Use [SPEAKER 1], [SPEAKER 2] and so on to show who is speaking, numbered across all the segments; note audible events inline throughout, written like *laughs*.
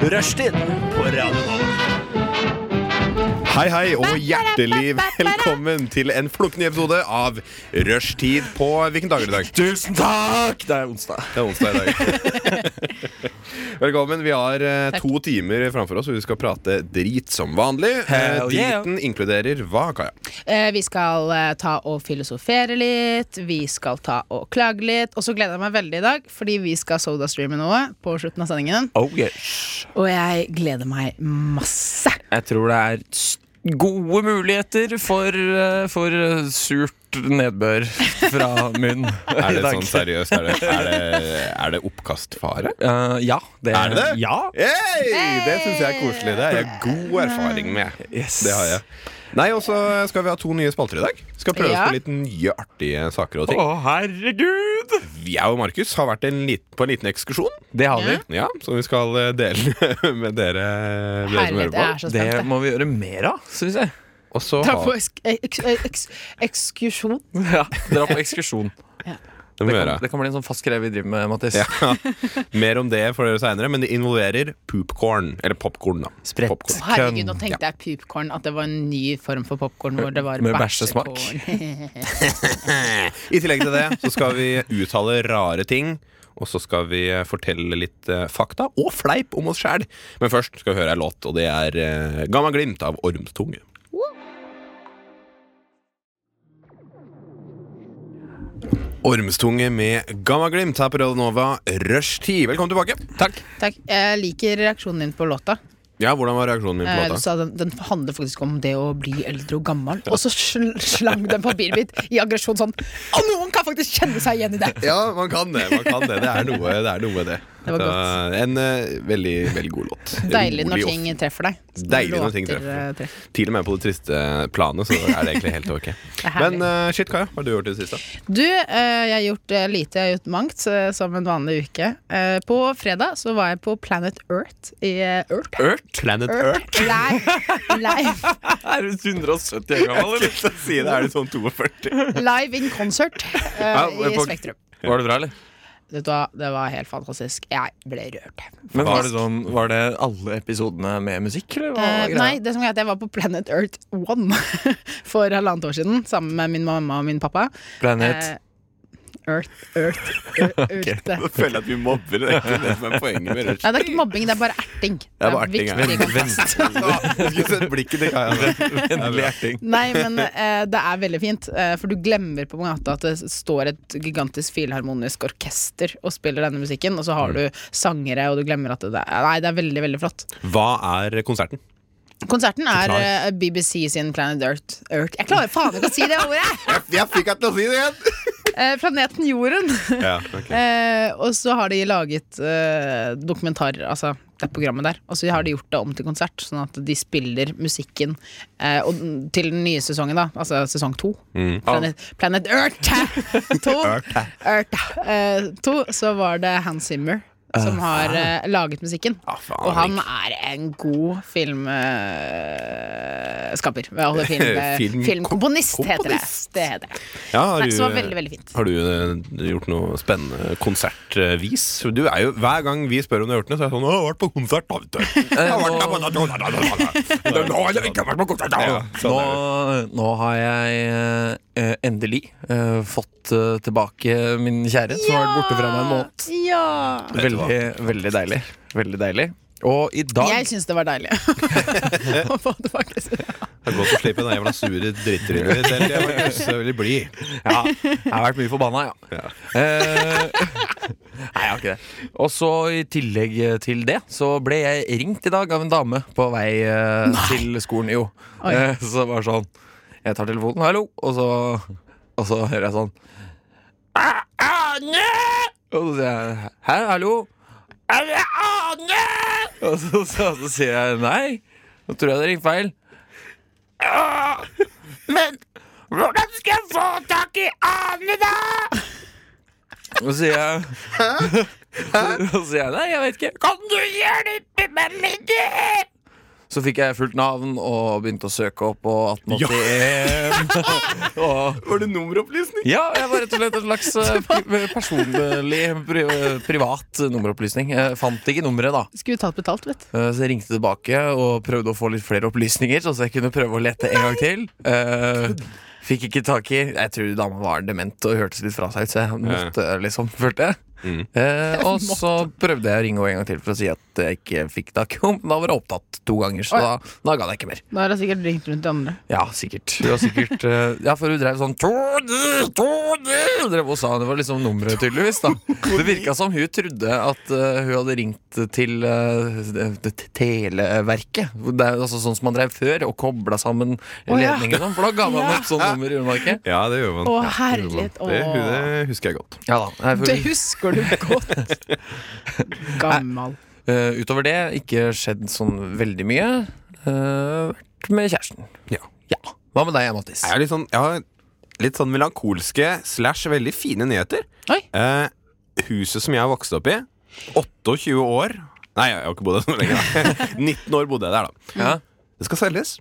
[SPEAKER 1] Rushtid på Radio Nova.
[SPEAKER 2] Hei, hei, og hjertelig velkommen til en flukkende episode av Rushtid på Hvilken dag er det i dag?
[SPEAKER 1] Tusen takk! Det er onsdag.
[SPEAKER 2] Det er onsdag i dag.
[SPEAKER 1] *laughs*
[SPEAKER 2] Velkommen. Vi har eh, to timer framfor oss, og vi skal prate drit som vanlig. Eh,
[SPEAKER 1] Hell yeah.
[SPEAKER 2] Driten inkluderer hva, Kaja?
[SPEAKER 3] Eh, Vi skal eh, ta og filosofere litt, vi skal ta og klage litt. Og så gleder jeg meg veldig i dag, fordi vi skal sodastreame noe på slutten av sendingen.
[SPEAKER 1] Oh yes.
[SPEAKER 3] Og jeg gleder meg masse.
[SPEAKER 1] Jeg tror det er s- gode muligheter for, eh, for eh, surt nedbør fra munn
[SPEAKER 2] *laughs* Er
[SPEAKER 1] *laughs* i
[SPEAKER 2] det
[SPEAKER 1] dag.
[SPEAKER 2] sånn seriøst? Er det, er det, er det oppkastfare?
[SPEAKER 1] Eh, ja. Det,
[SPEAKER 2] Er det det?
[SPEAKER 1] Ja.
[SPEAKER 2] Hey, det syns jeg er koselig. Det har jeg god erfaring med.
[SPEAKER 1] Yes.
[SPEAKER 2] Det har jeg. Nei, og så skal vi ha to nye spalter i dag. Skal prøve oss
[SPEAKER 3] Ja.
[SPEAKER 2] på litt nye artige saker og
[SPEAKER 1] Å,
[SPEAKER 2] ting.
[SPEAKER 1] herregud!
[SPEAKER 2] Jeg og Markus har vært en lit- på en liten ekskursjon.
[SPEAKER 1] Det har vi.
[SPEAKER 3] Ja.
[SPEAKER 2] Ja, Som vi skal eh, dele *laughs* med dere, dere som hører
[SPEAKER 3] Herlighet, jeg er
[SPEAKER 2] på.
[SPEAKER 3] så
[SPEAKER 1] Det
[SPEAKER 3] spent.
[SPEAKER 1] må vi gjøre mer av, syns jeg. *laughs*
[SPEAKER 2] Og så
[SPEAKER 3] Ta på
[SPEAKER 2] har
[SPEAKER 3] eks eks eh, eks ekskursjon.
[SPEAKER 1] Ja, Dra på ekskursjon.
[SPEAKER 2] det må
[SPEAKER 1] Det
[SPEAKER 2] vi
[SPEAKER 1] kan,
[SPEAKER 2] gjøre.
[SPEAKER 1] det kan bli en sånn fast greie vi driver med, Mattis.
[SPEAKER 2] Ja. Mer om det for dere seinere, men det involverer poopcorn. Eller popkorn, da.
[SPEAKER 1] Spredt.
[SPEAKER 2] Popcorn.
[SPEAKER 3] Herregud, nå tenkte jeg popkorn, at det var en ny form for popkorn hvor det var
[SPEAKER 1] Med bæsjesmak.
[SPEAKER 2] I tillegg til det så skal vi uttale rare ting. Og så skal vi eh, fortelle litt eh, fakta og fleip om oss sjæl. Men først skal vi høre ei låt, og det er eh, Gamma Glimt av Ormstunge. Ormstunge med Gamma Glimt her på Radio Nova, rushtid. Velkommen tilbake.
[SPEAKER 1] Takk.
[SPEAKER 3] Takk. Jeg liker reaksjonen din på låta.
[SPEAKER 2] Ja, Hvordan var reaksjonen min
[SPEAKER 3] Eh,
[SPEAKER 2] på
[SPEAKER 3] Du
[SPEAKER 2] låta?
[SPEAKER 3] sa den, den handler faktisk om det å bli eldre og gammel. Og så sl slang den papirbit i aggresjon sånn. Og noen kan faktisk kjenne seg igjen i det!
[SPEAKER 2] *laughs* Ja, man kan det. man kan Det Det er noe, det er noe med det.
[SPEAKER 3] Det var
[SPEAKER 2] Så, En eh, veldig, veldig god låt.
[SPEAKER 3] Deilig når
[SPEAKER 2] Rolig og
[SPEAKER 3] ting treffer deg. Så
[SPEAKER 2] Deilig når
[SPEAKER 3] låter,
[SPEAKER 2] ting treffer.
[SPEAKER 3] eh, treffer.
[SPEAKER 2] Til og med på det triste planet, så er det egentlig helt ok.
[SPEAKER 3] er *laughs* herlig.
[SPEAKER 2] Men eh, shit, Kaja, hva har du gjort i det siste?
[SPEAKER 3] Du, eh, jeg har gjort eh, lite, jeg har gjort mangt, eh, som en vanlig uke. Eh, På fredag så var jeg på Planet Earth i eh, Earth.
[SPEAKER 1] Ørt?
[SPEAKER 2] Planet
[SPEAKER 3] Live, live,
[SPEAKER 1] *laughs* Er du 170 år gammel, eller?
[SPEAKER 2] Si det, er det
[SPEAKER 3] *laughs*
[SPEAKER 2] sånn 42?
[SPEAKER 3] live in concert eh,
[SPEAKER 2] Ja,
[SPEAKER 3] i
[SPEAKER 2] på-
[SPEAKER 3] Spektrum.
[SPEAKER 1] *laughs* Var det bra, eller?
[SPEAKER 3] Vet du hva, det var helt fantastisk. Jeg ble rørt.
[SPEAKER 1] Men var det, sånn, var det alle episodene med musikk, eller? Hva var
[SPEAKER 3] Eh,
[SPEAKER 1] greia?
[SPEAKER 3] nei, det som er at jeg var på Planet Earth 1 *laughs* for halvannet år siden sammen med min mamma og min pappa.
[SPEAKER 1] Planet
[SPEAKER 3] Eh, Earth, Earth, E,
[SPEAKER 2] *laughs*
[SPEAKER 3] Earth.
[SPEAKER 2] Nå føler jeg at vi mobber. Det er ikke det som er poenget med
[SPEAKER 3] Nei, det er ikke mobbing, det er bare erting. Det
[SPEAKER 2] bare erting, ja.
[SPEAKER 3] viktig *laughs* kontrast.
[SPEAKER 2] rushtid. Blikket til *laughs* Kaja.
[SPEAKER 1] Vennlig hjerting.
[SPEAKER 3] Nei, men eh, det er veldig fint, eh, for du glemmer på en måte at det står et gigantisk filharmonisk orkester og spiller denne musikken, og så
[SPEAKER 2] Mm.
[SPEAKER 3] har du sangere, og du glemmer at det er Nei, det er veldig, veldig flott.
[SPEAKER 2] Hva er konserten?
[SPEAKER 3] Konserten er
[SPEAKER 2] Forklar.
[SPEAKER 3] eh, BBC sin Planet Earth. Earth. Jeg klarer faen ikke å si det ordet!
[SPEAKER 2] Jeg, fikk deg til å si det igjen!
[SPEAKER 3] Eh, planeten Jorden.
[SPEAKER 2] *laughs*
[SPEAKER 3] *laughs*
[SPEAKER 2] Ja, ok.
[SPEAKER 3] Eh, og så har de laget eh, dokumentarer, altså det programmet der. Og så har de gjort det om til konsert, sånn at de spiller musikken eh, og, den- til den nye sesongen, da. Altså sesong to.
[SPEAKER 2] Mm.
[SPEAKER 3] Planet, Planet Earth! *laughs* to, Earth. Eh, to. Så var det Hans Zimmer. Som har eh, laget musikken.
[SPEAKER 2] Ja, Ah, faen,
[SPEAKER 3] og han er en god filmskaper. Eh, skaper. Hva
[SPEAKER 2] *laughs*
[SPEAKER 3] holder film, eh,
[SPEAKER 2] Film-
[SPEAKER 3] filmkomponist, heter det.
[SPEAKER 2] komponist.
[SPEAKER 3] det, heter det.
[SPEAKER 2] Ja, har
[SPEAKER 3] Nei,
[SPEAKER 2] du,
[SPEAKER 3] så det var veldig, veldig fint.
[SPEAKER 2] Har du eh, gjort noe spennende konsertvis? Du er jo, hver gang vi spør om du har gjort noe, så er det sånn 'Å, jeg har vært på konsert', da, vet du. Jeg har vært *laughs*
[SPEAKER 3] eh,
[SPEAKER 2] på- Nå har jeg ikke vært på konsert, da.
[SPEAKER 1] Nå,
[SPEAKER 2] Sånn er det.
[SPEAKER 1] nå har jeg eh, endelig eh, fått eh, tilbake min kjære, som har vært borte fra meg en måned.
[SPEAKER 3] Ja!
[SPEAKER 2] Vet du hva?
[SPEAKER 1] Veldig, veldig deilig. Veldig deilig. Og i dag
[SPEAKER 3] Jeg syns det var
[SPEAKER 1] *laughs*
[SPEAKER 3] deilig. Å få tilbake sin-
[SPEAKER 2] Det er godt å slippe den jævla sure drittrynet ditt. Eller jeg var ikke så veldig blid.
[SPEAKER 1] Ja, jeg har vært mye forbanna, ja. Eh, *laughs* nei, jeg har ikke det. Og så i tillegg til det, så ble jeg ringt i dag av en dame på vei eh, til skolen, jo.
[SPEAKER 3] Oi.
[SPEAKER 1] Eh, så det var sånn Jeg tar telefonen, hallo, og så, og så hører jeg sånn «Er det Ane! Og så sier jeg hæ, hallo? Er det Ane? Og så, så, så sier jeg nei. Nå tror jeg det ringte feil. «Ah, Men hvordan skal jeg få tak i Ane, da? Og så sier jeg *laughs* Og så sier jeg nei, jeg vet ikke. Kan du hjelpe meg med det? Så fikk jeg fullt navn og begynte å søke opp og 1881. og
[SPEAKER 2] Var det nummeropplysning?
[SPEAKER 1] ja, jeg var rett og slett en
[SPEAKER 2] *laughs*
[SPEAKER 1] slags eh, pri personlig pri eh, privat nummeropplysning. Jeg fant ikke nummeret, da.
[SPEAKER 3] Skulle tatt betalt, vet du.
[SPEAKER 1] Eh, Så jeg ringte tilbake og prøvde å få litt flere opplysninger, sånn at jeg kunne prøve å lete en gang til. Eh, fikk ikke tak i Jeg tror dama var dement og hørtes litt fra seg ut, så jeg måtte, liksom, følte jeg.
[SPEAKER 2] Mm.
[SPEAKER 1] Eh, og så prøvde jeg å ringe henne en gang til for å si at jeg ikke fikk tak i henne. men Da var hun opptatt to ganger, så da, da ga jeg ikke mer.
[SPEAKER 3] Da har jeg sikkert ringt rundt de andre.
[SPEAKER 1] Ja, sikkert. Hun var sikkert eh, ja, for hun drev sånn Tony, Tony! Drev og sa Det var liksom nummeret, tydeligvis. da Det virka som hun trodde at eh, hun hadde ringt til eh, det- det Televerket. Det er jo altså sånn som man drev før, og kobla sammen
[SPEAKER 3] Å, ja.
[SPEAKER 1] ledninger og sånn. For da ga man
[SPEAKER 3] Ja.
[SPEAKER 1] et sånt nummer, gjorde man ikke?
[SPEAKER 2] Ja, det gjør man. Ja, det gjør
[SPEAKER 3] Å,
[SPEAKER 2] man.
[SPEAKER 3] herlighet. Å.
[SPEAKER 2] Det, det husker jeg godt.
[SPEAKER 1] Ja da. Nei, for,
[SPEAKER 3] Det husker du godt. Gammal.
[SPEAKER 1] eh, utover det ikke skjedd sånn veldig mye. Eh, vært med kjæresten.
[SPEAKER 2] Ja.
[SPEAKER 1] Hva med deg, Mattis?
[SPEAKER 2] Jeg, er litt sånn, jeg har litt sånn melankolske slash veldig fine nyheter.
[SPEAKER 3] Oi.
[SPEAKER 2] Eh, huset som jeg vokste opp i, 28 år Nei, jeg har ikke bodd der så lenge. Da. *laughs* 19 år bodde jeg der, da.
[SPEAKER 1] Ja.
[SPEAKER 2] Det skal selges.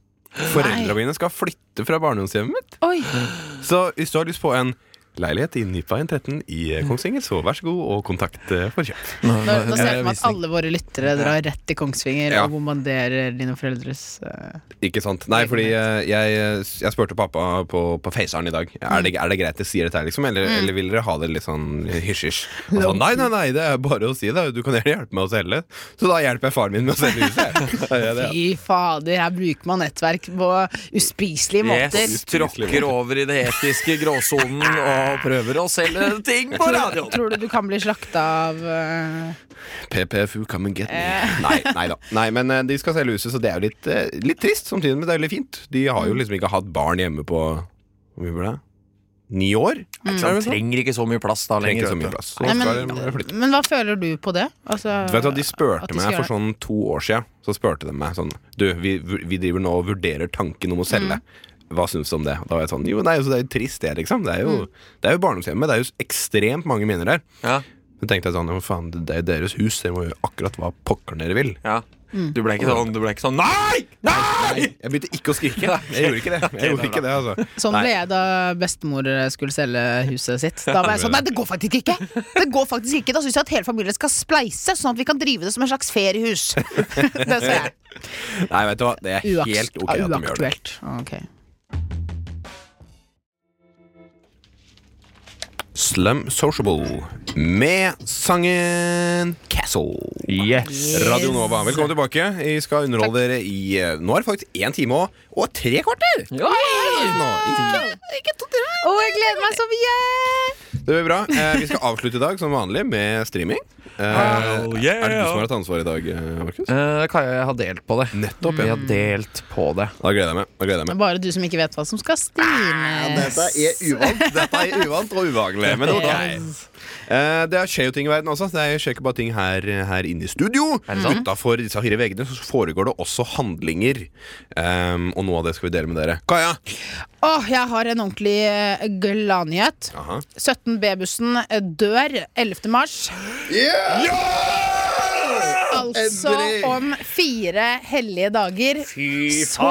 [SPEAKER 2] Foreldra mine skal flytte fra barndomshjemmet mitt.
[SPEAKER 3] Oi.
[SPEAKER 2] Så hvis du har lyst på en leilighet i Nypaien 13 i eh, Kongsvinger, så vær så god og kontakt eh, for kjøp.
[SPEAKER 3] Nå, nå ser jeg for meg at
[SPEAKER 1] visning.
[SPEAKER 3] alle våre lyttere drar rett til Kongsvinger
[SPEAKER 2] Ja.
[SPEAKER 3] og bombarderer dine foreldres eh,
[SPEAKER 2] Ikke sant. Nei, fordi eh, jeg, jeg spurte pappa på, på Faceren i dag. Er det, er det greit jeg sier dette her, liksom? Eller, eller vil dere ha det litt sånn hysj-hysj? Han sa nei, nei, nei, det er bare å si det. Du kan gjerne hjelpe meg å selge. Så da hjelper jeg faren min med å selge huset. Da gjør jeg det.
[SPEAKER 3] Fy fader, her bruker man nettverk på uspiselige måter.
[SPEAKER 1] Yes, tråkker over i det etiske gråsonen og prøver å selge ting på radioen.
[SPEAKER 3] Tror du du kan bli slakta av eh,
[SPEAKER 2] PPFU, come and get
[SPEAKER 3] Eh.
[SPEAKER 2] me. Nei, nei da. Nei, men eh, de skal selge huset, så det er jo litt, eh, litt trist samtidig, men det er veldig fint. De har jo liksom ikke hatt barn hjemme på Hvor mye ble det? Ni år?
[SPEAKER 1] Så
[SPEAKER 2] Er
[SPEAKER 1] han
[SPEAKER 2] det sånn?
[SPEAKER 1] trenger ikke så mye plass da
[SPEAKER 2] Trenger
[SPEAKER 1] lenger.
[SPEAKER 2] ikke så mye
[SPEAKER 1] vet du.
[SPEAKER 2] plass. Så
[SPEAKER 3] Nei,
[SPEAKER 2] skal
[SPEAKER 3] men,
[SPEAKER 2] de flytte.
[SPEAKER 3] men hva føler du på det? Altså,
[SPEAKER 2] Du vet hva, De
[SPEAKER 3] at
[SPEAKER 2] spurte
[SPEAKER 3] de
[SPEAKER 2] meg
[SPEAKER 3] skal
[SPEAKER 2] for sånn to år siden Så spurte de meg sånn Du, vi, vi driver nå og vurderer tanken om å selge.
[SPEAKER 3] Mm.
[SPEAKER 2] Hva syns du om det? Og Da var jeg sånn Jo, nei, altså, det er jo trist, det, liksom. Det er jo,
[SPEAKER 3] Mm.
[SPEAKER 2] det er jo barndomshjemmet. Det er jo ekstremt mange minner der.
[SPEAKER 1] Ja,
[SPEAKER 2] Så tenkte jeg sånn Ja, faen, det er jo deres hus. Dere må gjøre akkurat hva pokker dere vil.
[SPEAKER 1] ja. Du ble ikke sånn, du ble ikke sånn Nei! Nei!
[SPEAKER 2] Jeg begynte ikke å skrike. Jeg gjorde ikke det. Jeg gjorde ikke det, altså.
[SPEAKER 3] Sånn ble jeg da bestemor skulle selge huset sitt. Da var jeg sånn, nei det går faktisk ikke! Det går faktisk ikke Da syns jeg at hele familien skal spleise, sånn at vi kan drive det som en slags feriehus. *laughs* det sa jeg.
[SPEAKER 2] Nei, vet du hva. Det er
[SPEAKER 3] Uaks
[SPEAKER 2] helt ok at de gjør det.
[SPEAKER 3] uaktuelt. Ah, ok.
[SPEAKER 2] Slum Sociable med sangen Castle.
[SPEAKER 1] Yes.
[SPEAKER 2] Radio Nova, velkommen tilbake. Vi skal underholde dere i eh, Nå er det faktisk én time og, og tre kvarter! Nå, ikke-
[SPEAKER 3] Å, jeg gleder meg så mye!
[SPEAKER 2] Det blir bra. Eh, vi skal avslutte i dag som vanlig med streaming. Eh,
[SPEAKER 1] Hell yeah.
[SPEAKER 2] Er det du som har hatt ansvaret i dag, eh, Markus?
[SPEAKER 1] Kaja, jeg har delt på det.
[SPEAKER 2] Nettopp,
[SPEAKER 1] Jeg
[SPEAKER 2] ja.
[SPEAKER 1] har delt på det.
[SPEAKER 2] Da gleder jeg meg. Da gleder jeg
[SPEAKER 3] Det
[SPEAKER 2] meg.
[SPEAKER 3] er bare du som ikke vet hva som skal stines.
[SPEAKER 2] Ah, er uvant Dette er uvant og ubehagelig. Men det,
[SPEAKER 3] Yes.
[SPEAKER 2] eh, det skjer jo ting i verden også. Det skjer ikke bare ting her, her inne i studio. Utafor disse fire veggene så foregår det også handlinger. Ehm, og noe av det skal vi dele med dere. Kaja!
[SPEAKER 3] Åh, jeg har en ordentlig eh, gladnyhet.
[SPEAKER 2] Aha.
[SPEAKER 3] 17B-bussen eh, dør 11. mars. Altså
[SPEAKER 2] Endelig!
[SPEAKER 3] om fire hellige dager så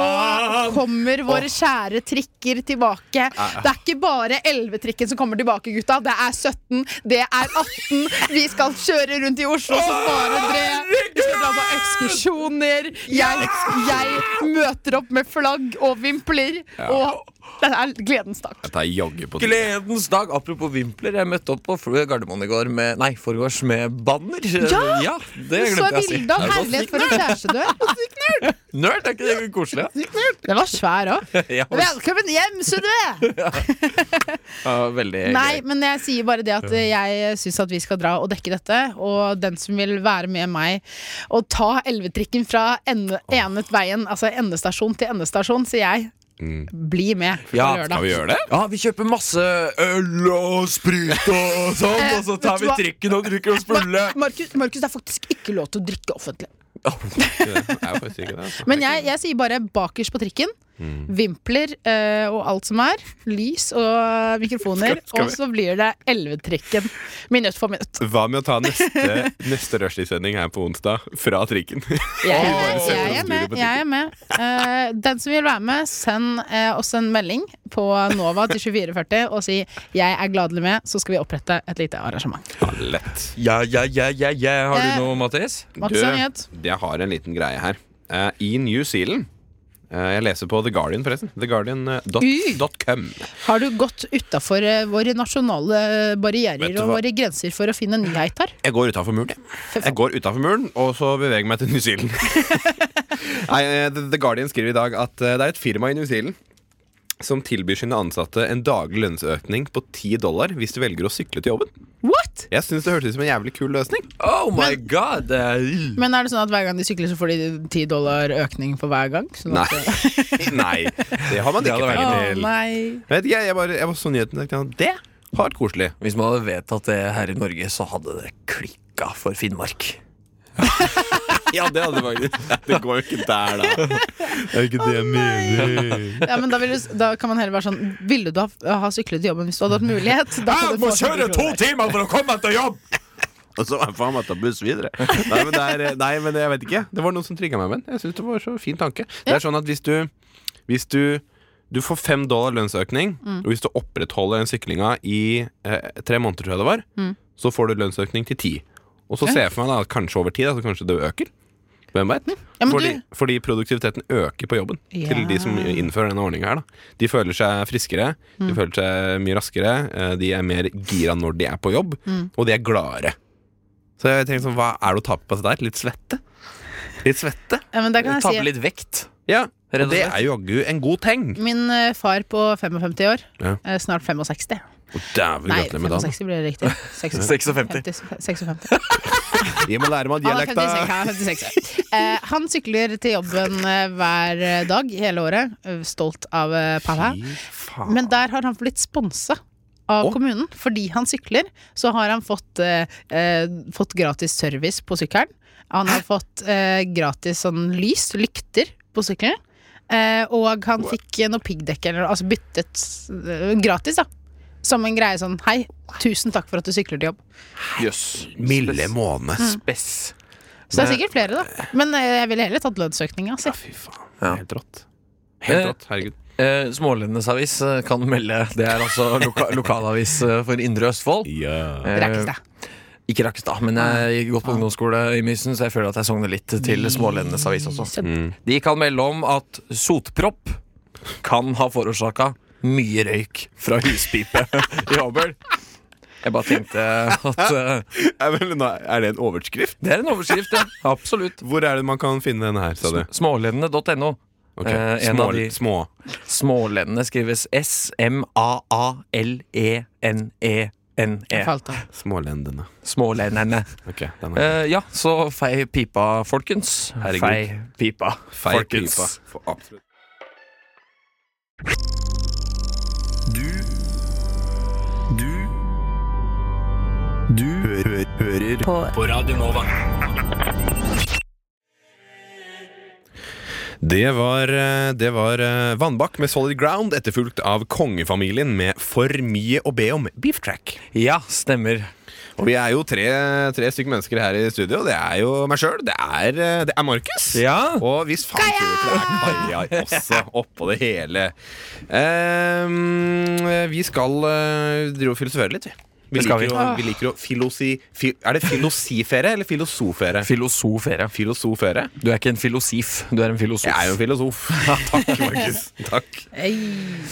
[SPEAKER 3] kommer våre kjære trikker tilbake. Det er ikke bare 11-trikken som kommer tilbake, gutta. Det er 17, det er 18. Vi skal kjøre rundt i Oslo som bare det. Vi skal dra på ekskursjoner. Jeg, jeg møter opp med flagg og vimpler. Og det er gledens dag.
[SPEAKER 2] Dette er jaggu på tide.
[SPEAKER 1] Gledens dag! Apropos vimpler, jeg møtte opp på fl- Gardermoen i går med Nei, forgårs med banner.
[SPEAKER 3] Ja!
[SPEAKER 1] det
[SPEAKER 3] Så
[SPEAKER 1] glemte jeg å si.
[SPEAKER 3] bilde av
[SPEAKER 1] Det var
[SPEAKER 3] herlighet for en kjæreste
[SPEAKER 1] *laughs*
[SPEAKER 3] du er.
[SPEAKER 1] sykt Nerd, er ikke det koselig? da?
[SPEAKER 3] Den var svær òg.
[SPEAKER 1] Ja, det
[SPEAKER 3] Velkommen hjem, Sudve!
[SPEAKER 1] var veldig
[SPEAKER 3] Nei,
[SPEAKER 1] gøy.
[SPEAKER 3] men jeg sier bare det at eh, jeg syns at vi skal dra og dekke dette. Og den som vil være med meg og ta elvetrikken fra ende, enet veien, altså endestasjon til endestasjon, sier jeg. Bli med på
[SPEAKER 1] Ja,
[SPEAKER 2] Mm. Skal
[SPEAKER 3] lørdag.
[SPEAKER 2] vi gjøre det?
[SPEAKER 1] Ja, vi kjøper masse øl og sprit og sånn, og så tar vi trikken og drikker oss fulle.
[SPEAKER 3] Markus, Markus, det er faktisk ikke lov til å drikke offentlig.
[SPEAKER 2] *laughs* Det Mm. er faktisk ikke det. altså.
[SPEAKER 3] Men jeg, jeg sier bare bakerst på trikken. Vimpler eh, og alt som er. Lys og eh, mikrofoner. Og så blir det elvetrikken. Minutt for minutt.
[SPEAKER 2] Hva med å ta neste, neste rushtidssending her på onsdag fra trikken?
[SPEAKER 3] Jeg,
[SPEAKER 2] bare setter
[SPEAKER 3] jeg
[SPEAKER 2] oss
[SPEAKER 3] er
[SPEAKER 2] i
[SPEAKER 3] med.
[SPEAKER 2] butikken.
[SPEAKER 3] Jeg er med. Eh, den som vil være med, send eh, oss en melding på Nova til 2440 og si 'jeg er gladelig med', så skal vi opprette et lite arrangement.
[SPEAKER 2] Lett.
[SPEAKER 1] Ja, ja, ja, ja, ja. Har
[SPEAKER 3] Eh.
[SPEAKER 1] du noe, Mattis?
[SPEAKER 3] Mats
[SPEAKER 2] Du-
[SPEAKER 3] har nyhet.
[SPEAKER 2] Jeg har en liten greie her. Eh, I New Zealand eh, Jeg leser på The Guardian, eh, forresten.
[SPEAKER 3] Uy.
[SPEAKER 2] TheGuardian.com.
[SPEAKER 3] Har du gått utafor våre nasjonale eh,
[SPEAKER 2] Vet
[SPEAKER 3] barrierer
[SPEAKER 2] du
[SPEAKER 3] og
[SPEAKER 2] hva?
[SPEAKER 3] våre grenser for å finne nyhet
[SPEAKER 2] *laughs*
[SPEAKER 3] her?
[SPEAKER 2] Jeg går utafor muren, jeg.
[SPEAKER 3] Fy faen.
[SPEAKER 2] Jeg går utenfor muren, og så beveger jeg meg til New
[SPEAKER 1] *laughs*
[SPEAKER 2] Zealand. Nei, eh, The The Guardian skriver i dag at eh, det er et firma i New Zealand som tilbyr sine ansatte en daglig lønnsøkning på 10 dollar hvis du velger å sykle til jobben.
[SPEAKER 3] What?!
[SPEAKER 2] Jeg syns det hørtes ut som en jævlig kul løsning.
[SPEAKER 1] Oh my god! eh,
[SPEAKER 3] Men er det sånn at hver gang de sykler, så får de 10 dollar økning for hver gang? Sånn at-
[SPEAKER 2] Nei, *laughs* det har man
[SPEAKER 1] Det
[SPEAKER 2] ikke
[SPEAKER 1] hadde vært
[SPEAKER 2] penger
[SPEAKER 3] Å,
[SPEAKER 2] til.
[SPEAKER 3] nei.
[SPEAKER 2] Vet ikke, jeg, jeg, bare, jeg bare så nyheten og tenkte det har vært koselig.
[SPEAKER 1] Hvis man hadde vedtatt det her i Norge, så hadde det klikka for Finnmark.
[SPEAKER 2] Ja, det hadde faktisk Det går jo ikke der, da. Det er ikke det jeg mener.
[SPEAKER 3] Ja, men da, vil du, da kan man heller være sånn Ville du ha, ha syklet til jobben hvis du hadde hatt mulighet? Da kan du få 10 kroner.
[SPEAKER 1] timer for å komme meg til *laughs* jobb!
[SPEAKER 2] Og så faen meg ta buss videre. Nei, men, det er, nei, men jeg vet ikke. Det var noen som trigga meg med den. Jeg synes det var så fin tanke. Det er sånn at hvis du Hvis du du får fem dollar lønnsøkning,
[SPEAKER 3] Mm.
[SPEAKER 2] og hvis du opprettholder den syklinga i eh, tre måneder, tror jeg det var,
[SPEAKER 3] Mm.
[SPEAKER 2] så får du lønnsøkning til ti. Og så ser jeg for meg da at kanskje over tid, da, så kanskje det øker. Hvem veit?
[SPEAKER 3] Ja, men
[SPEAKER 2] fordi,
[SPEAKER 3] du-
[SPEAKER 2] fordi produktiviteten øker på jobben til
[SPEAKER 3] Ja.
[SPEAKER 2] de som innfører denne ordninga her. Da. De føler seg friskere, de
[SPEAKER 1] Mm.
[SPEAKER 2] føler seg mye raskere, eh, de er mer gira når de er på jobb,
[SPEAKER 1] Mm.
[SPEAKER 2] og de er gladere. Så jeg tenker sånn, hva er det å tape på det der? Litt svette? Litt svette?
[SPEAKER 3] Ja, men da kan
[SPEAKER 1] Tape
[SPEAKER 3] jeg si
[SPEAKER 1] litt vekt.
[SPEAKER 2] Ja,
[SPEAKER 1] Rett og
[SPEAKER 2] og det
[SPEAKER 1] slett.
[SPEAKER 2] er joggu en god ting.
[SPEAKER 3] Min eh, far på 55 år,
[SPEAKER 2] Ja.
[SPEAKER 3] eh, snart 65
[SPEAKER 2] Å, Dæven,
[SPEAKER 3] Nei,
[SPEAKER 2] gratulerer med dagen.
[SPEAKER 3] 65 blir
[SPEAKER 2] *laughs*
[SPEAKER 3] det riktig. 56.
[SPEAKER 1] 56.
[SPEAKER 3] 56.
[SPEAKER 2] Vi må lære meg
[SPEAKER 3] Han
[SPEAKER 2] *laughs*
[SPEAKER 3] er
[SPEAKER 2] dialekta.
[SPEAKER 3] 56, han er 56. Eh, han sykler til jobben eh, hver dag hele året, eh, stolt av eh, pappa.
[SPEAKER 2] faen.
[SPEAKER 3] Men der har han blitt sponsa av
[SPEAKER 2] Å.
[SPEAKER 3] kommunen. Fordi han sykler, så har han fått, eh, eh, fått gratis service på sykkelen. Han har fått eh, gratis sånn lys, lykter, på sykkelen. Eh, og han fikk eh, noe piggdekk, eller noe, altså byttet eh, gratis, da. Som en greie sånn Hei, tusen takk for at du sykler til jobb.
[SPEAKER 1] Jøss.
[SPEAKER 2] Milde måne.
[SPEAKER 1] Spess.
[SPEAKER 3] Så det er sikkert flere, da. Men eh, jeg ville heller tatt lønnsøkninga. Altså.
[SPEAKER 2] Fy faen.
[SPEAKER 1] Ja.
[SPEAKER 2] Helt rått. Helt
[SPEAKER 1] Eh,
[SPEAKER 2] rått. Herregud.
[SPEAKER 1] Eh, Smålendenes avis eh, kan melde. Det er altså loka lokalavis eh, for Indre Østfold.
[SPEAKER 2] Ja.
[SPEAKER 1] Eh,
[SPEAKER 3] Rakkestad.
[SPEAKER 1] Ikke Rakkestad, men jeg gikk godt på ungdomsskole i Mysen, så jeg føler at jeg sogner litt til Smålendenes avis også.
[SPEAKER 3] Så-
[SPEAKER 1] De kan melde om at sotpropp kan ha forårsaka mye røyk fra huspipe i Hobøl. Jeg bare tenkte at eh,
[SPEAKER 2] Er, vel, nei, er det en overskrift?
[SPEAKER 1] Det er en overskrift, ja. Absolutt.
[SPEAKER 2] Hvor er det man kan finne den her, sa du?
[SPEAKER 1] Smålendene.no.
[SPEAKER 2] Ok,
[SPEAKER 1] Eh, en
[SPEAKER 2] små,
[SPEAKER 1] av de-
[SPEAKER 2] små.
[SPEAKER 1] Smålendene skrives E S-M-A-A-L-E-N-E-N-E.
[SPEAKER 3] Falt av.
[SPEAKER 2] Smålendene.
[SPEAKER 1] Smålendene.
[SPEAKER 2] Ok, den er
[SPEAKER 1] Eh, ja, så fei pipa, folkens.
[SPEAKER 2] Herregud.
[SPEAKER 1] Fei pipa,
[SPEAKER 2] feil
[SPEAKER 1] folkens.
[SPEAKER 2] pipa. For absolutt.
[SPEAKER 4] Du Du Du hø hø hører på. Radio Nova.
[SPEAKER 2] Det var, eh, det var eh, Vannbakk med Solid Ground, etterfulgt av Kongefamilien med For mye å be om, Beef Track.
[SPEAKER 1] Ja, stemmer.
[SPEAKER 2] Og vi er jo tre, tre stykker mennesker her i studio. Det er jo meg sjøl, det er, eh, det er Markus.
[SPEAKER 1] Ja.
[SPEAKER 2] Og hvis faen ikke det er Kaja også oppå det hele. Ehm, vi skal eh, drive og filosofere litt, vi. Vi
[SPEAKER 1] Det skal vi.
[SPEAKER 2] liker, jo,
[SPEAKER 3] Ah.
[SPEAKER 2] vi liker jo filosi... Fi, er det filosifere eller filosofere?
[SPEAKER 1] Filosofere.
[SPEAKER 2] Filosofere?
[SPEAKER 1] Du er ikke en filosif, du er en filosof.
[SPEAKER 2] Jeg er jo en
[SPEAKER 1] *laughs*
[SPEAKER 2] filosof. Takk, Markus. *laughs* Takk.
[SPEAKER 3] Ei.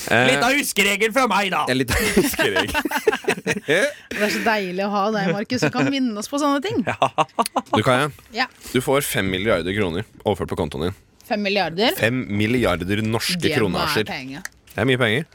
[SPEAKER 2] Eh,
[SPEAKER 1] av huskeregel fra meg, da!
[SPEAKER 2] en liten huskeregel.
[SPEAKER 3] *laughs* Det er så deilig å ha deg, Markus, som kan minne oss på sånne ting.
[SPEAKER 2] Du, Kaja.
[SPEAKER 3] Ja.
[SPEAKER 2] Du får fem milliarder kroner overført på kontoen din.
[SPEAKER 3] Fem milliarder.
[SPEAKER 2] Fem milliarder norske
[SPEAKER 3] Det må være
[SPEAKER 2] kronasjer.
[SPEAKER 3] penger.
[SPEAKER 2] Det er mye penger.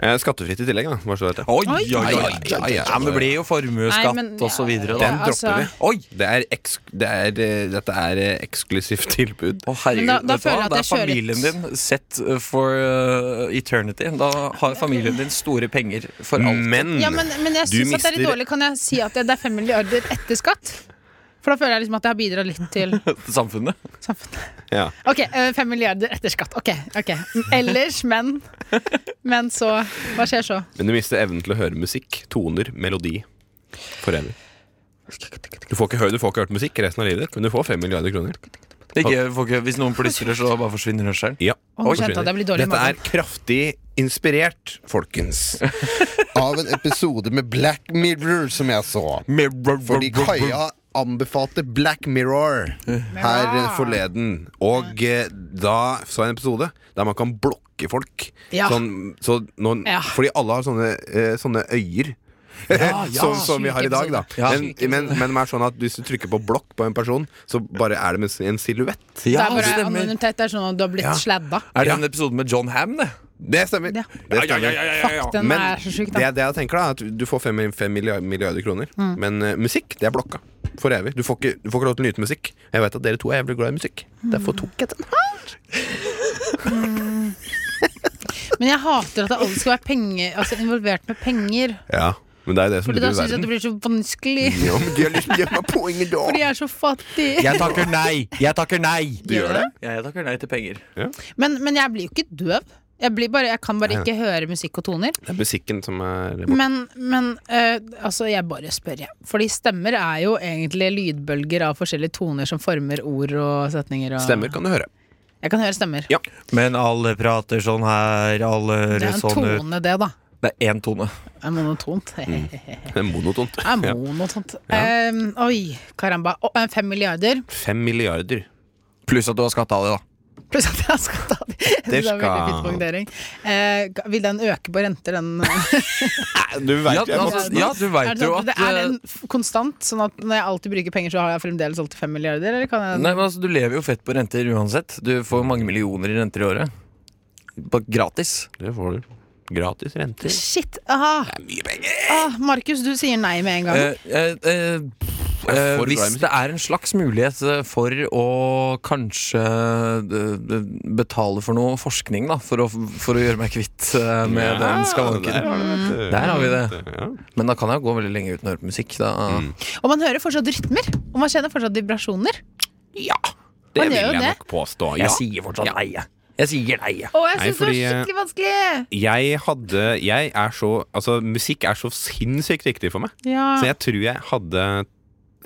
[SPEAKER 2] Eh, Skattefritt i tillegg, da. Bare så du vet det.
[SPEAKER 1] Oi, oi,
[SPEAKER 3] Oi,
[SPEAKER 1] oi.
[SPEAKER 2] oi,
[SPEAKER 1] oi,
[SPEAKER 2] oi, oi.
[SPEAKER 1] Ja, men det blir jo
[SPEAKER 3] Nei,
[SPEAKER 1] formuesskatt
[SPEAKER 3] men-
[SPEAKER 1] og så videre,
[SPEAKER 2] Den
[SPEAKER 1] da.
[SPEAKER 3] Ja, altså-
[SPEAKER 2] dropper vi.
[SPEAKER 1] Oi!
[SPEAKER 2] Det er eks- det er, eh, dette er eh, eksklusivt *laughs* tilbud.
[SPEAKER 1] Å, herregud,
[SPEAKER 3] Men da- da
[SPEAKER 1] vet du hva?
[SPEAKER 3] føler jeg at
[SPEAKER 1] Det er
[SPEAKER 3] jeg kjører
[SPEAKER 1] familien
[SPEAKER 3] et-
[SPEAKER 1] din set uh, for uh, eternity. Da har familien din store penger for alt.
[SPEAKER 2] Men,
[SPEAKER 3] Ja, men, men jeg
[SPEAKER 2] Mm. du
[SPEAKER 3] syns at det er litt
[SPEAKER 2] mister-
[SPEAKER 3] dårlig. Kan jeg si at det er fem milliarder etter skatt? For da føler jeg liksom at jeg har bidratt litt til
[SPEAKER 1] Samfunnet.
[SPEAKER 3] samfunnet.
[SPEAKER 2] Ja.
[SPEAKER 3] Ok, eh, fem milliarder etter skatt. Ok, ok. Ellers, men Men så Hva skjer så?
[SPEAKER 2] Men du mister evnen til å høre musikk, toner, melodi. For evig. Du får ikke, hø- du får ikke hørt musikk resten av livet ditt, men du får fem milliarder kroner.
[SPEAKER 1] Det er ikke, folk, hvis noen plystrer, så bare forsvinner hørselen.
[SPEAKER 2] Ja.
[SPEAKER 3] Å, nå kjente jeg at jeg blir dårlig i
[SPEAKER 2] Dette
[SPEAKER 3] magen.
[SPEAKER 2] er kraftig inspirert, folkens.
[SPEAKER 5] *laughs* Av en episode med Black Mirror som jeg så. Fordi Kaja anbefalte Black Mirror
[SPEAKER 2] her eh, forleden. Og eh, da så jeg en episode der man kan blokke folk.
[SPEAKER 3] Ja.
[SPEAKER 2] Sånn, så noen,
[SPEAKER 3] Ja.
[SPEAKER 2] Fordi alle har sånne, eh, sånne øyer. *laughs*
[SPEAKER 1] ja.
[SPEAKER 2] som, som vi har i dag, da.
[SPEAKER 1] Ja.
[SPEAKER 2] Men, men, men det er sånn at hvis du trykker på blokk på en person, så bare er det med en silhuett.
[SPEAKER 3] Det
[SPEAKER 1] Ja,
[SPEAKER 3] er bare
[SPEAKER 1] stemmer.
[SPEAKER 3] anonymitet. Det er sånn at du har blitt
[SPEAKER 2] Ja.
[SPEAKER 3] sladda.
[SPEAKER 1] Er det en episode med John Ham, det?
[SPEAKER 2] Det stemmer.
[SPEAKER 3] Ja.
[SPEAKER 2] Det stemmer.
[SPEAKER 3] Den
[SPEAKER 2] Men
[SPEAKER 3] er så sjuk,
[SPEAKER 2] det,
[SPEAKER 3] da. Mm.
[SPEAKER 2] det jeg tenker da er at du får fem, fem milliarder, milliarder kroner. Men eh, musikk, det er blokka. For evig. Du får ikke, du får ikke lov til å nyte musikk. Jeg vet at dere to er jævlig glad i musikk. Derfor tok jeg den.
[SPEAKER 3] Men jeg hater at det alltid skal være penger Altså involvert med penger.
[SPEAKER 2] Ja, men det er jo det som
[SPEAKER 3] Fordi da
[SPEAKER 2] ligger i
[SPEAKER 3] syns jeg at
[SPEAKER 2] verden.
[SPEAKER 3] det blir så vanskelig.
[SPEAKER 2] *laughs* Ja, men de har lyst til å gjøre meg poenget da.
[SPEAKER 3] Fordi jeg er så fattig.
[SPEAKER 1] Jeg takker nei! Jeg takker nei!
[SPEAKER 2] Du gjør det?
[SPEAKER 1] Jeg takker nei til penger.
[SPEAKER 3] Men, men jeg blir jo ikke døv. Jeg, blir bare, jeg kan bare ikke høre musikk og toner.
[SPEAKER 2] Det er musikken som er
[SPEAKER 3] Men, men eh, altså, jeg bare spør, jeg. Fordi stemmer er jo egentlig lydbølger av forskjellige toner som former ord og setninger. Og
[SPEAKER 2] Stemmer, kan du høre.
[SPEAKER 3] Jeg kan høre stemmer.
[SPEAKER 2] Ja.
[SPEAKER 1] Men alle prater sånn her, alle
[SPEAKER 3] Det er
[SPEAKER 1] hører
[SPEAKER 3] en
[SPEAKER 1] sånn ut.
[SPEAKER 3] tone, det, da.
[SPEAKER 1] Det er én tone.
[SPEAKER 3] Det er monotont.
[SPEAKER 2] Mm.
[SPEAKER 3] *laughs* Det
[SPEAKER 2] Det er monotont.
[SPEAKER 3] er monotont. Eh, oi, karamba. Å, eh, fem milliarder.
[SPEAKER 2] Fem milliarder.
[SPEAKER 1] Pluss at du har skatta av det, da.
[SPEAKER 3] Pluss at jeg skal ta *laughs* det. Det er veldig
[SPEAKER 2] skal-
[SPEAKER 3] fin poengtering. Eh, vil den øke på renter, den? eh?
[SPEAKER 2] Du vet
[SPEAKER 1] Ja,
[SPEAKER 2] jeg må-
[SPEAKER 1] altså, ja du
[SPEAKER 3] Er
[SPEAKER 1] veit
[SPEAKER 3] det,
[SPEAKER 1] jo
[SPEAKER 3] sånn, at
[SPEAKER 1] at
[SPEAKER 3] det er
[SPEAKER 1] eh,
[SPEAKER 3] den f- konstant, sånn at når jeg alltid bruker penger, så har jeg fremdeles alltid fem milliarder? Eller kan jeg
[SPEAKER 1] Nei, men altså, Du lever jo fett på renter uansett. Du får mange millioner i renter i året. Bare gratis.
[SPEAKER 2] Det får du. Gratis renter.
[SPEAKER 3] Shit! Aha. Ah, Markus, du sier nei med en gang.
[SPEAKER 1] Eh, eh, eh,
[SPEAKER 2] Jeg er
[SPEAKER 1] eh,
[SPEAKER 2] for glad i
[SPEAKER 1] hvis
[SPEAKER 2] musikk.
[SPEAKER 1] det er en slags mulighet eh, for å kanskje eh, eh, betale for noe forskning, da, for å, for å gjøre meg kvitt eh, med den
[SPEAKER 2] Der
[SPEAKER 1] skavanken.
[SPEAKER 2] har, du, vet du.
[SPEAKER 1] Der har vi det.
[SPEAKER 2] Ja.
[SPEAKER 3] Mm.
[SPEAKER 1] Men da kan jeg jo gå veldig lenge uten å høre på musikk. Da.
[SPEAKER 3] Og man hører fortsatt rytmer. Og man kjenner fortsatt vibrasjoner.
[SPEAKER 2] Det
[SPEAKER 3] Man
[SPEAKER 2] vil
[SPEAKER 3] gjør jo
[SPEAKER 2] jeg
[SPEAKER 3] det.
[SPEAKER 2] nok påstå.
[SPEAKER 1] Jeg
[SPEAKER 2] Ja.
[SPEAKER 1] sier fortsatt nei, jeg. Jeg sier nei, jeg.
[SPEAKER 3] Å, jeg
[SPEAKER 2] Nei,
[SPEAKER 3] syns
[SPEAKER 2] fordi,
[SPEAKER 3] det var
[SPEAKER 2] eh,
[SPEAKER 3] skikkelig vanskelig!
[SPEAKER 2] Jeg hadde Jeg er så Altså, musikk er så sinnssykt viktig for meg.
[SPEAKER 3] Ja.
[SPEAKER 2] Så jeg tror jeg hadde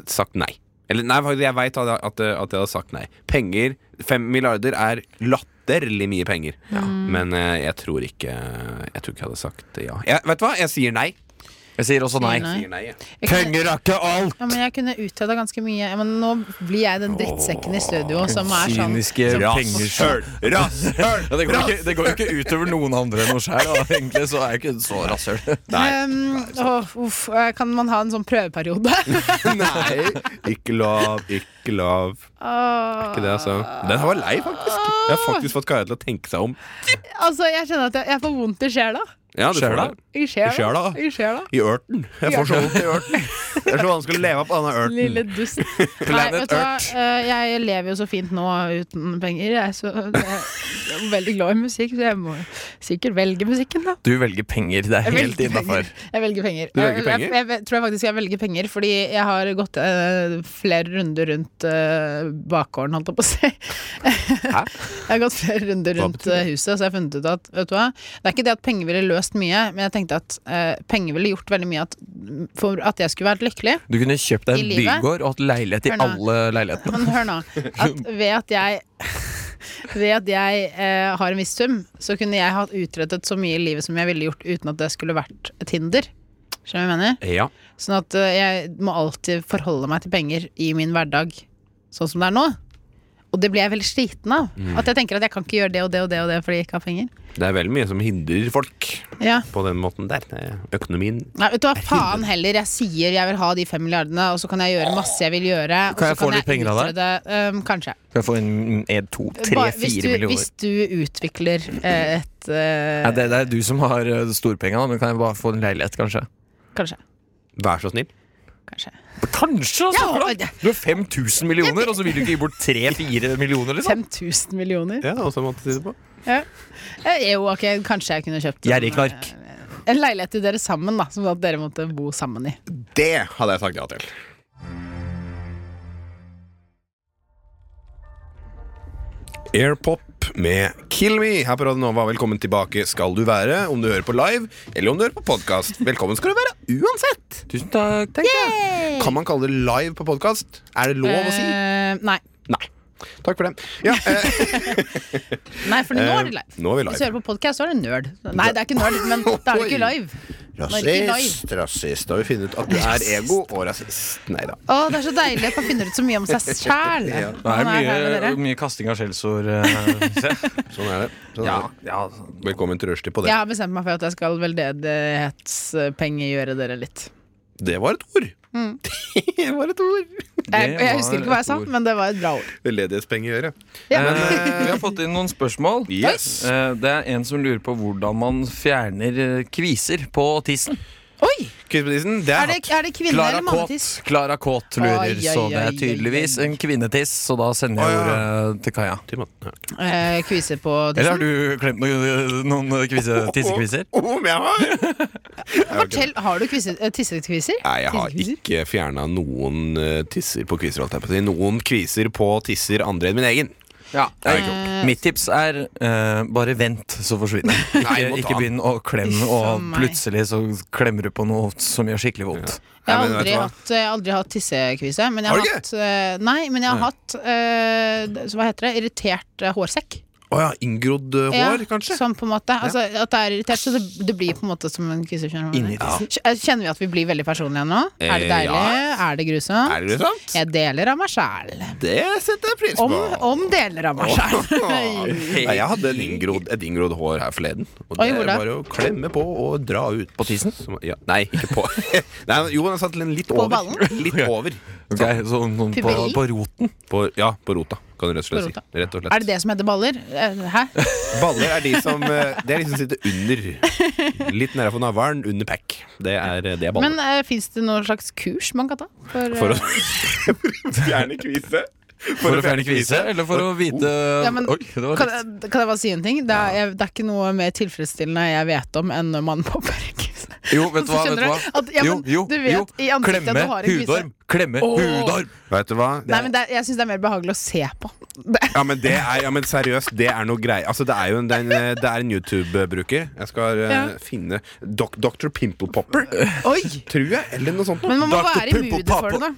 [SPEAKER 2] sagt nei. Eller nei, faktisk, jeg veit at, jeg- at, jeg- at jeg hadde sagt nei. Penger Fem milliarder er latterlig mye penger. Men eh, jeg tror ikke Jeg tror ikke jeg hadde sagt ja. Jeg, vet du hva? Jeg sier nei.
[SPEAKER 1] Jeg sier også nei.
[SPEAKER 3] Sier
[SPEAKER 2] Jeg sier nei jeg.
[SPEAKER 3] Jeg kunne,
[SPEAKER 1] er ikke alt!
[SPEAKER 3] ja, men jeg kunne utheva ganske mye. Ja, Men nå blir jeg den drittsekken i studio som er sånn
[SPEAKER 1] Kyniske penger.
[SPEAKER 2] Rasshøl! Rasshøl!
[SPEAKER 1] Ja, det, går jo ikke, det går jo ikke utover noen andre enn oss her, da. *laughs* Egentlig så er jeg ikke så rasshøl.
[SPEAKER 2] Nei.
[SPEAKER 3] ehm, åh, uff, eh, Kan man ha en sånn
[SPEAKER 2] *laughs*
[SPEAKER 3] prøveperiode?
[SPEAKER 2] *laughs* nei. Ikke lov. Ikke lov. Ikke det, altså.
[SPEAKER 3] Ah.
[SPEAKER 2] Den her var lei, faktisk. Jeg har faktisk fått Kaja til å tenke seg om.
[SPEAKER 3] altså, jeg kjenner at jeg, jeg får vondt i sjela.
[SPEAKER 2] Ja, du får
[SPEAKER 1] Sjela?
[SPEAKER 2] det.
[SPEAKER 3] I sjela.
[SPEAKER 2] sjela?
[SPEAKER 3] I sjela.
[SPEAKER 2] I ørten. Jeg får så vondt i ørten. Det er så vanskelig å leve på denne ørten.
[SPEAKER 3] Lille
[SPEAKER 2] *laughs*
[SPEAKER 3] dust. Nei, vet du hva? Eh, Jeg lever jo så fint nå uten penger. Jeg er, så, jeg er veldig glad i musikk, så jeg må sikkert velge musikken, da.
[SPEAKER 1] *laughs* Du velger penger. Det er
[SPEAKER 3] Jeg
[SPEAKER 1] helt
[SPEAKER 3] velger
[SPEAKER 1] innafor.
[SPEAKER 3] penger. Jeg velger penger.
[SPEAKER 2] Du velger
[SPEAKER 3] Jeg-
[SPEAKER 2] penger?
[SPEAKER 3] Jeg, jeg, vet- tror jeg faktisk jeg velger penger, fordi jeg har gått eh, flere runder rundt uh, bakgården, holdt jeg på å si.
[SPEAKER 2] Hæ?
[SPEAKER 3] *laughs* Jeg har gått flere runder rundt eh, huset, så jeg har funnet ut at vet du hva, det er ikke det at penger ville løst mye, men jeg tenkte at eh, penger ville gjort veldig mye at, for at jeg skulle vært lykkelig.
[SPEAKER 1] Du kunne kjøpt deg
[SPEAKER 3] I
[SPEAKER 1] en
[SPEAKER 3] livet?
[SPEAKER 1] bygård og hatt leilighet i
[SPEAKER 3] Hør nå.
[SPEAKER 1] alle leilighetene.
[SPEAKER 3] Men hør nå. At ved at jeg ved at jeg eh, har en viss sum, så kunne jeg hatt utrettet så mye i livet som jeg ville gjort uten at det skulle vært et hinder. Skjønner du hva jeg mener?
[SPEAKER 2] Ja.
[SPEAKER 3] Sånn at eh, jeg må alltid forholde meg til penger i min hverdag sånn som det er nå. Og det blir jeg veldig sliten av.
[SPEAKER 1] Mm.
[SPEAKER 3] At jeg tenker at jeg kan ikke gjøre det og det og det og det fordi jeg ikke har penger.
[SPEAKER 2] Det er veldig mye som hindrer folk
[SPEAKER 3] Ja.
[SPEAKER 2] på den måten der. Det er Økonomien
[SPEAKER 3] Nei, vet du hva, faen heller. Jeg sier jeg vil ha de fem milliardene, og så kan jeg gjøre masse jeg vil gjøre. og
[SPEAKER 1] Kan jeg
[SPEAKER 3] så
[SPEAKER 1] få litt penger av deg?
[SPEAKER 3] utrede- Øhm, kanskje.
[SPEAKER 1] Skal jeg få en, en to, tre,
[SPEAKER 3] Bare- hvis,
[SPEAKER 1] fire
[SPEAKER 3] du,
[SPEAKER 1] millioner?
[SPEAKER 3] hvis du utvikler eh, et eh,
[SPEAKER 1] Ja, det, det er du som har eh, storpenga, da, men kan jeg bare få en leilighet, kanskje?
[SPEAKER 3] Kanskje.
[SPEAKER 2] Vær så snill.
[SPEAKER 3] kanskje.
[SPEAKER 1] Kanskje! Så
[SPEAKER 3] Ja,
[SPEAKER 1] klart!
[SPEAKER 3] det-
[SPEAKER 1] Du har 5000 millioner, og så vil du ikke gi bort
[SPEAKER 3] *laughs*
[SPEAKER 1] 3-4 millioner, liksom?
[SPEAKER 3] 5000 millioner?
[SPEAKER 2] Ja, og så måtte jeg si det på.
[SPEAKER 3] Eh, jo, ok, kanskje jeg kunne kjøpt en,
[SPEAKER 1] Gjerrig knark.
[SPEAKER 3] en leilighet til dere sammen, da. Som at dere måtte bo sammen i.
[SPEAKER 2] Det hadde jeg sagt ja til. Airpop med Kill Me her på Radio Nova. Velkommen tilbake skal du være, om du hører på live eller om du hører på podkast. Velkommen skal du være uansett!
[SPEAKER 1] Tusen takk.
[SPEAKER 2] Kan man kalle det live på podkast? Er det lov å si?
[SPEAKER 3] Eh, nei.
[SPEAKER 2] Nei. Takk for det. Ja, eh,
[SPEAKER 3] nei, for nå er det
[SPEAKER 2] Eh,
[SPEAKER 3] live.
[SPEAKER 2] nå er vi live.
[SPEAKER 3] Hvis du hører på podkast, så er det nerd. Nei, det er ikke nerd, men det er jo ikke live. Nå er det ikke live.
[SPEAKER 2] rasist, rasist. Da har vi funnet ut at du er ego og rasist. Nei da.
[SPEAKER 3] Å, det er så deilig at man finner ut så mye om seg sjæl.
[SPEAKER 1] Det er mye, mye kasting av skjellsord. eh,
[SPEAKER 2] *laughs*
[SPEAKER 1] se.
[SPEAKER 2] Sånn er det. Sånn
[SPEAKER 1] ja,
[SPEAKER 2] er det.
[SPEAKER 1] ja,
[SPEAKER 2] Velkommen til rushtid på
[SPEAKER 3] Jeg
[SPEAKER 2] det.
[SPEAKER 3] har bestemt meg for at jeg skal veldedighetspengegjøre dere litt.
[SPEAKER 2] Det var et ord. det var et ord.
[SPEAKER 1] Det
[SPEAKER 3] Jeg, jeg
[SPEAKER 1] var
[SPEAKER 3] husker ikke hva jeg sa,
[SPEAKER 1] et ord.
[SPEAKER 3] men det var et bra ord.
[SPEAKER 2] Veldedighetspengegjøre.
[SPEAKER 3] Ja.
[SPEAKER 1] Eh, vi har fått inn noen spørsmål.
[SPEAKER 2] Yes.
[SPEAKER 1] Eh, det er en som lurer på hvordan man fjerner eh, kviser på tissen.
[SPEAKER 3] Oi!
[SPEAKER 2] Kvispedisen, det
[SPEAKER 3] Er
[SPEAKER 2] er
[SPEAKER 3] det,
[SPEAKER 2] hatt.
[SPEAKER 3] er det kvinne-
[SPEAKER 1] Klara
[SPEAKER 3] eller mannetiss?
[SPEAKER 1] Kåt, Klara Kåt
[SPEAKER 3] Oi,
[SPEAKER 1] lurer,
[SPEAKER 3] oi,
[SPEAKER 1] så det
[SPEAKER 3] oi,
[SPEAKER 1] er
[SPEAKER 3] oi,
[SPEAKER 1] tydeligvis
[SPEAKER 3] oi.
[SPEAKER 1] en kvinnetiss, så da sender jeg
[SPEAKER 2] Å, ja.
[SPEAKER 1] ordet til Kaja.
[SPEAKER 3] Eh, kviser på
[SPEAKER 1] Eller har
[SPEAKER 3] tissen?
[SPEAKER 1] du klemt noen, noen kvise, tissekviser?
[SPEAKER 2] Om jeg har?
[SPEAKER 3] Fortell, har du kviser- eh, tissekviser?
[SPEAKER 2] Nei, jeg har
[SPEAKER 3] Tissekviser?
[SPEAKER 2] ikke fjerna noen eh, tisser på kviser. Holdt jeg på å si. Noen kviser på tisser andre enn min egen.
[SPEAKER 1] Ja,
[SPEAKER 2] Nei,
[SPEAKER 1] Mitt tips er eh, bare vent, så forsvinner det. Ikke,
[SPEAKER 2] Nei, må ta
[SPEAKER 1] ikke
[SPEAKER 2] den.
[SPEAKER 1] begynn å klemme,
[SPEAKER 3] Uff, a
[SPEAKER 1] og
[SPEAKER 3] meg.
[SPEAKER 1] plutselig så klemmer du på noe som gjør skikkelig vondt.
[SPEAKER 2] Nei,
[SPEAKER 3] Jeg har
[SPEAKER 2] men vet
[SPEAKER 3] aldri
[SPEAKER 2] du hva?
[SPEAKER 3] hatt, jeg har aldri hatt tissekvise. Men jeg
[SPEAKER 2] Har
[SPEAKER 3] har,
[SPEAKER 2] du ikke?
[SPEAKER 3] hatt eh, Nei, men jeg har hatt eh, d- så Hva heter det? Irritert eh, hårsekk.
[SPEAKER 2] Å ja, inngrodd eh, hår,
[SPEAKER 3] Ja,
[SPEAKER 2] kanskje?
[SPEAKER 3] Sånn på en måte. Altså, At det er irritert, så det, det blir på en måte som en kvise. skjønner du hva jeg
[SPEAKER 1] Inni
[SPEAKER 3] mener? Kj- eh, Kjenner vi at vi blir veldig personlige nå? Er det
[SPEAKER 2] Eh,
[SPEAKER 3] deilig?
[SPEAKER 2] ja.
[SPEAKER 3] Er det grusomt?
[SPEAKER 2] Er det sant?
[SPEAKER 3] Jeg deler av meg sjæl.
[SPEAKER 2] Det setter jeg pris på.
[SPEAKER 3] Om, om deler
[SPEAKER 2] *laughs*
[SPEAKER 3] av meg sjæl.
[SPEAKER 2] Nei, jeg hadde en inngrodd, et inngrodd hår her forleden. Og
[SPEAKER 3] Oi,
[SPEAKER 2] det
[SPEAKER 3] hvor da?
[SPEAKER 2] var å klemme på og dra ut.
[SPEAKER 1] På tissen?
[SPEAKER 2] Som- Ja, nei, ikke
[SPEAKER 3] *laughs*
[SPEAKER 2] på nei, Jo, den satt litt
[SPEAKER 3] På
[SPEAKER 2] over.
[SPEAKER 3] ballen?
[SPEAKER 2] *laughs* Litt
[SPEAKER 1] Ja.
[SPEAKER 2] over.
[SPEAKER 1] Ok, så, noen på,
[SPEAKER 3] Puberi?
[SPEAKER 1] på roten.
[SPEAKER 2] På, ja, på rota, kan du rett og
[SPEAKER 3] På
[SPEAKER 2] slett si.
[SPEAKER 3] rota.
[SPEAKER 2] Rett og slett.
[SPEAKER 3] *laughs* Er det det som heter baller? Eh, Hæ?
[SPEAKER 2] Baller er de som eh, Det er de som sitter under. Litt nærmere navlen, under pack. Det er, det er
[SPEAKER 3] Men
[SPEAKER 2] baller.
[SPEAKER 3] uh, fins det noen slags kurs man kan ta? For,
[SPEAKER 2] for
[SPEAKER 3] eh,
[SPEAKER 2] å fjerne kvise?
[SPEAKER 1] For å fjerne kvise, eller for å vite
[SPEAKER 3] Ja, men-
[SPEAKER 1] Oi, det var
[SPEAKER 3] kan, jeg- kan jeg bare si en ting? Det er, jeg, det er ikke noe mer tilfredsstillende jeg vet om enn når man *laughs* popper en kvise.
[SPEAKER 1] Jo, vet du hva? Vet
[SPEAKER 3] Skjønner
[SPEAKER 1] du hva?
[SPEAKER 3] du? At, ja, men du vet i ansiktet at du
[SPEAKER 1] klemme
[SPEAKER 3] har en kvise.
[SPEAKER 1] hudorm! Klemme
[SPEAKER 3] Åh.
[SPEAKER 1] hudorm!
[SPEAKER 2] Vet du hva?
[SPEAKER 3] Nei, men det er, jeg syns det er mer behagelig å se på. Det,
[SPEAKER 2] Ja, men, det er, ja, men seriøst, det er noe grei Altså, det er jo en, det er en, det er en YouTube-bruker. Jeg skal eh,
[SPEAKER 3] Ja.
[SPEAKER 2] finne Dok Dr. Pimple Popper,
[SPEAKER 3] oi!
[SPEAKER 2] tror jeg. Eller noe sånt. noe.
[SPEAKER 3] *laughs* Men man må
[SPEAKER 1] Dr.
[SPEAKER 3] være i
[SPEAKER 1] Pimple
[SPEAKER 3] moodet for
[SPEAKER 1] Popper.
[SPEAKER 3] det, da.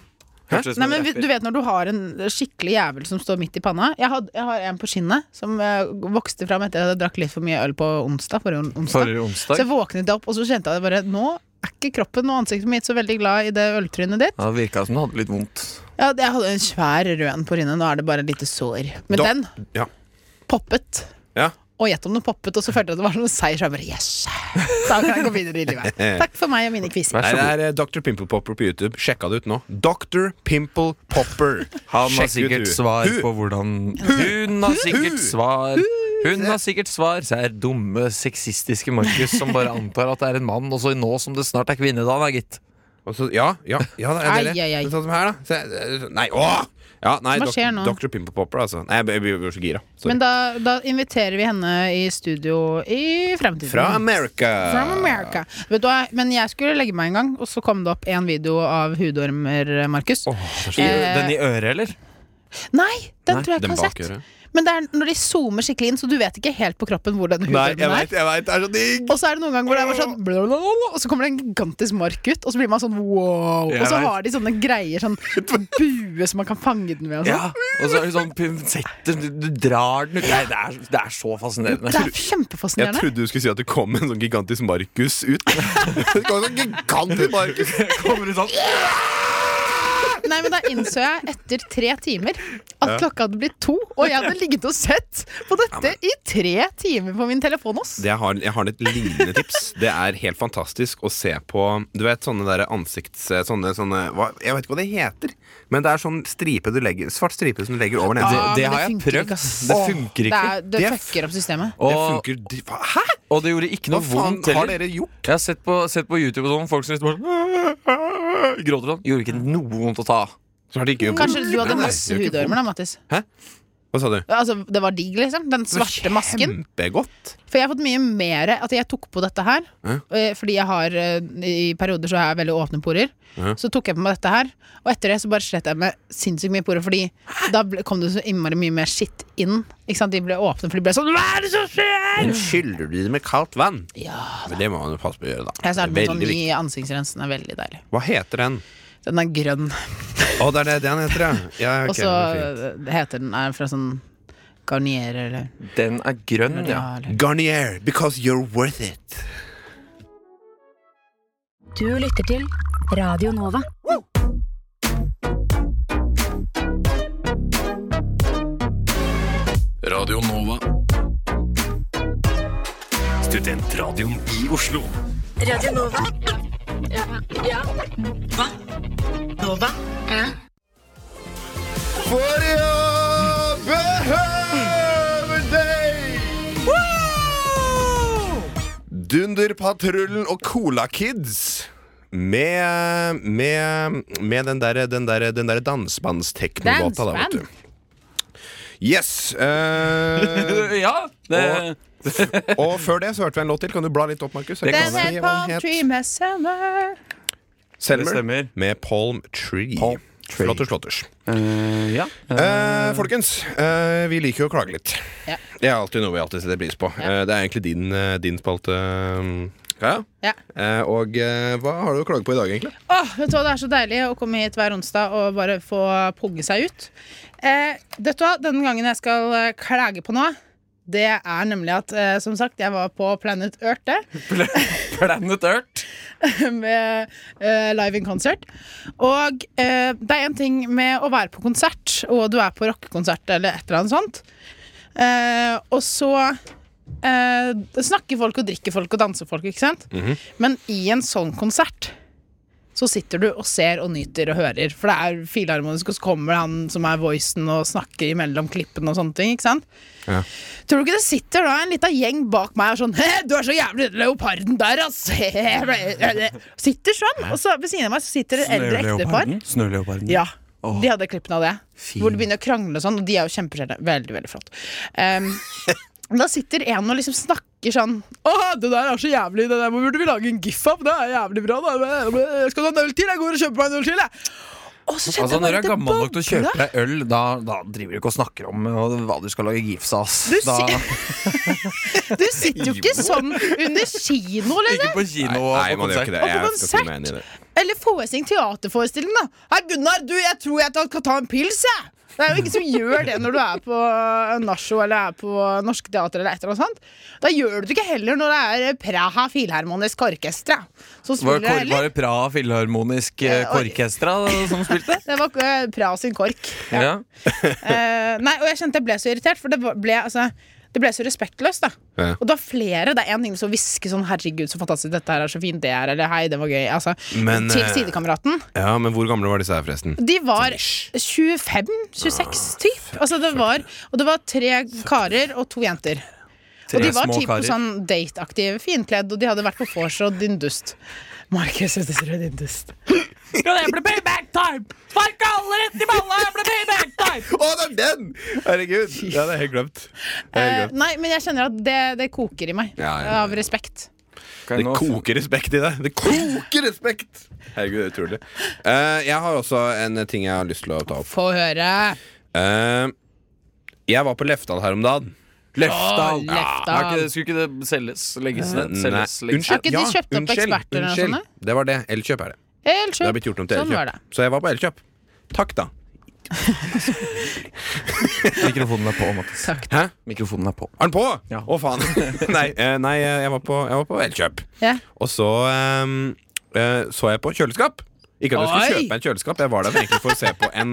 [SPEAKER 1] Hørtes ut som
[SPEAKER 3] Nei,
[SPEAKER 1] en
[SPEAKER 3] men vi-
[SPEAKER 1] rapper.
[SPEAKER 3] Du vet når du har en skikkelig jævel som står midt i panna? Jeg, had, jeg har en på kinnet som eh, vokste fram etter at jeg drakk litt for mye øl på onsdag. Forrige on- onsdag.
[SPEAKER 1] Forrige
[SPEAKER 3] Så
[SPEAKER 1] onsdag.
[SPEAKER 3] jeg våknet opp, og så kjente jeg bare Nå er ikke kroppen og ansiktet mitt så veldig glad i det øltrynet ditt.
[SPEAKER 1] Ja, det virka som du hadde litt vondt.
[SPEAKER 3] Ja, Jeg hadde en svær rød en på kinnet, nå er det bare et lite sår. Men
[SPEAKER 2] Da-
[SPEAKER 3] den
[SPEAKER 2] Ja.
[SPEAKER 3] poppet.
[SPEAKER 2] ja.
[SPEAKER 3] Og gjett om den poppet, og så følte jeg at det var noe seier. Så jeg bare yes! Da kan jeg gå videre i
[SPEAKER 2] *laughs*
[SPEAKER 3] livet. Takk for meg og mine kviser.
[SPEAKER 2] Nei, det er eh, Dr. Pimple Popper på YouTube. Sjekka det ut nå. Dr. Pimple Popper. *laughs*
[SPEAKER 1] Han har
[SPEAKER 2] Sjekk
[SPEAKER 1] sikkert
[SPEAKER 2] ut hun.
[SPEAKER 1] svar
[SPEAKER 2] Hun-
[SPEAKER 1] på hvordan Hun har sikkert svar. Hun har sikkert svar, så er dumme, sexistiske Markus som bare antar at det er en mann, og så nå som det snart er kvinnedagen, er gitt.
[SPEAKER 2] Og så- ja, ja, ja, det er det.
[SPEAKER 3] Ai, ai, ai.
[SPEAKER 2] Men Sånn som her, da. Se, eh, Nei, åh! Ja, nei,
[SPEAKER 3] Hva
[SPEAKER 2] Dok-
[SPEAKER 3] skjer nå?
[SPEAKER 2] Dr. Pimple Popper, altså. Nei, jeg blir- jeg blir så gira. Sorry.
[SPEAKER 3] Men da, da inviterer vi henne i studio i fremtiden.
[SPEAKER 2] Fra America.
[SPEAKER 3] From America. Vet du hva, men jeg skulle legge meg en gang, og så kom det opp en video av hudormer, Markus.
[SPEAKER 1] I,
[SPEAKER 3] Eh,
[SPEAKER 1] den i øret, eller?
[SPEAKER 3] Nei, den
[SPEAKER 1] Nei,
[SPEAKER 3] Eh, tror jeg
[SPEAKER 2] den
[SPEAKER 3] ikke har
[SPEAKER 2] bak
[SPEAKER 3] sett.
[SPEAKER 2] øret.
[SPEAKER 3] Men det er når de zoomer skikkelig inn, så du vet ikke helt på kroppen hvor den
[SPEAKER 2] Nei,
[SPEAKER 3] hudormen
[SPEAKER 2] jeg veit,
[SPEAKER 3] er.
[SPEAKER 2] jeg vet, det er så digg!
[SPEAKER 3] Og så er det noen ganger hvor det er bare sånn blablabla, Og så kommer det en gigantisk mark ut, og så blir man sånn wow.
[SPEAKER 1] Jeg
[SPEAKER 3] Og så
[SPEAKER 1] vet.
[SPEAKER 3] har de sånne greier,
[SPEAKER 2] *laughs*
[SPEAKER 3] sånn bue som man kan fange den med og sånn.
[SPEAKER 1] Ja, og så er det sånn pinsetter, du, du drar den ut. Nei, det er, det er så fascinerende.
[SPEAKER 3] Det er
[SPEAKER 2] Jeg
[SPEAKER 3] kjempefascinerende.
[SPEAKER 2] trodde du skulle si at det kom en sånn gigantisk Markus ut. *laughs* det kom en sånn gigantisk Markus *laughs*
[SPEAKER 1] Kommer ut sånn
[SPEAKER 3] Nei, men Da innså jeg etter tre timer at klokka hadde blitt to, og jeg hadde ligget og sett på dette i tre timer på min telefon. Ass.
[SPEAKER 2] Det jeg, har, jeg har et lignende tips. Det er helt fantastisk å se på Du vet sånne der ansikts... Sånne, sånne hva, Jeg vet ikke hva det heter, men det er sånn stripe du legger svart stripe som du legger over
[SPEAKER 1] Det,
[SPEAKER 2] nesa.
[SPEAKER 3] Ah,
[SPEAKER 1] det
[SPEAKER 3] men
[SPEAKER 1] har
[SPEAKER 3] det
[SPEAKER 1] jeg
[SPEAKER 3] funker
[SPEAKER 1] prøvd.
[SPEAKER 3] ikke, ass.
[SPEAKER 1] Det funker
[SPEAKER 3] Det,
[SPEAKER 1] ikke.
[SPEAKER 3] er, det
[SPEAKER 2] Det er
[SPEAKER 3] fucker opp systemet.
[SPEAKER 2] Det
[SPEAKER 1] Og,
[SPEAKER 2] funker de- hva- Hæ?!
[SPEAKER 1] og det gjorde ikke
[SPEAKER 2] Hva
[SPEAKER 1] noe
[SPEAKER 2] faen
[SPEAKER 1] vondt
[SPEAKER 2] har
[SPEAKER 1] heller.
[SPEAKER 2] dere gjort?
[SPEAKER 1] Jeg har sett på, sett på YouTube og sånn folk som liksom bare *laughs* Gråter sånn. Gjorde ikke noe vondt å ta av.
[SPEAKER 2] Så har de ikke gjort
[SPEAKER 3] Kanskje du
[SPEAKER 2] Nei,
[SPEAKER 3] hadde
[SPEAKER 2] nei,
[SPEAKER 3] masse
[SPEAKER 2] det gjør ikke
[SPEAKER 3] hudormer da, Mattis.
[SPEAKER 2] vondt. Hæ? Hva sa du?
[SPEAKER 3] Altså, det var digg, liksom. Den svarte masken.
[SPEAKER 2] Kjempegodt.
[SPEAKER 3] For jeg har fått mye mer Altså, jeg tok på dette her.
[SPEAKER 2] Ja.
[SPEAKER 3] eh, Fordi jeg har eh, I perioder så har jeg veldig åpne porer.
[SPEAKER 2] Ja.
[SPEAKER 3] Så tok jeg på meg dette her, og etter det så bare slet jeg med sinnssykt mye porer. Fordi da ble, kom det så innmari mye mer skitt inn. Ikke sant? De ble åpne, for de ble sånn Hva er det som skjer?!
[SPEAKER 2] Men skyller du det med kaldt vann?
[SPEAKER 3] Ja.
[SPEAKER 2] Men det må man jo passe på å gjøre, da.
[SPEAKER 3] Jeg startet
[SPEAKER 2] Det
[SPEAKER 3] med
[SPEAKER 2] er
[SPEAKER 3] sånn
[SPEAKER 2] veldig
[SPEAKER 3] ny
[SPEAKER 2] viktig.
[SPEAKER 3] ansiktsrensen. Den er veldig deilig.
[SPEAKER 2] Hva heter den?
[SPEAKER 3] Den er grønn.
[SPEAKER 2] Å, det er det den heter, ja. ja ok,
[SPEAKER 3] og så
[SPEAKER 2] fint.
[SPEAKER 3] eh, heter den er fra sånn Garnier eller
[SPEAKER 1] Den er grønn, ja.
[SPEAKER 3] eller-
[SPEAKER 2] Garnier, because you're worth it.
[SPEAKER 6] Du lytter til Radio Nova.
[SPEAKER 4] Radio Nova. Studentradioen i Oslo.
[SPEAKER 6] Radio Nova. Ja. ja. Hva? Nova? Ja.
[SPEAKER 5] For jeg behøver deg! Dunderpatruljen og Cola Kids.
[SPEAKER 2] Med, med, med den derre den der, den der dansebandstekknolåta, da, vet du. Yes! eh,
[SPEAKER 1] ja, det,
[SPEAKER 2] og før det så hørte vi en låt til. Kan du bla litt opp, Markus?
[SPEAKER 1] Det kan Hva
[SPEAKER 3] Den het Palm Tree Mess Summer.
[SPEAKER 1] det
[SPEAKER 2] Selmer
[SPEAKER 1] stemmer.
[SPEAKER 2] med Palm Tree.
[SPEAKER 1] Palm Tree.
[SPEAKER 2] Flotters, flotters.
[SPEAKER 1] Eh, *laughs* ja.
[SPEAKER 2] Eh, folkens, eh, vi liker jo å klage litt.
[SPEAKER 3] Ja.
[SPEAKER 2] Det er alltid noe vi alltid setter pris på. Eh, det er egentlig din, eh, din spalte. eh, Kaja.
[SPEAKER 3] Ja.
[SPEAKER 2] Eh, og eh, hva har du å klage på i dag, egentlig?
[SPEAKER 3] Åh, vet du hva, Det er så deilig å komme hit hver onsdag og bare få pugge seg ut. Eh, vet du hva, Den gangen jeg skal eh, klage på noe, det er nemlig at eh, som sagt, jeg var på Planet Earth det,
[SPEAKER 1] Planet Earth.
[SPEAKER 3] *laughs* med eh, Live in Concert. Og eh, det er en ting med å være på konsert, og du er på rockekonsert eller et eller annet sånt. Eh, og så eh, snakker folk og drikker folk og danser folk, ikke sant? Men i en sånn konsert så sitter du og ser og nyter og hører. For det er filharmonisk, og så kommer han som er voicen og snakker imellom klippene og sånne ting. ikke sant?
[SPEAKER 2] Ja.
[SPEAKER 3] Tror du ikke det sitter da en lita gjeng bak meg og sånn «Hæ, 'Du er så jævlig den leoparden der, ass!' *laughs* Sitter sånn. Og så ved siden av meg så sitter et eldre ektepar.
[SPEAKER 1] Snøleoparden.
[SPEAKER 3] Ja.
[SPEAKER 1] Åh.
[SPEAKER 3] De hadde klippene av det.
[SPEAKER 1] Fint.
[SPEAKER 3] Hvor de begynner å krangle og sånn, og de er jo kjempeskjellige. Veldig, veldig flott.
[SPEAKER 1] *laughs*
[SPEAKER 3] Um, da sitter en og liksom snakker sånn Å, det der er så jævlig, det der burde vi lage en gif av, det er jævlig bra, da. Jeg skal ha en øl til, jeg går og kjøper meg en øl til, jeg. Og så kjente
[SPEAKER 1] Altså,
[SPEAKER 3] jeg
[SPEAKER 1] når du
[SPEAKER 3] bare
[SPEAKER 1] er
[SPEAKER 3] det
[SPEAKER 1] gammel nok til å kjøpe
[SPEAKER 3] bobla.
[SPEAKER 1] deg øl, da, da driver du ikke og snakker om eh, hva du skal lage gifs av. ass.
[SPEAKER 3] Du
[SPEAKER 1] Da-
[SPEAKER 3] *laughs* Du sitter jo ikke sånn under kino, liksom.
[SPEAKER 1] *laughs* Ikke på kino og
[SPEAKER 2] Nei,
[SPEAKER 1] på
[SPEAKER 2] man
[SPEAKER 1] konsert.
[SPEAKER 2] gjør ikke det.
[SPEAKER 3] Og på
[SPEAKER 2] Jeg skal si
[SPEAKER 3] konsert.
[SPEAKER 2] meg enig i det.
[SPEAKER 3] Eller forestilling, teaterforestilling, da. Hei, Gunnar, du, jeg tror jeg kan ta en pils, jeg. Det er jo ingen som gjør det når du er på Nacho eller er på Norske Teater eller et eller annet sånt. Da gjør du det ikke heller når det er Praha Filharmonisk Orkestra som
[SPEAKER 1] Var det,
[SPEAKER 3] spiller det
[SPEAKER 1] kor, var
[SPEAKER 3] heller.
[SPEAKER 1] det Praha Filharmonisk eh,
[SPEAKER 3] Eh, og-
[SPEAKER 1] Korkestra som
[SPEAKER 3] *laughs*
[SPEAKER 1] spilte?
[SPEAKER 3] Det var eh, Praha sin kork.
[SPEAKER 1] Ja.
[SPEAKER 3] Eh, nei, og jeg kjente jeg ble så irritert, for det ble, altså, det ble så respektløst, da.
[SPEAKER 2] Ja.
[SPEAKER 3] Og det var flere. Det er én ting som hvisker sånn 'herregud, så fantastisk dette her er så fint', det er, eller 'hei, det var gøy'. Altså,
[SPEAKER 2] Men,
[SPEAKER 3] til
[SPEAKER 2] eh,
[SPEAKER 3] sidekameraten.
[SPEAKER 2] Ja, men hvor gamle var disse her, forresten?
[SPEAKER 3] De var
[SPEAKER 2] ish. Ah,
[SPEAKER 3] 25-26 typ altså, det var, Og det var tre karer og to jenter Og de var typ på sånn date-aktive Finkledd, og de hadde vært på Fors og din dust Markus, jeg synes det er din dust
[SPEAKER 1] det blir payback time! Spark alle rett i balla! Det blir payback time!
[SPEAKER 2] Å, det er den! Herregud. Ja, det er helt glemt. Det, er
[SPEAKER 3] eh,
[SPEAKER 2] helt glemt.
[SPEAKER 3] Nei, men jeg kjenner at det, det koker i meg
[SPEAKER 2] Ja, ja, ja.
[SPEAKER 3] Av respekt
[SPEAKER 2] det koker respekt i deg. Det koker respekt! Herregud, det er utrolig. Eh, jeg har også en ting jeg har lyst til å ta opp.
[SPEAKER 3] Få høre
[SPEAKER 2] Eh, jeg var på Lefdal her om dagen.
[SPEAKER 1] Løfta!
[SPEAKER 3] Åh,
[SPEAKER 1] Ja,
[SPEAKER 3] løfta.
[SPEAKER 1] er ikke det- Skulle ikke det selges? Legges ned?
[SPEAKER 2] Nei,
[SPEAKER 1] Selges? legges
[SPEAKER 2] Unnskyld.
[SPEAKER 1] ned?
[SPEAKER 3] ikke de
[SPEAKER 2] Ja,
[SPEAKER 3] kjøpt opp
[SPEAKER 2] unnskyld,
[SPEAKER 3] eksperter eller
[SPEAKER 2] unnskyld.
[SPEAKER 3] noe sånt,
[SPEAKER 2] Det var det. Elkjøp er det. Det
[SPEAKER 3] Helt sjukt.
[SPEAKER 2] har blitt gjort om til
[SPEAKER 3] Sånn var
[SPEAKER 2] Elkjøp.
[SPEAKER 3] det
[SPEAKER 2] Så jeg var på Elkjøp. Takk, da.
[SPEAKER 1] Mikrofonen er på, Mattis.
[SPEAKER 3] Takk.
[SPEAKER 2] Hæ?
[SPEAKER 1] Mikrofonen er på.
[SPEAKER 2] Er den på? Å,
[SPEAKER 1] Ja.
[SPEAKER 2] faen.
[SPEAKER 1] *laughs*
[SPEAKER 2] nei, eh, nei, jeg var på, jeg var på Elkjøp.
[SPEAKER 3] ja.
[SPEAKER 2] Og så ehm, eh, så jeg på kjøleskap. Ikke at jeg skulle
[SPEAKER 3] Oi!
[SPEAKER 2] kjøpe meg et kjøleskap, jeg var der egentlig for å se på en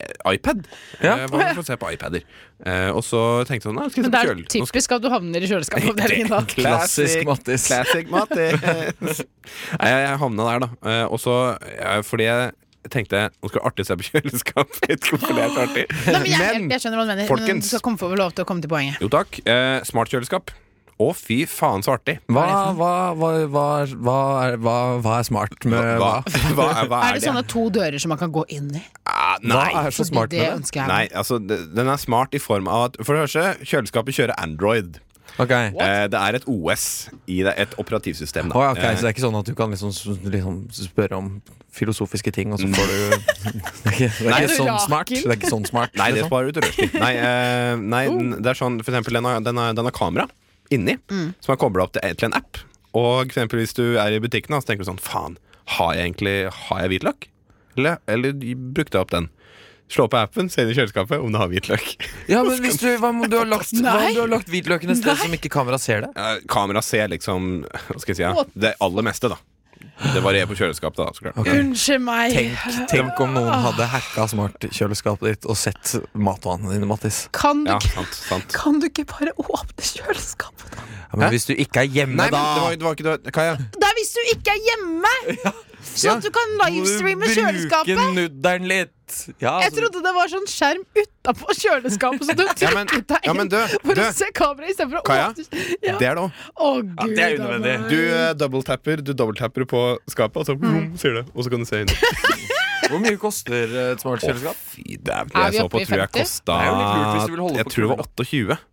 [SPEAKER 2] eh, iPad.
[SPEAKER 1] Ja.
[SPEAKER 2] Jeg var der for å se på iPader. Eh, og så tenkte jeg sånn, nei, skal jeg se
[SPEAKER 3] Men det
[SPEAKER 2] på
[SPEAKER 3] er
[SPEAKER 2] kjøl. Nå
[SPEAKER 3] typisk at du havner i kjøleskapavdelingen da
[SPEAKER 2] skal-
[SPEAKER 1] Klassisk Mattis.
[SPEAKER 2] Classic Mattis. *laughs* Nei, jeg, jeg havna der, da. Eh, og så eh, fordi jeg tenkte nå skal det være artig å se på kjøleskap. *laughs* Jeg vet ikke hvorfor det er så artig.
[SPEAKER 3] Nei, men jeg, jeg skjønner hva du mener Men
[SPEAKER 2] folkens.
[SPEAKER 3] du skal komme for lov til å komme til poenget
[SPEAKER 2] Jo takk. Eh, smart kjøleskap. Å, fy faen, så artig!
[SPEAKER 1] Hva, hva, hva, hva, hva, er, hva, hva er smart med hva?
[SPEAKER 2] Eh, Hva, *laughs* hva, er, hva
[SPEAKER 3] Er det sånn sånne to dører som man kan gå inn i?
[SPEAKER 2] Ah,
[SPEAKER 1] Hva
[SPEAKER 2] nei.
[SPEAKER 1] er så
[SPEAKER 3] Fordi
[SPEAKER 1] smart
[SPEAKER 3] det
[SPEAKER 1] med det?
[SPEAKER 3] ønsker jeg
[SPEAKER 2] nei, altså, d- den er smart i form av at For det første, kjøleskapet kjører Android.
[SPEAKER 1] Ok,
[SPEAKER 2] Eh, det er et OS i det, et operativsystem. Da.
[SPEAKER 1] Å, ja, ok,
[SPEAKER 2] Eh,
[SPEAKER 1] Så det er ikke sånn at du kan liksom, s- liksom spørre om filosofiske ting, og så får du *laughs* Det er ikke, det er
[SPEAKER 2] Nei.
[SPEAKER 1] ikke sånn
[SPEAKER 3] Orakel.
[SPEAKER 1] smart. Det er ikke sånn smart
[SPEAKER 2] Nei, det
[SPEAKER 1] liksom.
[SPEAKER 2] sparer du til rushtid. Nei, eh, nei den- det er sånn, for eksempel, den har, den har, den har kamera inni, som er kobla opp til, til en app. Og for eksempel, hvis du er i butikken, da, så tenker du sånn Faen, har jeg egentlig har jeg hvitløk? Eller, eller brukte jeg opp den? Slå på appen, se inn i kjøleskapet om du har hvitløk.
[SPEAKER 1] Ja, men hvis du, hva om du har lagt, hva
[SPEAKER 3] Nei.
[SPEAKER 1] om du har lagt hvitløken et sted som ikke kamera ser det?
[SPEAKER 2] Eh, Kamera ser liksom Hva skal jeg si? Ja,
[SPEAKER 3] What?
[SPEAKER 2] det aller meste, da. Det varierer på kjøleskapet, da. Så klart.
[SPEAKER 3] Unnskyld meg.
[SPEAKER 1] Tenk, tenk om noen hadde hacka smartkjøleskapet ditt og sett matvanene dine, Mattis.
[SPEAKER 3] Kan du,
[SPEAKER 2] Ja,
[SPEAKER 3] ikke-
[SPEAKER 2] sant, sant.
[SPEAKER 3] kan du ikke bare åpne kjøleskapet?
[SPEAKER 1] Ja, men hvis du ikke er hjemme,
[SPEAKER 2] Nei, men
[SPEAKER 1] da
[SPEAKER 2] det var, det var ikke det var- Kaja.
[SPEAKER 3] Det er hvis du ikke er
[SPEAKER 2] *laughs*
[SPEAKER 3] hjemme! Sånn at du kan livestreame kjøleskapet.
[SPEAKER 1] Bruke nudderen litt. Ja,
[SPEAKER 3] Jeg
[SPEAKER 1] altså,
[SPEAKER 3] trodde det var sånn skjerm utapå kjøleskapet, så
[SPEAKER 2] *laughs*
[SPEAKER 3] du
[SPEAKER 2] Ja, men-
[SPEAKER 3] trykket deg
[SPEAKER 2] ja,
[SPEAKER 3] inn
[SPEAKER 2] men du,
[SPEAKER 3] for å
[SPEAKER 2] du.
[SPEAKER 3] se kameraet istedenfor å
[SPEAKER 2] Kaja,
[SPEAKER 3] åpne ja.
[SPEAKER 2] Det er det òg.
[SPEAKER 3] Å, gud.
[SPEAKER 1] det er unødvendig.
[SPEAKER 3] Anna.
[SPEAKER 2] Du eh, double-tapper Du dobbelttapper på skapet, og så vroom, sier det. Og så kan du se inn.
[SPEAKER 1] Hvor mye koster eh, et smart kjøleskap?
[SPEAKER 2] Fy dæven,
[SPEAKER 3] Er
[SPEAKER 2] jeg
[SPEAKER 3] vi
[SPEAKER 2] så
[SPEAKER 3] oppe
[SPEAKER 2] på
[SPEAKER 3] i
[SPEAKER 2] tror jeg
[SPEAKER 3] 50?
[SPEAKER 2] kosta
[SPEAKER 1] Det er jo litt lurt hvis du vil holde
[SPEAKER 2] Jeg
[SPEAKER 1] på
[SPEAKER 2] tror det var
[SPEAKER 1] kroner.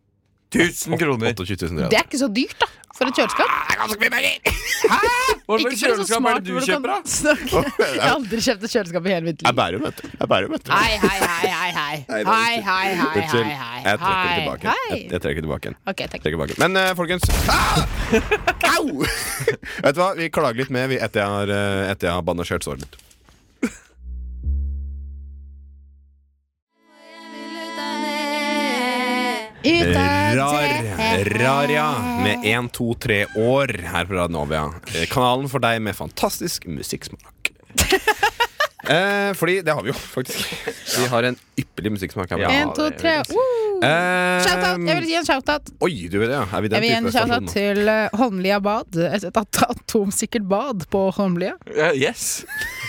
[SPEAKER 2] 28.
[SPEAKER 1] 1000 kroner.
[SPEAKER 2] 28 000
[SPEAKER 3] Det
[SPEAKER 2] kroner.
[SPEAKER 3] er ikke så dyrt, da, for et kjøleskap.
[SPEAKER 1] Hva slags
[SPEAKER 3] Ikke for et så
[SPEAKER 1] kjøleskap er
[SPEAKER 3] smart
[SPEAKER 1] det
[SPEAKER 3] hvor
[SPEAKER 1] du
[SPEAKER 3] du
[SPEAKER 1] kjøper,
[SPEAKER 3] kan
[SPEAKER 1] da?
[SPEAKER 3] snakke. Jeg har aldri kjøpt et kjøleskap i hele mitt
[SPEAKER 2] Jeg
[SPEAKER 3] liv.
[SPEAKER 2] bærer, vet du. Jeg bærer, vet du.
[SPEAKER 3] Hei, hei, hei, hei, hei. Hei, hei, hei, hei,
[SPEAKER 2] Unnskyld.
[SPEAKER 3] hei,
[SPEAKER 2] Jeg trekker det tilbake.
[SPEAKER 3] hei.
[SPEAKER 2] Jeg, jeg trekker det tilbake igjen.
[SPEAKER 3] Ok, takk.
[SPEAKER 2] Trekker tilbake. Men eh, folkens ah! *laughs* Au! Vet du hva, vi klager litt mer vi, etter jeg har, eh, etter jeg har bandasjert såret litt.
[SPEAKER 3] Ut
[SPEAKER 2] Rar, Raria med 1, 2, 3 år her på Radio Novia. Eh, Kanalen for deg med fantastisk musikksmak. *laughs* Eh, fordi det har vi jo, faktisk. Vi har en ypperlig musikksmak her. på
[SPEAKER 1] Ja.
[SPEAKER 3] En, to, tre. Uh,
[SPEAKER 2] Eh,
[SPEAKER 3] Shoutout! Jeg vil gi en shoutout.
[SPEAKER 2] Oi, du vet det, ja. Er vi den
[SPEAKER 3] Jeg vil gi en
[SPEAKER 2] type stasjon
[SPEAKER 3] shoutout
[SPEAKER 2] nå?
[SPEAKER 3] til eh, Holmlia bad. Et, et at- atomsikkert bad på Holmlia.
[SPEAKER 1] Eh, yes.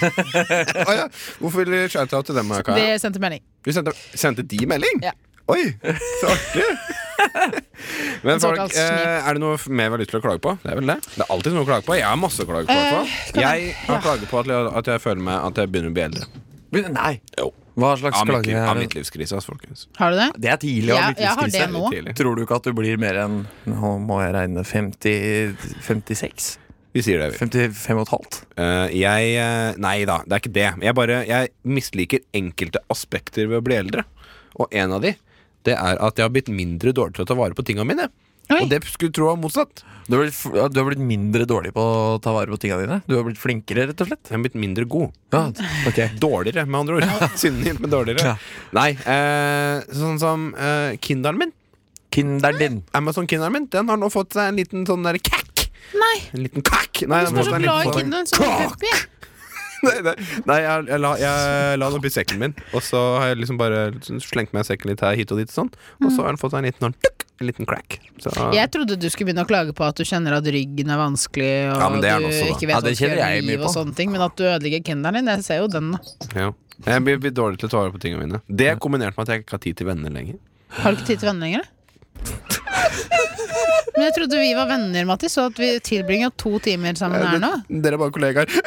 [SPEAKER 2] Å, ja. Hvorfor vil du shout-out til dem,
[SPEAKER 3] De
[SPEAKER 2] Kaja?
[SPEAKER 3] sendte melding.
[SPEAKER 2] Du sendte, sendte de melding?
[SPEAKER 3] Ja.
[SPEAKER 2] Oi, så
[SPEAKER 3] *laughs*
[SPEAKER 2] artig! Men
[SPEAKER 3] En såkalt
[SPEAKER 2] folk, eh, er det noe mer vi har lyst til å klage på? Det er vel det? Det er alltid noe å klage på. Jeg har masse å klage på.
[SPEAKER 3] Eh,
[SPEAKER 2] i hvert fall. jeg har klaget på at jeg, at jeg føler meg at jeg begynner å bli eldre.
[SPEAKER 1] Men Nei.
[SPEAKER 2] Jo.
[SPEAKER 1] Hva slags
[SPEAKER 2] Av mitt,
[SPEAKER 1] klage
[SPEAKER 2] liv,
[SPEAKER 1] er
[SPEAKER 2] av
[SPEAKER 1] det?
[SPEAKER 2] mitt livskrise, altså, folkens.
[SPEAKER 3] Har du det?
[SPEAKER 1] Det er tidlig å ha
[SPEAKER 3] Ja, jeg har
[SPEAKER 1] midtlivskrise.
[SPEAKER 3] det nå.
[SPEAKER 2] Tidlig.
[SPEAKER 1] Tror du ikke at du blir mer enn Nå må jeg regne 50, 56?
[SPEAKER 2] Vi sier det, vi.
[SPEAKER 1] 55 og et halvt?
[SPEAKER 2] Eh, jeg eh, Nei da, det er ikke det. Jeg bare Jeg misliker enkelte aspekter ved å bli eldre. Og en av de, det er at jeg har blitt mindre dårlig til å ta vare på tinga mine.
[SPEAKER 3] Oi.
[SPEAKER 2] Og det skulle tro var motsatt.
[SPEAKER 1] Du har, blitt, f- ja, du har blitt mindre dårlig på å ta vare på tinga dine? Du har blitt flinkere, rett og slett?
[SPEAKER 2] Jeg har blitt mindre god.
[SPEAKER 1] Ja, ok
[SPEAKER 2] Dårligere, med andre *laughs* ord. Synonym med dårligere.
[SPEAKER 1] Ja.
[SPEAKER 2] Nei, eh, sånn som eh, Kinderen min,
[SPEAKER 1] Kinderen din.
[SPEAKER 2] Amazon-kinderen min, den har nå fått seg en liten sånn derre kakk.
[SPEAKER 3] Nei.
[SPEAKER 2] En liten kakk. Nei,
[SPEAKER 3] Du
[SPEAKER 2] den har
[SPEAKER 3] er så
[SPEAKER 2] fått seg en
[SPEAKER 3] glad i
[SPEAKER 2] liten sånn-
[SPEAKER 3] kinderen som
[SPEAKER 2] Kakk!
[SPEAKER 3] Peppi.
[SPEAKER 2] Nei, *laughs* nei, nei jeg, jeg, la, jeg la den oppi sekken min, og så har jeg liksom bare slengt meg i sekken litt her hit og dit, sånn. og så har den fått seg en liten, sånn, tuk, en liten crack. Så,
[SPEAKER 3] Jeg trodde du skulle begynne å klage på at du kjenner at ryggen er vanskelig, og
[SPEAKER 2] Ja, men det er
[SPEAKER 3] du
[SPEAKER 2] den også, da.
[SPEAKER 3] ikke
[SPEAKER 1] Ja,
[SPEAKER 3] vet hva
[SPEAKER 1] det
[SPEAKER 3] du skal
[SPEAKER 1] kjenner
[SPEAKER 3] gjøre
[SPEAKER 1] jeg
[SPEAKER 3] i
[SPEAKER 1] mye
[SPEAKER 3] livet og
[SPEAKER 1] på.
[SPEAKER 3] sånne ting, men at du ødelegger kinderen din. Jeg ser jo den. da.
[SPEAKER 2] ja. Jeg blir, blir dårlig til å ta vare på tingene mine. Det er kombinert med at jeg ikke har tid til venner lenger.
[SPEAKER 3] Har du ikke tid til venner lenger? Men jeg trodde vi var venner, Mattis, og at vi tilbringer to timer sammen her nå.
[SPEAKER 2] Dere er bare *laughs* kollegaer.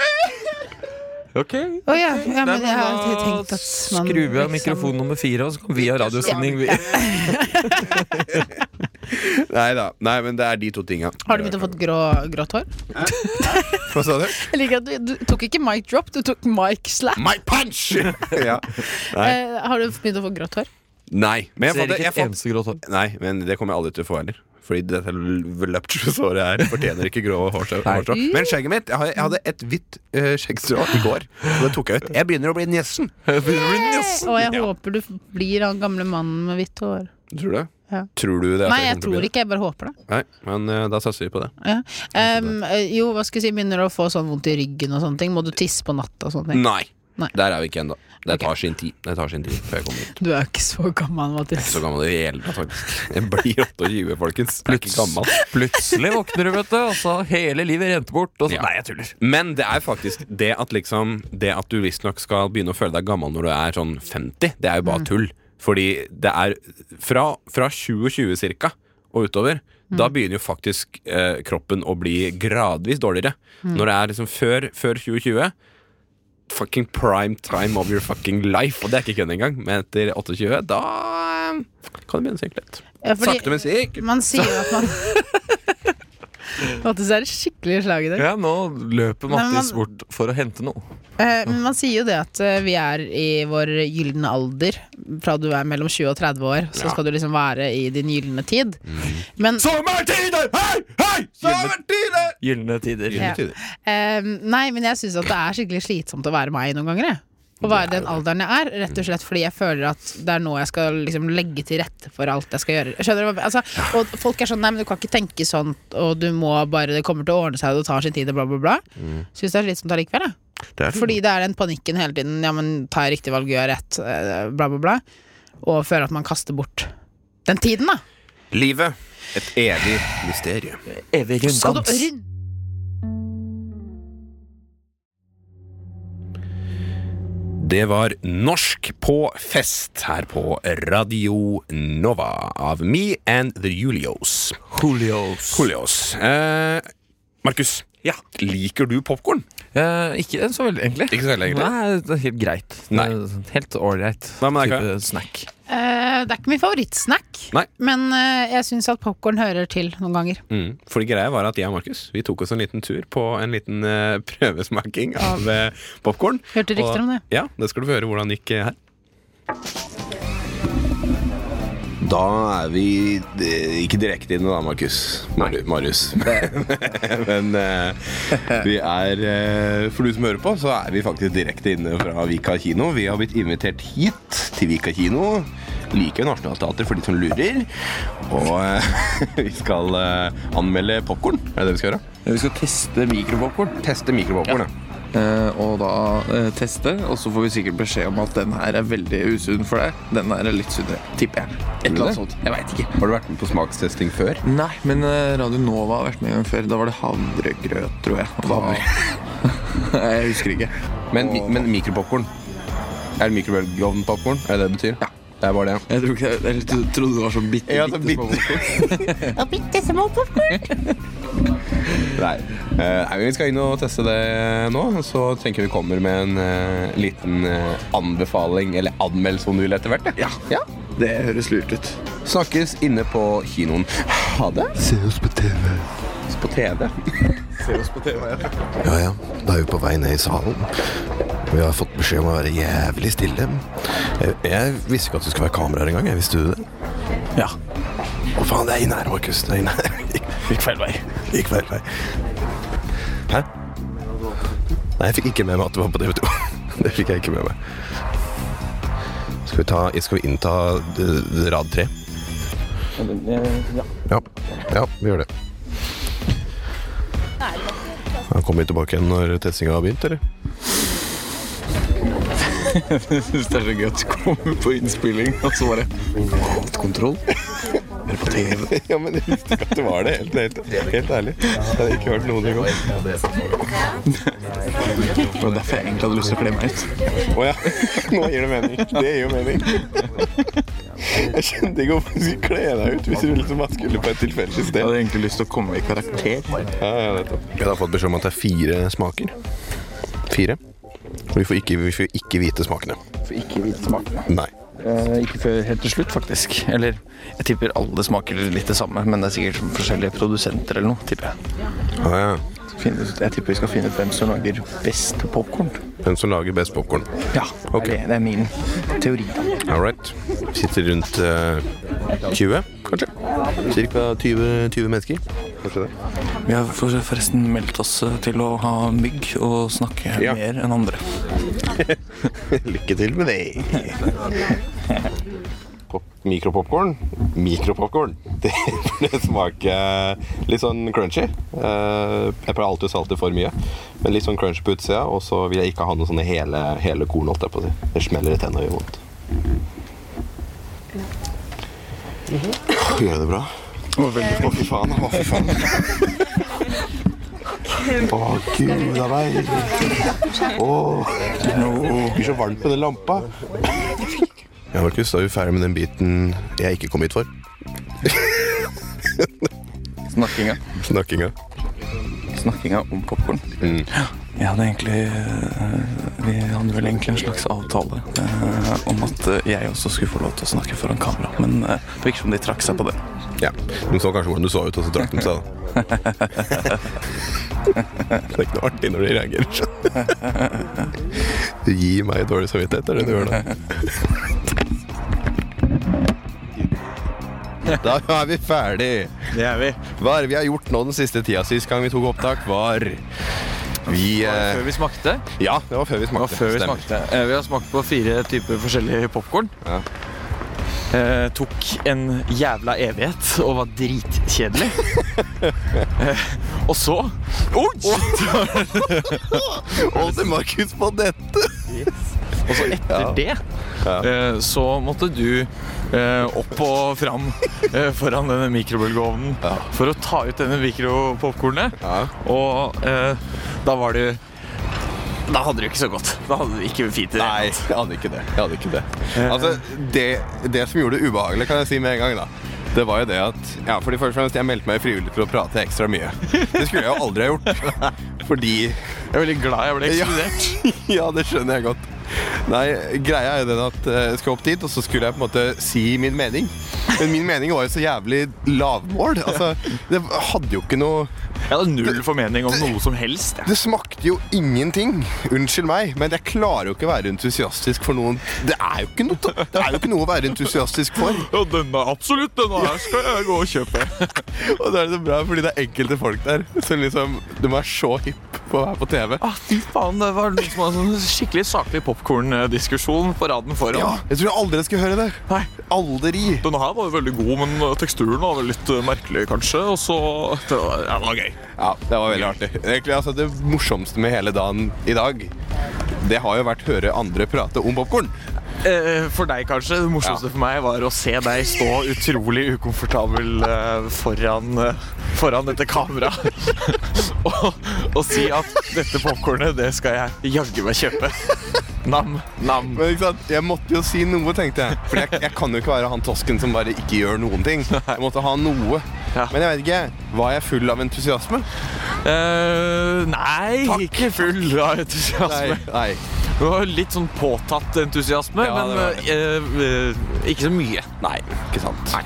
[SPEAKER 1] Ok
[SPEAKER 3] Å ja, ja, men jeg har
[SPEAKER 1] Da
[SPEAKER 3] tenkt at man liksom
[SPEAKER 1] Skrur vi av mikrofon nummer fire, og så kan vi ha radiosending. vi.
[SPEAKER 2] Nei da. Nei, men det er de to tinga.
[SPEAKER 3] Har du begynt å få grå, grått hår?
[SPEAKER 2] Hva sa du?
[SPEAKER 3] Jeg liker at du, du tok ikke mic drop, du tok mic slap.
[SPEAKER 2] My punch!
[SPEAKER 3] *laughs*
[SPEAKER 2] ja. Nei.
[SPEAKER 3] Eh, har du begynt å få grått hår?
[SPEAKER 2] nei. Men jeg
[SPEAKER 1] Ser
[SPEAKER 2] har fått,
[SPEAKER 1] ikke et
[SPEAKER 2] jeg har fått
[SPEAKER 1] eneste grått hår.
[SPEAKER 2] Nei, men det kommer jeg aldri til å få heller. Fordi dette løptrosåret her fortjener ikke grå hårstrå.
[SPEAKER 1] Nei.
[SPEAKER 2] hårstrå. Men skjegget mitt Jeg har- jeg hadde et hvitt eh, skjeggstrå i går. Og det tok jeg ut. Jeg begynner å bli
[SPEAKER 3] *laughs*
[SPEAKER 2] njessen.
[SPEAKER 3] Og jeg håper du blir han gamle mannen med hvitt hår.
[SPEAKER 2] Tror du det?
[SPEAKER 3] Ja.
[SPEAKER 2] Tror du det? at
[SPEAKER 3] Nei,
[SPEAKER 2] jeg
[SPEAKER 3] jeg
[SPEAKER 2] kommer til å bli
[SPEAKER 3] tror
[SPEAKER 2] det?
[SPEAKER 3] ikke, jeg bare håper det.
[SPEAKER 2] Nei, men eh, da satser vi på det.
[SPEAKER 3] Ja. Em, eh, jo, hva skal jeg si, begynner du å få sånn vondt i ryggen og sånne ting? Må du tisse på natta og sånne ting?
[SPEAKER 2] Nei.
[SPEAKER 3] Nei.
[SPEAKER 2] Der er vi ikke ennå. Det tar sin tid. Det tar sin tid før jeg kommer dit.
[SPEAKER 3] Du er jo ikke så gammel, Mattis.
[SPEAKER 2] Så gammel i hele tatt, faktisk. Jeg blir 28, folkens. Jeg er ikke gammel.
[SPEAKER 1] Plutselig våkner du, vet du, og så hele livet rente bort. Og så,
[SPEAKER 2] Ja.
[SPEAKER 1] Nei, jeg tuller.
[SPEAKER 2] Men det er faktisk det at liksom Det at du visstnok skal begynne å føle deg gammel når du er sånn 50, det er jo bare tull. Fordi det er fra, fra 2020 cirka og utover da begynner jo faktisk eh, kroppen å bli gradvis dårligere. Når det er liksom før, før 2020 Fucking prime time of your fucking life. Og det er ikke kødd engang. Men etter 28, da eh, kan det begynne å synke litt.
[SPEAKER 3] Ja, fordi-
[SPEAKER 2] Sakte, men sikkert.
[SPEAKER 3] Man sier jo
[SPEAKER 2] *laughs*
[SPEAKER 3] at man Mathis er et skikkelig slag i dag.
[SPEAKER 1] Ja, nå løper
[SPEAKER 3] Nei, men
[SPEAKER 1] Mattis
[SPEAKER 3] man-
[SPEAKER 1] bort for å hente noe.
[SPEAKER 3] Eh, Men man sier jo det at eh, vi er i vår gylne alder. Fra du er mellom 20 og 30 år, så skal du liksom være i din gylne tid. Men
[SPEAKER 1] Sommertider! Hei, hei!
[SPEAKER 2] Sommertider!
[SPEAKER 1] Gylne tider.
[SPEAKER 3] Ja. Eh, nei, men jeg syns at det er skikkelig slitsomt å være meg noen ganger. Jeg. Å være den alderen jeg er, rett og slett fordi jeg føler at det er nå jeg skal liksom legge til rette for alt jeg skal gjøre. Skjønner du? hva- Altså, og folk er sånn Nei, men du kan ikke tenke sånn, og du må bare Det kommer til å ordne seg, og det tar sin tid, og bla, bla, bla. Syns det er slitsomt allikevel, jeg. Fordi Mm. det er den panikken hele tiden. Ja, men tar jeg riktig valg, gjør jeg rett, eh, bla, bla, bla. Og føler at man kaster bort den tiden, da.
[SPEAKER 2] Livet. Et evig mysterium.
[SPEAKER 1] Evig
[SPEAKER 3] Skal du
[SPEAKER 1] runddans.
[SPEAKER 3] rund-
[SPEAKER 2] Det var Norsk på fest her på Radio Nova av Me and the Julios.
[SPEAKER 1] Julios.
[SPEAKER 2] Julios. Eh, Markus,
[SPEAKER 1] Ja.
[SPEAKER 2] liker du popkorn?
[SPEAKER 1] Eh, ikke så veldig, egentlig.
[SPEAKER 2] Ikke så veldig, egentlig.
[SPEAKER 1] Nei, det er helt greit. Det er sånn
[SPEAKER 2] Nei.
[SPEAKER 1] Helt ålreit
[SPEAKER 2] Hva med deg,
[SPEAKER 1] type snack.
[SPEAKER 3] Eh, det er ikke min favorittsnack,
[SPEAKER 2] Nei.
[SPEAKER 3] men eh, jeg syns at popkorn hører til noen ganger.
[SPEAKER 2] Mm. For greia var at jeg og Markus Vi tok oss en liten tur på en liten eh, prøvesmaking av uh, popkorn.
[SPEAKER 3] Hørte rykter om det.
[SPEAKER 2] Ja, det skal du få høre hvordan det gikk eh, her. Da er vi eh, ikke direkte inne da, Markus. *laughs* Marius. Men eh, vi er eh, For du som hører på, så er vi faktisk direkte inne fra Vika kino. Vi har blitt invitert hit til Vika kino. Like ved Nationaltheatret for de som lurer. Og eh, *laughs* vi skal eh, anmelde popkorn. Er det det vi skal gjøre?
[SPEAKER 1] Vi skal teste mikropopkorn.
[SPEAKER 2] Teste mikropopkorn. Ja.
[SPEAKER 1] Eh, og da eh, teste, og så får vi sikkert beskjed om at den her er veldig usunn for deg. Den her er litt sunnere, tipper jeg. Et eller annet sånt. Jeg vet ikke.
[SPEAKER 2] Har du vært med på smakstesting før?
[SPEAKER 1] Nei, men eh, Radio Nova har vært med en gang før. Da var det havregrøt, tror jeg. Og Da... jeg husker ikke.
[SPEAKER 2] Men, men mikropopkorn Er det mikrobølgeovnpopkorn? Er det det det betyr? Ja. Det er bare det.
[SPEAKER 1] Jeg, tror ikke, jeg trodde det var sånn bitte,
[SPEAKER 2] Ja, så
[SPEAKER 1] bitte små
[SPEAKER 2] bitte-
[SPEAKER 1] popcorn.
[SPEAKER 2] *laughs* Nei. Eh, nei, vi skal inn og teste det nå, så tenker jeg vi kommer med en eh, liten eh, anbefaling, eller anmeldelse om du vil etter hvert. Ja. ja.
[SPEAKER 1] Det høres lurt ut.
[SPEAKER 2] Snakkes inne på kinoen. Ha det.
[SPEAKER 5] Se oss på TV.
[SPEAKER 2] Se på
[SPEAKER 1] *laughs*
[SPEAKER 2] TV.
[SPEAKER 5] Ja, ja. Da er vi på vei ned i salen. Vi har fått beskjed om å være jævlig stille. Jeg, jeg visste ikke at det skulle være kameraer engang. Jeg visste du det?
[SPEAKER 1] Ja.
[SPEAKER 5] Å faen, det er inne her, Markus. Det er inne her. Gikk-
[SPEAKER 1] *laughs* Gikk feil vei.
[SPEAKER 5] Gikk feil vei. Hæ? Nei, jeg fikk ikke med meg at det var på TV2. *laughs* Det fikk jeg ikke med meg. Skal vi, ta, skal vi innta eh, rad tre? Ja. ja, vi gjør det. Da kommer vi tilbake igjen når testinga har begynt, eller?
[SPEAKER 1] Syns det er så gøy at du kommer på innspilling, og så bare Kontroll. Eller på TV.
[SPEAKER 2] *laughs* ja, men jeg visste ikke at det var det. Helt, helt, helt ærlig. Jeg hadde ikke hørt noen ting om det.
[SPEAKER 1] Det var derfor jeg egentlig hadde lyst til å kle meg *laughs* ut.
[SPEAKER 2] Å ja. Nå gir det mening. Det gir jo mening. Jeg skjønte ikke hvorfor du skulle kle deg ut hvis du liksom bare skulle på et tilfeldig
[SPEAKER 1] Jeg
[SPEAKER 2] sted.
[SPEAKER 1] hadde egentlig lyst til å komme i karakter.
[SPEAKER 2] Ja, ja, nettopp.
[SPEAKER 5] Jeg har fått beskjed om at det er fire smaker. Fire. Og vi får ikke, vi får ikke vite smakene.
[SPEAKER 1] For ikke hvite smakene. Eh,
[SPEAKER 5] Nei.
[SPEAKER 1] ikke før helt til slutt, faktisk. Eller jeg tipper alle smaker litt det samme, men det er sikkert forskjellige produsenter eller noe, tipper jeg.
[SPEAKER 5] Ah, ja.
[SPEAKER 1] Finne ut- Jeg tipper vi skal finne ut hvem som lager best popkorn.
[SPEAKER 5] Den som lager best popkorn.
[SPEAKER 1] Ja,
[SPEAKER 5] Ok.
[SPEAKER 1] det, er det. det er min teori.
[SPEAKER 5] All right. Sitter rundt eh, 20, kanskje? Cirka 20, 20 mennesker. Kanskje det.
[SPEAKER 1] Vi har for- forresten meldt oss eh, til å ha mygg og snakke
[SPEAKER 2] Ja.
[SPEAKER 1] mer enn andre.
[SPEAKER 5] *laughs* Lykke til med det.
[SPEAKER 2] Mikropopkorn. Mikropopkorn. *laughs* Det det smaker litt sånn crunchy. Eh, Jeg pleier alltid å salte for mye, men litt sånn crunchy på utsida. Og så vil jeg ikke ha noe sånne hele, hele korn, holdt jeg på å si. Det smeller i tenna og gjør vondt. Gjør jeg det bra? Å, fy faen. Å, fy faen. Å, gud a meg. Å, det blir så varmt med den lampa.
[SPEAKER 5] Ja, Markus, da er vi ferdig med den biten jeg ikke kom hit for.
[SPEAKER 1] Snakkinga.
[SPEAKER 2] Snakkinga.
[SPEAKER 1] Snakkinga om popkorn. Vi hadde egentlig eh, Vi hadde vel egentlig en slags avtale eh, om at eh, jeg også skulle få lov til å snakke foran kamera, men eh, det virker som de trakk seg på det.
[SPEAKER 2] Ja. De så kanskje hvordan du så ut, og så trakk de seg, da. det er ikke noe artig når de reagerer sånn. Du gir meg dårlig samvittighet, er det du gjør da. Da er vi ferdig.
[SPEAKER 7] Det er vi.
[SPEAKER 2] Hva er det vi har gjort nå den siste tida? Sist gang vi tok opptak, var vi eh,
[SPEAKER 7] Før vi smakte.
[SPEAKER 2] Ja, det var før vi
[SPEAKER 7] Det
[SPEAKER 2] smakte.
[SPEAKER 7] var før vi
[SPEAKER 2] Stemmer.
[SPEAKER 7] smakte. Eh, Vi har smakt på fire typer forskjellige popkorn.
[SPEAKER 2] Ja.
[SPEAKER 7] Eh, tok en jævla evighet og var
[SPEAKER 2] *laughs*
[SPEAKER 7] dritkjedelig. eh, og så
[SPEAKER 2] Holdt Markus på dette?
[SPEAKER 7] Og så etter det eh, så måtte du eh, opp og fram eh, foran denne mikrobølgeovnen for å ta ut denne mikropopkornet.
[SPEAKER 2] Ja.
[SPEAKER 7] Og eh, da var du Da hadde du ikke så godt. Da hadde du ikke fint i det.
[SPEAKER 2] Nei, jeg hadde ikke det. Jeg hadde ikke det. Altså, det, det som gjorde det ubehagelig, kan jeg si med en gang, da. Det var jo det at Ja, fordi først og fremst, jeg meldte meg frivillig for å prate ekstra mye. Det skulle jeg jo aldri ha gjort. Fordi
[SPEAKER 7] Jeg er veldig glad jeg ble
[SPEAKER 2] Ja.
[SPEAKER 7] ekskludert.
[SPEAKER 2] Ja, *laughs* det skjønner jeg godt. Nei, greia er jo den at eh, jeg skulle opp dit, og så skulle jeg på en måte si min mening. Men min mening var jo så jævlig lavmål. Altså, det hadde jo ikke noe
[SPEAKER 7] Jeg hadde null formening om noe som helst. jeg.
[SPEAKER 2] Det smakte jo ingenting. Unnskyld meg, men jeg klarer jo ikke å være entusiastisk for noen Det er jo ikke noe, det er jo ikke noe å være entusiastisk for.
[SPEAKER 7] Ja, denne, absolutt, denne her skal jeg gå og kjøpe.
[SPEAKER 2] Og da er det så bra, fordi det er enkelte folk der som liksom De er så hipp på å være på TV.
[SPEAKER 7] *laughs* Ah, fy faen, Det var liksom en sånn skikkelig saklig popkorndiskusjon på raden foran.
[SPEAKER 2] Ja, jeg tror jeg aldri skal høre det.
[SPEAKER 7] Nei,
[SPEAKER 2] Aldri.
[SPEAKER 7] Denne her var jo veldig god, men eh, teksturen var vel litt eh, merkelig, kanskje. Og så det var, ja, det var gøy.
[SPEAKER 2] Ja, det var veldig artig. Egentlig, altså, det morsomste med hele dagen i dag, det har jo vært å høre andre prate om popkorn.
[SPEAKER 7] Eh, for deg, kanskje. Det morsomste for meg var å se deg stå utrolig ukomfortabel eh, foran, eh, foran dette kameraet. *laughs* og, og si at dette popkornet, det skal jeg jaggu meg kjøpe. Nam, nam.
[SPEAKER 2] Men ikke sant, jeg måtte jo si noe, tenkte jeg. For jeg, jeg kan jo ikke være han tosken som bare ikke gjør noen ting. Jeg måtte ha noe.
[SPEAKER 7] Ja.
[SPEAKER 2] Men jeg vet ikke, var jeg full av entusiasme?
[SPEAKER 7] Eh, nei, ikke full av entusiasme.
[SPEAKER 2] nei.
[SPEAKER 7] Det var litt sånn påtatt entusiasme,
[SPEAKER 2] Ja, det
[SPEAKER 7] men
[SPEAKER 2] var det.
[SPEAKER 7] eh, eh, ikke så mye.
[SPEAKER 2] Nei, ikke sant.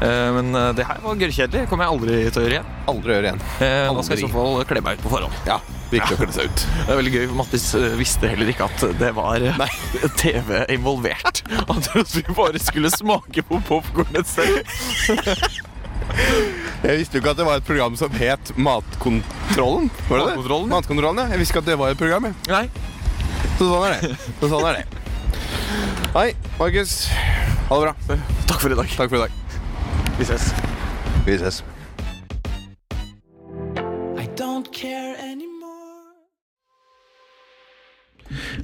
[SPEAKER 7] Eh, Men eh, det her var gørrkjedelig. Kommer jeg aldri til å gjøre igjen.
[SPEAKER 2] Aldri gjøre igjen.
[SPEAKER 7] Eh, Da skal jeg
[SPEAKER 2] Aldri.
[SPEAKER 7] i så fall kle meg ut på forhånd.
[SPEAKER 2] Ja, virkelig å kle seg ut.
[SPEAKER 7] Det er veldig gøy, for Mattis eh, visste heller ikke at det var eh, *laughs* TV involvert. Han trodde *laughs* vi bare skulle smake på popkornet selv.
[SPEAKER 2] Jeg visste jo ikke at det var et program som het Matkontrollen. Var det det?
[SPEAKER 7] Matkontrollen, ja.
[SPEAKER 2] Matkontrollen, ja. Jeg visste ikke at det var et program. jeg.
[SPEAKER 7] Nei,
[SPEAKER 2] Så sånn er det. Så sånn er det. Hei, Markus. Ha det bra.
[SPEAKER 7] takk for i dag.
[SPEAKER 2] Takk for i dag.
[SPEAKER 7] Vi ses.
[SPEAKER 2] Vi ses.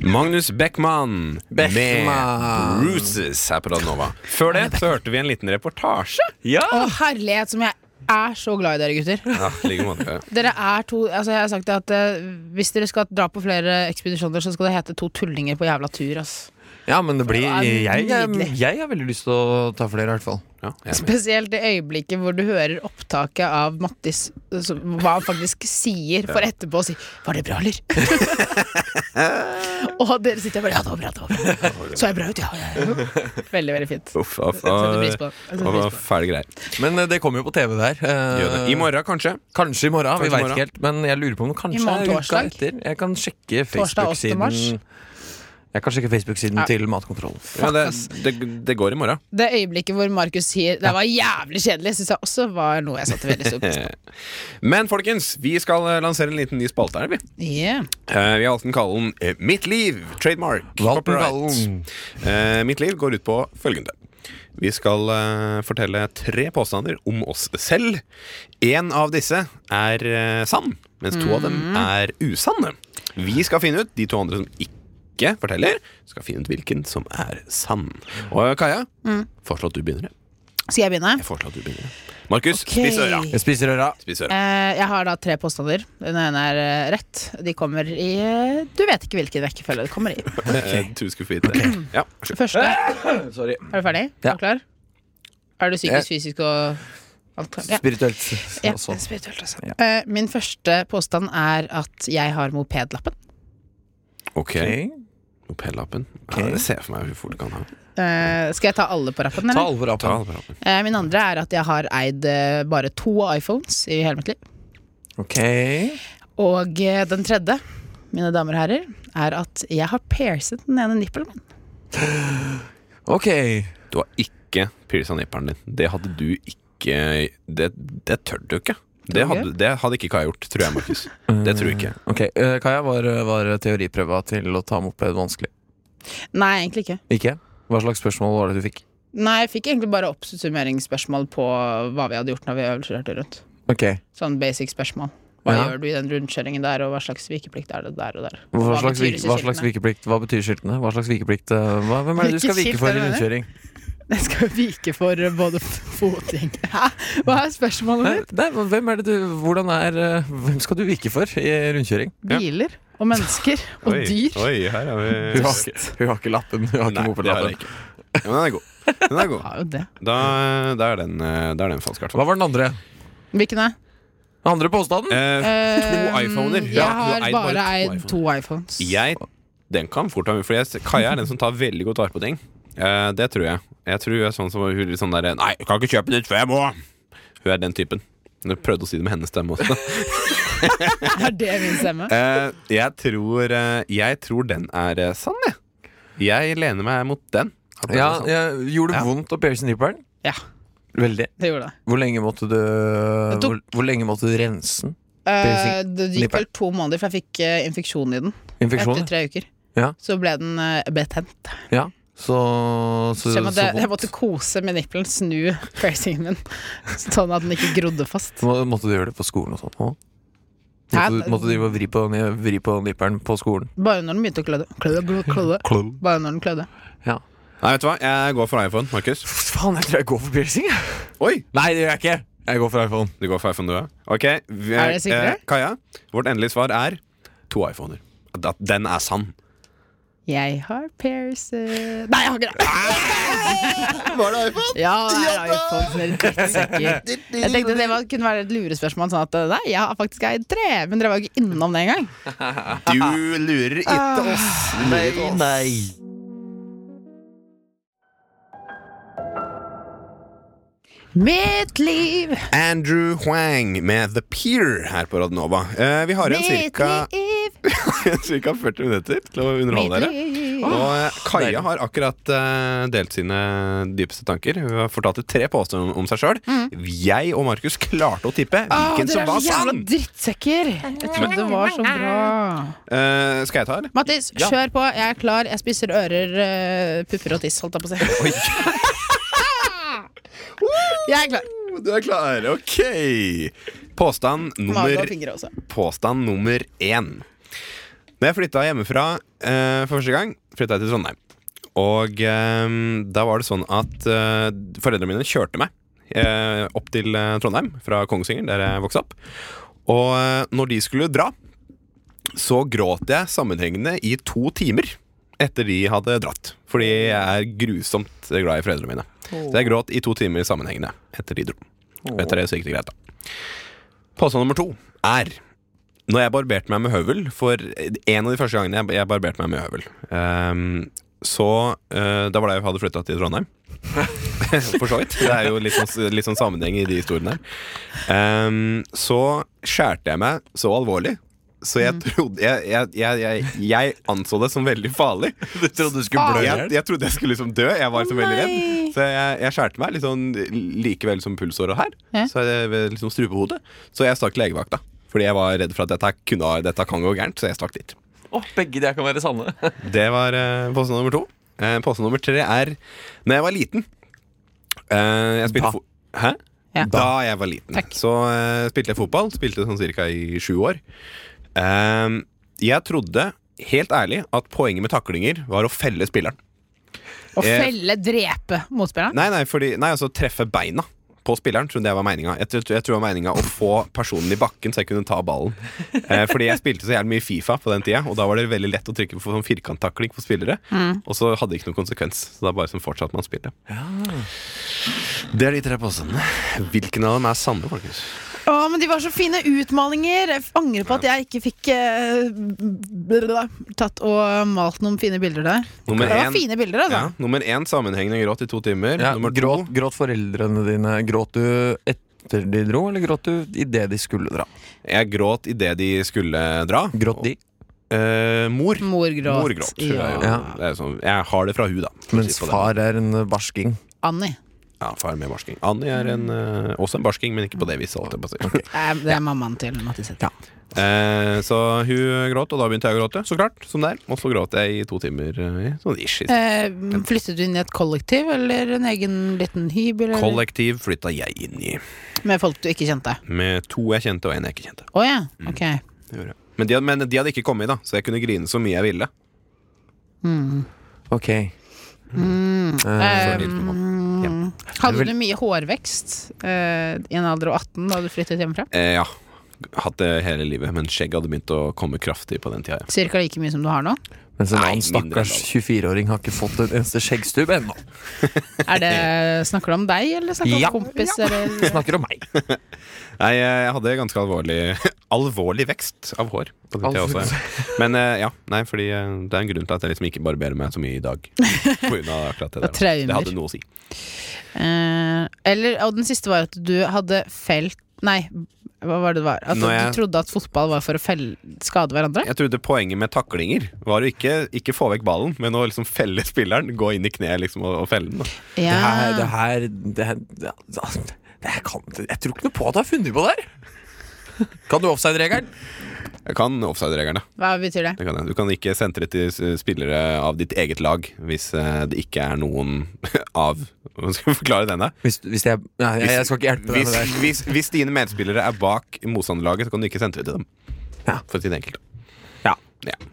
[SPEAKER 8] Magnus Beckman,
[SPEAKER 1] Beckman.
[SPEAKER 8] med Bruises her på Radnova. Før det så hørte vi en liten reportasje.
[SPEAKER 7] Ja!
[SPEAKER 3] Å, herlighet, som jeg er så glad i dere, gutter.
[SPEAKER 8] Ja, i like måte.
[SPEAKER 3] Dere er to Altså, jeg har sagt det at eh, hvis dere skal dra på flere ekspedisjoner, så skal det hete To tullinger på jævla tur, ass.
[SPEAKER 1] Ja, men det blir
[SPEAKER 3] Det er
[SPEAKER 1] Jeg, jeg,
[SPEAKER 3] nydelig.
[SPEAKER 1] jeg har veldig lyst til å ta flere, i hvert fall.
[SPEAKER 8] Ja, jeg er med.
[SPEAKER 3] Spesielt det øyeblikket hvor du hører opptaket av Mattis, så- hva han faktisk sier, for etterpå å si 'var det bra, *laughs* eller?' Og dere sitter bare 'ja, det var bra', det var bra. Så jeg bra ut, ja. ja, ja. *laughs* Veldig, veldig fint. Jeg
[SPEAKER 8] Uff, uff,
[SPEAKER 3] setter pris
[SPEAKER 8] uff.
[SPEAKER 3] på det. Jeg setter
[SPEAKER 8] Og
[SPEAKER 3] pris på det.
[SPEAKER 8] fæle greier.
[SPEAKER 1] Men eh, det kommer jo på TV der. eh,
[SPEAKER 8] Gjør det. I morgen, kanskje.
[SPEAKER 1] Kanskje i morgen.
[SPEAKER 8] Kanskje i
[SPEAKER 1] vi vet
[SPEAKER 8] morgen.
[SPEAKER 1] ikke helt. Men jeg lurer på om det
[SPEAKER 3] I
[SPEAKER 1] kanskje
[SPEAKER 3] morgen
[SPEAKER 1] er uka
[SPEAKER 3] torsdag.
[SPEAKER 1] etter. Jeg kan sjekke
[SPEAKER 3] Torsdag 8. mars.
[SPEAKER 1] Facebook-siden Jeg kan sjekke Facebook-siden
[SPEAKER 3] Ja.
[SPEAKER 1] til Matkontrollen.
[SPEAKER 8] Ja, det, det, det går i morgen.
[SPEAKER 3] Det øyeblikket hvor Markus sier 'det var jævlig kjedelig', syns jeg også var noe jeg satte veldig stor
[SPEAKER 1] *laughs*
[SPEAKER 3] pris på.
[SPEAKER 8] Men folkens, vi skal eh, lansere en liten ny spalte her, vi.
[SPEAKER 3] Yeah.
[SPEAKER 8] Eh, Vi har valgt den kallen eh, Mitt liv, trademark.
[SPEAKER 1] Valgt den
[SPEAKER 8] copyright. Eh, Mitt liv går ut på følgende. Vi skal eh, fortelle tre påstander om oss selv. Én av disse er eh, sann, mens to av dem er usanne. Vi skal finne ut de to andre som ikke forteller, skal finne ut hvilken som er sann. Og eh, Kaja, foreslå at du begynner. jeg.
[SPEAKER 3] Skal jeg begynne?
[SPEAKER 8] Jeg foreslår at du begynner. jeg. Markus,
[SPEAKER 3] Ok.
[SPEAKER 8] spiss øra.
[SPEAKER 1] Jeg spiser øra.
[SPEAKER 8] Spiss øra.
[SPEAKER 3] Eh, Jeg har da tre påstander. Den ene er eh, rett. De kommer i eh, Du vet ikke hvilken rekkefølge
[SPEAKER 1] *laughs*
[SPEAKER 3] det kommer i.
[SPEAKER 8] Eh, Du skulle få vite det. Ja, vær så god.
[SPEAKER 3] Første
[SPEAKER 1] *coughs* Sorry.
[SPEAKER 3] Er du ferdig?
[SPEAKER 1] Ja.
[SPEAKER 3] Er du klar? Er du psykisk, fysisk og Alt, ja.
[SPEAKER 1] Spirituelt
[SPEAKER 3] Ja,
[SPEAKER 1] også.
[SPEAKER 3] spirituelt også. Eh, Min første påstand er at jeg har mopedlappen.
[SPEAKER 2] Ok.
[SPEAKER 1] Ok.
[SPEAKER 2] Mopellappen.
[SPEAKER 1] Ok.
[SPEAKER 2] Ja, det ser jeg for meg hvor fort du kan ha.
[SPEAKER 3] Eh, Skal jeg ta alle på rappen?
[SPEAKER 1] Ta
[SPEAKER 3] Eller?
[SPEAKER 1] alvor av
[SPEAKER 2] Ta
[SPEAKER 1] på.
[SPEAKER 2] mopellappen.
[SPEAKER 3] Eh, Min andre er at jeg har eid eh, bare to iPhones i hele mitt liv.
[SPEAKER 1] Ok.
[SPEAKER 3] Og eh, den tredje, mine damer og herrer, er at jeg har piercet den ene nippelen min.
[SPEAKER 1] Ok.
[SPEAKER 2] Du har ikke pirsa nipperen din. Det hadde du ikke Det, det tør du ikke. Det
[SPEAKER 3] Tror
[SPEAKER 2] hadde,
[SPEAKER 3] jeg.
[SPEAKER 2] det hadde ikke Kai gjort, tror jeg, Markus. Det tror
[SPEAKER 3] *laughs*
[SPEAKER 2] jeg ikke.
[SPEAKER 1] Ok, eh, Kaja, var, var teoriprøva til å ta moped vanskelig?
[SPEAKER 3] Nei, egentlig ikke.
[SPEAKER 1] Ikke? Hva slags spørsmål var det du fikk?
[SPEAKER 3] Nei, jeg fikk egentlig bare oppsummeringsspørsmål på hva vi hadde gjort når vi øvelseskjørte rundt.
[SPEAKER 1] Ok,
[SPEAKER 3] Sånn basic spørsmål. Hva
[SPEAKER 1] Ja.
[SPEAKER 3] gjør du i den rundkjøringen der, og hva slags vikeplikt er det der og der?
[SPEAKER 1] Hva
[SPEAKER 3] Hva
[SPEAKER 1] slags,
[SPEAKER 3] betyr
[SPEAKER 1] vik-
[SPEAKER 3] disse
[SPEAKER 1] hva slags
[SPEAKER 3] skiltene?
[SPEAKER 1] vikeplikt? Hva betyr skiltene? Hva slags vikeplikt? eh, Hva, hvem er det du skal
[SPEAKER 3] Hvilket
[SPEAKER 1] vike
[SPEAKER 3] skilt
[SPEAKER 1] for
[SPEAKER 3] er
[SPEAKER 1] i
[SPEAKER 3] det du mener?
[SPEAKER 1] rundkjøring?
[SPEAKER 3] *laughs* Jeg skal vike for eh, både foting *laughs* Hæ? Hva er spørsmålet
[SPEAKER 1] Nei,
[SPEAKER 3] ditt?
[SPEAKER 1] nei, hva- hvem er det du Hvordan er eh, Hvem skal du vike for i rundkjøring?
[SPEAKER 3] Biler og mennesker og dyr.
[SPEAKER 2] Oi, her er vi
[SPEAKER 1] Hun har, ikke- hun har ikke lappen. Hun har
[SPEAKER 2] Nei,
[SPEAKER 1] ikke
[SPEAKER 2] det har
[SPEAKER 1] mopedlappen.
[SPEAKER 2] jeg ikke. Ja, men den er god. Den er god.
[SPEAKER 3] Ja, jo det.
[SPEAKER 2] Da, da, er, den, eh, da er den falsk, i hvert
[SPEAKER 1] Hva
[SPEAKER 2] fall.
[SPEAKER 1] var den andre?
[SPEAKER 3] Hvilken er?
[SPEAKER 1] Den andre påstanden?
[SPEAKER 2] Eh,
[SPEAKER 3] Eh,
[SPEAKER 2] iPhoner.
[SPEAKER 3] Jeg
[SPEAKER 2] Ja, du
[SPEAKER 3] har
[SPEAKER 2] har eid bare
[SPEAKER 3] bare
[SPEAKER 2] to
[SPEAKER 3] eid
[SPEAKER 2] iPhones.
[SPEAKER 3] to iPhones.
[SPEAKER 2] jeg Den kan fort ha For jeg, Kaja er den som tar veldig godt vare på ting. Eh, det tror jeg. Jeg tror hun er sånn som hun er sånn derre Nei, jeg kan ikke kjøpe nytt før jeg må! Hun er den typen. Du prøvde å si det med hennes stemme også.
[SPEAKER 3] *laughs* Er det min stemme?
[SPEAKER 2] Eh, jeg, tror, eh, jeg tror den er eh, sann, jeg. Jeg lener meg mot den. At den er
[SPEAKER 1] Ja,
[SPEAKER 2] sann.
[SPEAKER 1] jeg, Gjorde det vondt å pierce nipperen?
[SPEAKER 3] sånn. Ja,
[SPEAKER 1] Veldig.
[SPEAKER 3] det gjorde det.
[SPEAKER 1] Hvor lenge måtte du
[SPEAKER 3] Det tok-
[SPEAKER 1] hvor, hvor lenge måtte du rense den?
[SPEAKER 3] Eh,
[SPEAKER 1] Piercing.
[SPEAKER 3] det gikk vel to måneder, for jeg fikk eh, infeksjon i den.
[SPEAKER 1] Infeksjonen?
[SPEAKER 3] Etter tre uker.
[SPEAKER 1] Ja.
[SPEAKER 3] Så ble den eh, betent.
[SPEAKER 1] Ja. Så, så,
[SPEAKER 3] Så jeg måtte,
[SPEAKER 1] så vondt.
[SPEAKER 3] jeg måtte kose med nippelen, snu *laughs* piercingen min, sånn at den ikke grodde fast.
[SPEAKER 1] Må, måtte du gjøre det på skolen og sånn òg?
[SPEAKER 3] Hæ?
[SPEAKER 1] Måtte, du- måtte du drive og vri på, vri på nipperen på skolen?
[SPEAKER 3] Bare når den begynte å klødde. Klødde, klødde, klødde. Bare når den klødde.
[SPEAKER 1] Ja.
[SPEAKER 2] Nei, vet du hva? Jeg går for iPhone, Markus.
[SPEAKER 1] Faen, jeg tror jeg går for piercing. jeg.
[SPEAKER 2] Oi!
[SPEAKER 1] Nei, det gjør jeg ikke. Jeg går for iPhone.
[SPEAKER 2] Du går for iPhone, du òg? Ok. vi-
[SPEAKER 3] Er dere sikre?
[SPEAKER 2] eh, Kaja, vårt endelige svar er to iPhoner. At den er sann.
[SPEAKER 3] Jeg har pierced Nei, jeg har ikke det!
[SPEAKER 2] Var det iPhone?
[SPEAKER 3] Ja, det er iPhone, så dere er
[SPEAKER 2] *laughs*
[SPEAKER 3] drittsekker. Jeg tenkte det var, kunne være et lurespørsmål, sånn at eh, nei, jeg har faktisk eid tre, men dere var jo ikke innom det engang.
[SPEAKER 2] Du lurer ikke oss.
[SPEAKER 1] Nei, nei.
[SPEAKER 3] Mitt liv,
[SPEAKER 2] Andrew Huang med The Peer her på Radnova. Eh, vi har igjen
[SPEAKER 3] mitt
[SPEAKER 2] ca. *laughs*
[SPEAKER 3] liv,
[SPEAKER 2] ca. 40 minutter til å underholde
[SPEAKER 3] mitt
[SPEAKER 2] dere.
[SPEAKER 3] liv.
[SPEAKER 2] Og eh, Kaja har akkurat eh, delt sine dypeste tanker. Hun har fortalt tre påstander om- om seg sjøl. Jeg og Markus klarte å tippe
[SPEAKER 3] Mm. Åh,
[SPEAKER 2] hvilken
[SPEAKER 3] dere
[SPEAKER 2] som var
[SPEAKER 3] er så jævla
[SPEAKER 2] sann!
[SPEAKER 3] drittsekker! Jeg trodde det var så bra.
[SPEAKER 2] Eh, skal jeg ta, eller?
[SPEAKER 3] Mattis, kjør på. Jeg er klar. Jeg spiser ører, eh, pupper og tiss, holdt jeg på å si. *laughs* Jeg er klar.
[SPEAKER 2] Du er klar, ok! Påstand
[SPEAKER 3] Mage
[SPEAKER 2] nummer,
[SPEAKER 3] og fingre også.
[SPEAKER 2] påstand nummer én. Da jeg flytta hjemmefra eh, for første gang, flytta jeg til Trondheim. Og eh, da var det sånn at eh, foreldrene mine kjørte meg eh, opp til eh, Trondheim fra Kongsvinger, der jeg vokste opp. Og eh, når de skulle dra, så gråt jeg sammenhengende i to timer etter de hadde dratt. Fordi jeg er grusomt glad i foreldrene mine. Så jeg gråt i to timer sammenhengende etter de dro. Og etter det så gikk det greit, da. Påstand nummer to er når jeg barberte meg med høvel For en av de første gangene jeg, jeg barberte meg med høvel ehm, Så eh, Da var det jeg hadde flyttet til Trondheim *laughs* For så vidt Det er jo litt sånn, litt sånn sammenheng i de historiene her Ehm, Så skjærte jeg meg så alvorlig Så
[SPEAKER 1] Mm.
[SPEAKER 2] jeg trodde Jeg, jeg, jeg, jeg, jeg anså det som veldig farlig
[SPEAKER 1] *laughs* Du trodde du skulle blø i
[SPEAKER 2] jeg,
[SPEAKER 1] hjel?
[SPEAKER 2] jeg trodde jeg skulle liksom dø. Jeg var liksom veldig redd.
[SPEAKER 3] nei.
[SPEAKER 2] Så jeg, jeg skjærte meg litt sånn likevel som pulsåret her.
[SPEAKER 3] Ja.
[SPEAKER 2] Så jeg, ved liksom strupehodet. Så jeg stakk legevakta. Fordi jeg var redd for at dette, kunne, ha- dette kan gå gærent, så jeg stakk dit.
[SPEAKER 1] Å, begge de her kan være sanne.
[SPEAKER 2] Det var eh, påstand nummer to. Eh, påstand nummer tre er Når jeg var liten eh, Jeg
[SPEAKER 1] Da.
[SPEAKER 2] spilte fo Hæ?
[SPEAKER 3] Ja.
[SPEAKER 2] Da jeg var liten,
[SPEAKER 3] Takk.
[SPEAKER 2] så eh, spilte jeg fotball. Spilte sånn cirka i sju år. Eh, jeg trodde, helt ærlig, at poenget med taklinger var å felle spilleren.
[SPEAKER 3] Å
[SPEAKER 2] Eh,
[SPEAKER 3] felle, drepe motspilleren.
[SPEAKER 2] Nei, nei, fordi, nei altså treffe beina på spilleren trodde jeg var meninga. Jeg, tro- jeg tror det var meninga å få personen i bakken så jeg kunne ta ballen. Eh, fordi jeg spilte så jævlig mye Fifa på den tida, og da var det veldig lett å trykke på sånn firkanttakling på spillere. Og så hadde det ikke noen konsekvens, så da bare sånn fortsatte man spillet. Det er de tre påstandene. Hvilken av dem er sanne, folkens?
[SPEAKER 3] Å, men de var så fine utmalinger! Jeg angrer på at jeg ikke fikk eh, blablabla, tatt og malt noen fine bilder der.
[SPEAKER 2] Nummer
[SPEAKER 3] det var
[SPEAKER 2] én-
[SPEAKER 3] fine bilder, altså.
[SPEAKER 2] Ja, nummer én sammenhengende gråt i to timer.
[SPEAKER 1] *laughs* Ja,
[SPEAKER 2] nummer
[SPEAKER 1] gråt,
[SPEAKER 2] to
[SPEAKER 1] gråt foreldrene dine. Gråt du etter de dro, eller gråt du idet de skulle dra?
[SPEAKER 2] Jeg gråt idet de skulle dra.
[SPEAKER 1] Gråt de.
[SPEAKER 2] Eh, mor.
[SPEAKER 3] Mor gråt.
[SPEAKER 2] Mor gråt. Hun er jo-
[SPEAKER 3] Ja.
[SPEAKER 1] Ja.
[SPEAKER 2] Det er sånn, jeg har det fra hun, da. for å
[SPEAKER 1] Mens
[SPEAKER 2] si det på den.
[SPEAKER 1] far er en eh, barsking.
[SPEAKER 3] Annie.
[SPEAKER 2] Ja, far med barsking. Annie er en, eh, også en barsking, men ikke på det viset. holdt jeg på å si.
[SPEAKER 3] Eh, Det er mammaen til Mattis. Ja.
[SPEAKER 2] *laughs* Eh, så hun gråt, og da begynte jeg å gråte, så klart. Som det er. Og så gråt jeg i to timer. eh, Sånn ish.
[SPEAKER 3] Eh, flyttet du inn i et kollektiv eller en egen liten hybel? eller?
[SPEAKER 2] Kollektiv flytta jeg inn i.
[SPEAKER 3] Med folk du ikke kjente?
[SPEAKER 2] Med to jeg kjente, og en jeg ikke kjente.
[SPEAKER 3] Å ja,
[SPEAKER 2] Mm.
[SPEAKER 3] ok.
[SPEAKER 2] Det gjorde jeg. Men de, hadde- men de hadde ikke kommet, da, så jeg kunne grine så mye jeg ville.
[SPEAKER 1] Ok.
[SPEAKER 2] Mm. Så
[SPEAKER 3] Eh,
[SPEAKER 2] de kom opp.
[SPEAKER 3] hadde du mye hårvekst eh, i en alder av 18 da du flyttet hjemmefra?
[SPEAKER 2] Eh, ja. Hatt det hele livet, men skjegget hadde begynt å komme kraftig på den tida. ja.
[SPEAKER 3] Cirka like mye som du har nå?
[SPEAKER 1] Mens en
[SPEAKER 2] Nei,
[SPEAKER 1] annen
[SPEAKER 2] mindre enn
[SPEAKER 1] stakkars 24-åring har ikke fått en eneste skjeggstubb ennå.
[SPEAKER 3] Er det, snakker du om deg, eller snakker du om
[SPEAKER 1] Ja.
[SPEAKER 3] kompis?
[SPEAKER 1] Vi *laughs*
[SPEAKER 3] Eller?
[SPEAKER 1] snakker om meg.
[SPEAKER 2] Nei, eh, jeg hadde ganske alvorlig *laughs* Alvorlig vekst av hår. På den tida
[SPEAKER 1] Alvorlig.
[SPEAKER 2] også, ja. Men eh, ja, nei, fordi eh, det er en grunn til at jeg liksom ikke barberer meg så mye i dag. På grunn av akkurat det
[SPEAKER 3] *laughs* Og
[SPEAKER 2] der.
[SPEAKER 3] traumer.
[SPEAKER 2] Det hadde noe å si.
[SPEAKER 3] Eh, eller og den siste var at du hadde felt Nei, hva var det det var? At
[SPEAKER 2] Når jeg-
[SPEAKER 3] du trodde at fotball var for å felle, skade hverandre?
[SPEAKER 2] Jeg trodde poenget med taklinger var å ikke, ikke få vekk ballen, men å liksom felle spilleren. Gå inn i kneet liksom, og, og felle den. Da.
[SPEAKER 1] Det
[SPEAKER 3] Ja.
[SPEAKER 1] her, det her det, her- det, det, det her kan, Jeg tror ikke noe på at jeg har funnet på det her! Kan du offside-regelen?
[SPEAKER 2] Jeg kan offside-reglene.
[SPEAKER 3] Hva betyr det?
[SPEAKER 2] Det kan jeg. Du kan ikke sentre til s- spillere av ditt eget lag hvis eh, det ikke er noen *laughs* av Hvordan skal jeg forklare denne?
[SPEAKER 1] Hvis, hvis jeg Nei, jeg, jeg skal ikke hjelpe deg
[SPEAKER 2] Hvis,
[SPEAKER 1] med det. her.
[SPEAKER 2] hvis, hvis dine medspillere er bak motstanderlaget, så kan du ikke sentre til dem.
[SPEAKER 1] Ja.
[SPEAKER 2] For å si det enkelt.
[SPEAKER 3] Eh,
[SPEAKER 1] Ok.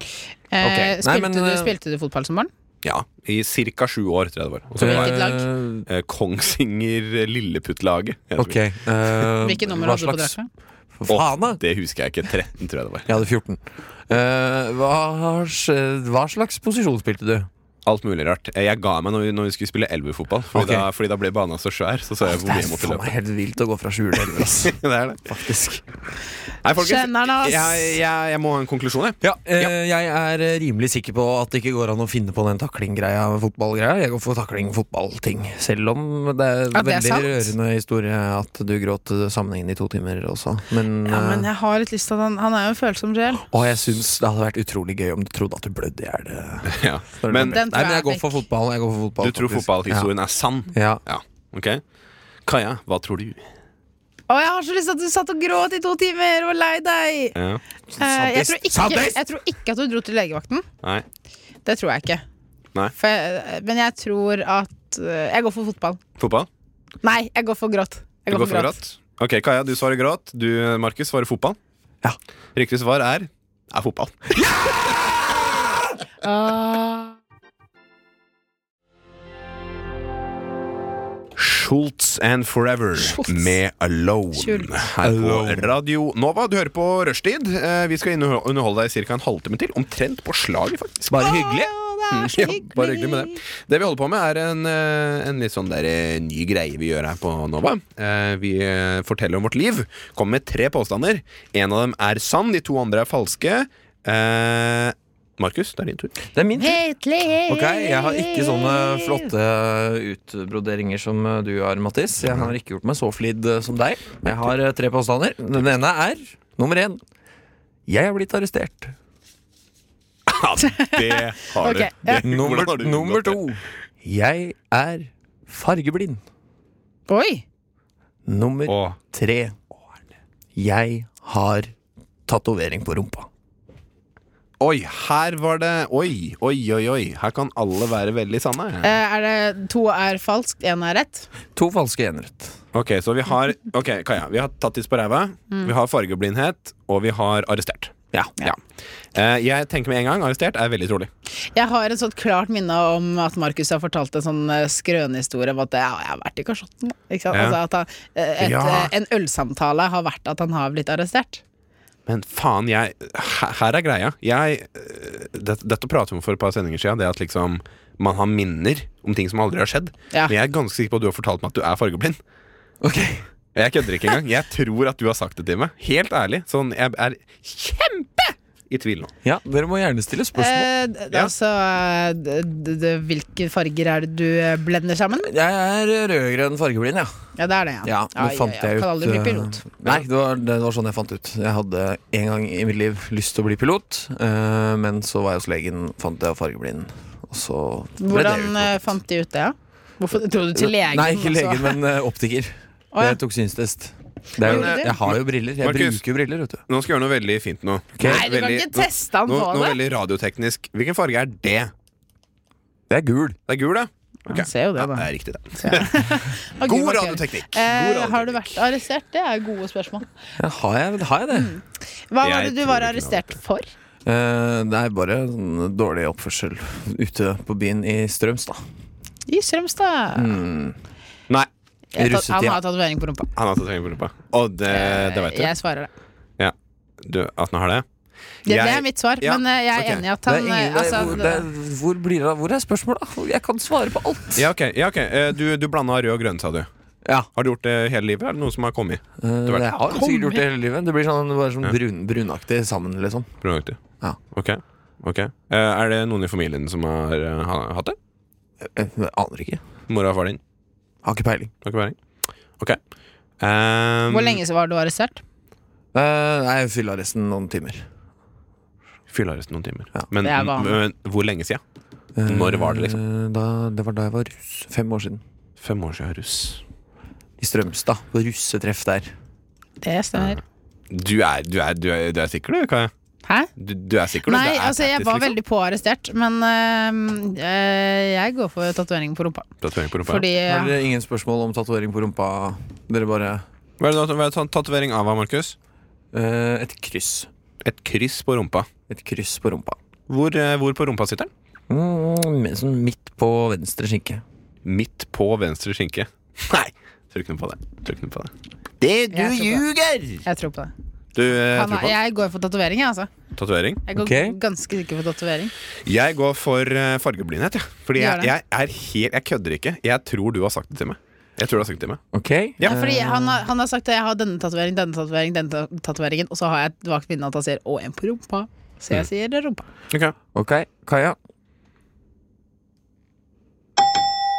[SPEAKER 1] Nei,
[SPEAKER 3] spilte,
[SPEAKER 1] men,
[SPEAKER 3] du,
[SPEAKER 1] eh,
[SPEAKER 3] spilte du fotball som barn?
[SPEAKER 2] Ja, i ca. sju år, tror jeg det var. Og så
[SPEAKER 3] Hvilket
[SPEAKER 2] var
[SPEAKER 3] lag?
[SPEAKER 1] Eh,
[SPEAKER 2] jeg Kongsvinger-Lilleputt-laget. Jeg
[SPEAKER 1] Ok.
[SPEAKER 2] husker
[SPEAKER 1] eh,
[SPEAKER 3] Hvilket nummer
[SPEAKER 1] hva
[SPEAKER 3] hadde du på
[SPEAKER 1] slags-
[SPEAKER 3] drakta?
[SPEAKER 1] Faen, da!
[SPEAKER 2] ikke. Det husker jeg ikke. 13, tror jeg det var.
[SPEAKER 1] Jeg hadde 14. Eh, hva, sj- hva slags posisjon spilte du?
[SPEAKER 2] Alt mulig rart. Eh, Jeg ga meg når vi, når vi skulle spille elverfotball,
[SPEAKER 1] Ok.
[SPEAKER 2] fordi, da, fordi da ble bana så svær. Så så jeg hvor mye jeg måtte
[SPEAKER 1] faen meg
[SPEAKER 2] løpe. *laughs*
[SPEAKER 1] helt vilt å gå fra sju til elleve, *laughs* ass.
[SPEAKER 2] Det er det.
[SPEAKER 1] Faktisk.
[SPEAKER 2] Nei, folkens,
[SPEAKER 3] Kjenner han oss?
[SPEAKER 2] jeg, jeg, jeg må ha en konklusjon, jeg.
[SPEAKER 1] Ja, eh, jeg er eh, rimelig sikker på at det ikke går an å finne på den taklinggreia, fotballgreia. Jeg går for takling-fotballting, selv om det er
[SPEAKER 3] Ja, det er
[SPEAKER 1] veldig
[SPEAKER 3] sant.
[SPEAKER 1] rørende historie at du gråt eh, sammenhengende i to timer også. Men,
[SPEAKER 3] Ja, men
[SPEAKER 1] eh,
[SPEAKER 3] jeg har litt lyst til at han Han er jo en
[SPEAKER 1] *gasps*
[SPEAKER 3] følsom sjel.
[SPEAKER 1] og jeg syns det hadde vært utrolig gøy om du trodde at du blødde i hjel. eh,
[SPEAKER 2] Ja.
[SPEAKER 1] når du
[SPEAKER 2] Men
[SPEAKER 1] ble
[SPEAKER 3] Den
[SPEAKER 1] brent. Nei,
[SPEAKER 3] tror
[SPEAKER 1] men
[SPEAKER 3] jeg
[SPEAKER 1] jeg går
[SPEAKER 3] er
[SPEAKER 1] for
[SPEAKER 3] vekk.
[SPEAKER 1] fotball. Jeg går for fotball
[SPEAKER 2] du tror
[SPEAKER 1] faktisk.
[SPEAKER 2] fotballhistorien er sann?
[SPEAKER 1] Ja. ja.
[SPEAKER 2] Ja. Ok. Kaja, hva tror du?
[SPEAKER 3] Å, jeg har så lyst til at du satt og gråt i to timer og var lei deg!
[SPEAKER 2] Ja.
[SPEAKER 3] Eh, jeg, tror ikke,
[SPEAKER 1] Sadist!
[SPEAKER 3] jeg tror ikke at du dro til legevakten.
[SPEAKER 2] Nei.
[SPEAKER 3] Det tror jeg ikke.
[SPEAKER 2] Nei.
[SPEAKER 3] For jeg, eh, men jeg tror at eh, Jeg går for fotball.
[SPEAKER 2] Fotball?
[SPEAKER 3] Nei, jeg går for gråt. Jeg
[SPEAKER 2] Du går for gråt? Ok, Kaja, du svarer gråt. Du, Markus, svarer fotball.
[SPEAKER 1] Ja.
[SPEAKER 2] Riktig svar er er fotball.
[SPEAKER 3] Ah.
[SPEAKER 2] Schultz and Forever med Alone
[SPEAKER 3] Schultz.
[SPEAKER 2] her på Radio Nova. Du hører på Rushtid. Eh, Vi skal inneho- underholde deg i ca. en halvtime til. Omtrent på slaget, faktisk. Ah! Bare hyggelig. Mm. *laughs* Ja, bare hyggelig med det. Det vi holder på med, er en, eh, en litt sånn der, eh, ny greie vi gjør her på Nova. Eh, Vi eh, forteller om vårt liv. Kommer med tre påstander. En av dem er sann, de to andre er falske. Eh, Markus, det er din tur.
[SPEAKER 1] Det er min tur.
[SPEAKER 6] Liv.
[SPEAKER 1] Ok, Jeg har ikke sånne flotte utbroderinger som eh, du har, Mattis. Jeg har ikke gjort meg så flid eh, som deg. Jeg har eh, tre påstander. Den ene er nummer én. Jeg er blitt
[SPEAKER 2] *laughs*
[SPEAKER 1] arrestert.
[SPEAKER 2] Ja, det har
[SPEAKER 3] *laughs* Ok,
[SPEAKER 2] du.
[SPEAKER 3] ja.
[SPEAKER 2] Det, hvordan har
[SPEAKER 1] Nummer,
[SPEAKER 2] du
[SPEAKER 1] nummer
[SPEAKER 2] unngått det?
[SPEAKER 1] to. Jeg er fargeblind.
[SPEAKER 3] Oi!
[SPEAKER 1] Nummer
[SPEAKER 2] Åh.
[SPEAKER 1] tre. Jeg har tatovering på rumpa.
[SPEAKER 2] Oi, her var det Oi, oi, oi, oi. Her kan alle være veldig sanne.
[SPEAKER 3] Eh, er det to er falskt, én er rett?
[SPEAKER 1] To falske enrett.
[SPEAKER 2] Ok, så vi har Ok, Kaja. Vi har tattis på ræva,
[SPEAKER 3] Mm.
[SPEAKER 2] vi har fargeblindhet, og vi har arrestert. Ja. Eh, jeg tenker med en gang arrestert er veldig trolig.
[SPEAKER 3] Jeg har et sånt klart minne om at Markus har fortalt en sånn eh, skrønehistorie om at ja, jeg har vært i Karsotten. Ikke sant?
[SPEAKER 2] Ja.
[SPEAKER 3] Altså at han, eh, et,
[SPEAKER 2] Ja.
[SPEAKER 3] eh, En ølsamtale har vært at han har blitt arrestert.
[SPEAKER 2] Men faen, jeg her- Her er greia. Jeg eh, det, Dette pratet vi om for et par sendinger siden. Det at liksom man har minner om ting som aldri har skjedd.
[SPEAKER 3] Ja.
[SPEAKER 2] Men jeg er ganske sikker på at du har fortalt meg at du er fargeblind.
[SPEAKER 1] Ok
[SPEAKER 2] Jeg kødder ikke engang. Jeg tror at du har sagt det til meg. Helt ærlig. Sånn, jeg er kjempe i tvil nå.
[SPEAKER 1] Ja, dere må gjerne stille spørsmål.
[SPEAKER 3] Eh, d-
[SPEAKER 2] Ja.
[SPEAKER 3] Altså, eh, d- d- d- hvilke farger er det du eh, blender sammen?
[SPEAKER 1] Jeg er rødgrønn fargeblind, ja.
[SPEAKER 3] Ja, det er det, ja.
[SPEAKER 1] ja nå fant jeg ut
[SPEAKER 3] Kan aldri bli
[SPEAKER 1] eh,
[SPEAKER 3] pilot.
[SPEAKER 1] Nei, det var, det var sånn jeg fant ut. Jeg hadde en gang i mitt liv lyst til å bli pilot, eh, men så var jeg hos legen, fant jeg fargeblind, og så ble det
[SPEAKER 3] Hvordan eh,
[SPEAKER 1] utmattet.
[SPEAKER 3] fant de ut det? Ja? Hvorfor dro du til legen?
[SPEAKER 1] Nei, ikke
[SPEAKER 3] altså?
[SPEAKER 1] legen, men eh, optiker.
[SPEAKER 3] *laughs* Å, ja.
[SPEAKER 1] Jeg tok synstest. Det er jo,
[SPEAKER 3] Gjorde du?
[SPEAKER 1] jeg har jo briller. Jeg
[SPEAKER 2] Markus.
[SPEAKER 1] bruker jo briller, vet du.
[SPEAKER 2] Nå skal jeg gjøre noe veldig fint nå.
[SPEAKER 3] Nei, du kan
[SPEAKER 2] Veldig-
[SPEAKER 3] ikke teste han
[SPEAKER 2] nå,
[SPEAKER 3] på
[SPEAKER 2] nå, nå
[SPEAKER 3] det.
[SPEAKER 2] veldig radioteknisk. Hvilken farge er det?
[SPEAKER 1] Det er gul.
[SPEAKER 2] Det er gul, da? Ok.
[SPEAKER 3] Han ser jo det,
[SPEAKER 2] Ja,
[SPEAKER 3] da.
[SPEAKER 2] det er riktig, det.
[SPEAKER 3] Å,
[SPEAKER 2] God
[SPEAKER 3] Gud, hva skal jeg gjøre?
[SPEAKER 2] radioteknikk! God
[SPEAKER 3] Eh, har du
[SPEAKER 2] radioteknikk.
[SPEAKER 3] vært arrestert? Det er gode spørsmål.
[SPEAKER 1] Ja, har, jeg, har jeg det?
[SPEAKER 3] Mm. Hva var
[SPEAKER 2] Jeg tror
[SPEAKER 3] det du var
[SPEAKER 2] ikke det har vært
[SPEAKER 3] arrestert for?
[SPEAKER 1] Eh, det er bare sånn dårlig oppførsel ute på byen i Strømstad.
[SPEAKER 3] I Strømstad.
[SPEAKER 2] Mm, Nei.
[SPEAKER 3] Jeg har tatt-
[SPEAKER 1] russetida.
[SPEAKER 3] han har tatovering på rumpa.
[SPEAKER 2] Han har tatt penger på rumpa. Og det, Eh, det vet du.
[SPEAKER 3] Jeg svarer det.
[SPEAKER 2] du. At han har det?
[SPEAKER 3] Det, det
[SPEAKER 2] Jeg-
[SPEAKER 3] er mitt svar,
[SPEAKER 2] ja,
[SPEAKER 3] men eh, jeg er
[SPEAKER 2] ok.
[SPEAKER 3] enig i at
[SPEAKER 1] Det er
[SPEAKER 3] han
[SPEAKER 1] ingen,
[SPEAKER 3] eh,
[SPEAKER 1] det er,
[SPEAKER 3] altså,
[SPEAKER 1] hvor, det er, hvor blir det av? Hvor er spørsmålet? da? Jeg kan svare på alt.
[SPEAKER 2] Ja, ok. Ja, ok. Eh, Du, du blanda rød og grønn, sa du.
[SPEAKER 1] Ja.
[SPEAKER 2] Har du gjort det hele livet? Er det noen som har kommet?
[SPEAKER 1] Eh,
[SPEAKER 2] vært-
[SPEAKER 1] jeg har sikkert gjort det hele livet. Det blir sånn, bare sånn brun, brunaktig sammen, liksom.
[SPEAKER 2] Brunaktig.
[SPEAKER 1] Ja.
[SPEAKER 2] Ok. ok Eh, Er det noen i familien som har eh, ha- hatt det?
[SPEAKER 1] Jeg, Eh, jeg aner ikke.
[SPEAKER 2] Mora og far din?
[SPEAKER 1] Har ikke peiling.
[SPEAKER 2] Har ikke peiling. Ok. Um,
[SPEAKER 3] Hvor lenge så var du arrestert?
[SPEAKER 1] Eh, nei, jeg fyller resten noen timer.
[SPEAKER 2] Fyllearresten noen timer.
[SPEAKER 1] Ja.
[SPEAKER 2] Men,
[SPEAKER 3] Det er vanlig.
[SPEAKER 2] men hvor lenge siden?
[SPEAKER 1] Eh,
[SPEAKER 2] Når var det,
[SPEAKER 1] liksom? Da, det var da jeg var russ. Fem år siden.
[SPEAKER 2] Fem år siden russ.
[SPEAKER 1] I Strømstad. På russetreff der.
[SPEAKER 3] Det stemmer.
[SPEAKER 2] Du er, du er, du er, du er sikker, du? Kaja?
[SPEAKER 3] Hæ?
[SPEAKER 2] Du, du er sikker, du?
[SPEAKER 3] Nei,
[SPEAKER 2] Det er
[SPEAKER 3] altså jeg
[SPEAKER 2] tattis,
[SPEAKER 3] var
[SPEAKER 2] liksom.
[SPEAKER 3] veldig på arrestert, men eh, eh, jeg går for tatovering på rumpa.
[SPEAKER 2] Tatovering på rumpa, ja.
[SPEAKER 3] Fordi
[SPEAKER 1] Har dere ingen spørsmål om tatovering på rumpa? Dere bare
[SPEAKER 2] Hva er det da- hva er det sånn tatovering av, Markus?
[SPEAKER 1] eh, Et kryss.
[SPEAKER 2] Et kryss på rumpa.
[SPEAKER 1] Et kryss på rumpa.
[SPEAKER 2] Hvor, eh, hvor på rumpa sitter den?
[SPEAKER 1] Mm, men sånn midt på venstre skinke.
[SPEAKER 2] Midt på venstre skinke. Nei! Tror ikke noe på det. Tror ikke noe på det. Det
[SPEAKER 3] Jeg tror på det.
[SPEAKER 2] ljuger!
[SPEAKER 3] jeg tror på det.
[SPEAKER 2] Du eh,
[SPEAKER 3] Han,
[SPEAKER 2] tror på
[SPEAKER 3] jeg går for tatovering, jeg, altså.
[SPEAKER 2] tatovering?
[SPEAKER 3] Jeg går
[SPEAKER 1] Ok.
[SPEAKER 3] ganske sikker for tatovering.
[SPEAKER 2] Jeg går for eh, fargeblindhet, jeg. Fordi jeg,
[SPEAKER 3] Gjør det.
[SPEAKER 2] jeg er helt Jeg kødder ikke. Jeg tror du har sagt det til meg. Jeg tror du har sagt det til meg.
[SPEAKER 1] Ok?
[SPEAKER 2] Ja.
[SPEAKER 1] Eh,
[SPEAKER 3] Fordi han har, han har sagt at jeg har denne tatoveringen, denne tatoveringen, denne ta- tatoveringen, og så har jeg et vagt minne at han sier 'å, en på rumpa'. Så jeg sier rumpa.
[SPEAKER 1] ok, Kaja.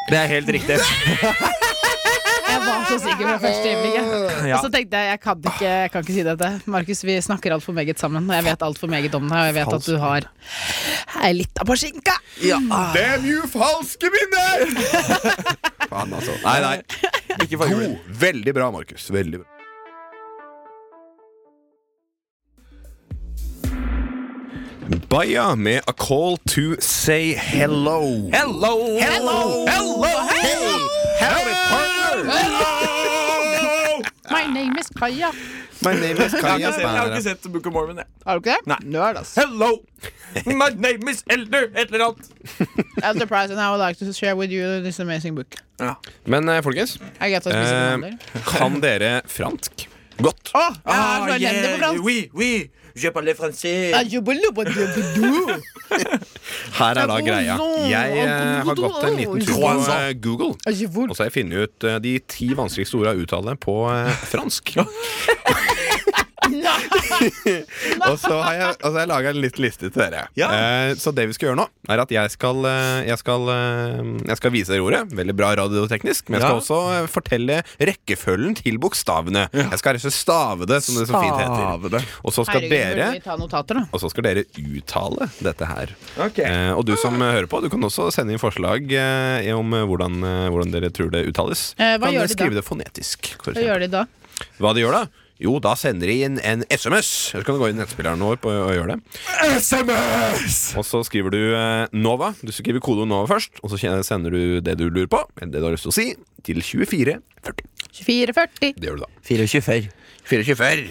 [SPEAKER 1] Det er helt riktig.
[SPEAKER 3] Jeg var så sikker fra første øyeblikk.
[SPEAKER 1] Ja.
[SPEAKER 3] Og så tenkte jeg jeg kan ikke, jeg kan ikke si dette. Markus, vi snakker altfor meget sammen. og Jeg vet altfor meget om deg, og jeg vet at du har ei lita på skinka.
[SPEAKER 2] Damn you, falske minner! *laughs* Faen, altså. Nei, nei.
[SPEAKER 1] Ikke
[SPEAKER 2] God. Veldig bra, Markus. Veldig bra. Baya med A Call To Say Hello.
[SPEAKER 1] Hello!
[SPEAKER 2] Hello! Hey! Harry Potter!
[SPEAKER 3] My name is Kaja.
[SPEAKER 2] My name is Kaja Spanner.
[SPEAKER 1] sett Book of Mormon, jeg.
[SPEAKER 3] Har du ikke det? Nerd, ass.
[SPEAKER 1] Hello! My name is Elder! Et eller
[SPEAKER 3] *laughs*
[SPEAKER 1] annet.
[SPEAKER 3] That's the prize, and I would like to share with you this amazing book.
[SPEAKER 2] Men eh, folkens,
[SPEAKER 3] I get us
[SPEAKER 2] eh,
[SPEAKER 3] missing
[SPEAKER 2] kan dere fransk? Godt.
[SPEAKER 3] Å, jeg er så elendig på fransk.
[SPEAKER 1] Ah, Oui, oui. Je parle français.
[SPEAKER 3] Ah, je bolo, bolo, bolo.
[SPEAKER 2] Her er da greia. Jeg eh, har gått en liten tur på eh, Google.
[SPEAKER 3] Ah, je bolo.
[SPEAKER 2] Og så har jeg funnet ut eh, de ti vanskeligste ordene å uttale på eh, fransk. *laughs* og så har jeg, og så har jeg laga en liten liste til dere. Eh, så det vi skal gjøre nå, er at jeg skal, eh, jeg skal, eh, jeg skal vise dere ordet. Veldig bra radioteknisk. Men jeg skal
[SPEAKER 1] Ja.
[SPEAKER 2] også eh, fortelle rekkefølgen til bokstavene. Jeg skal rett og slett stave det, som det så fint heter. Og så skal
[SPEAKER 3] Herregud,
[SPEAKER 2] dere
[SPEAKER 3] burde vi ta notater, da?
[SPEAKER 2] og så skal dere uttale dette her. Eh, og du som eh, hører på, du kan også sende inn forslag eh, om eh, hvordan, eh, hvordan dere tror det uttales.
[SPEAKER 3] Eh, hva
[SPEAKER 2] kan
[SPEAKER 3] gjør
[SPEAKER 2] dere
[SPEAKER 3] de da?
[SPEAKER 2] skrive det fonetisk. for
[SPEAKER 3] Hva
[SPEAKER 2] eksempel.
[SPEAKER 3] gjør de da?
[SPEAKER 2] Hva de gjør da? Jo, da sender de inn en SMS. Så kan du gå inn i nettspilleren vår på, og gjøre det.
[SPEAKER 1] SMS!
[SPEAKER 2] Og så skriver du eh, NOVA. Du skriver kodeord NOVA først, og så kjen- sender du det du lurer på, eller det du har lyst til å si, til 2440.
[SPEAKER 3] 2440.
[SPEAKER 2] Det gjør du da.
[SPEAKER 1] 24.
[SPEAKER 2] 2440.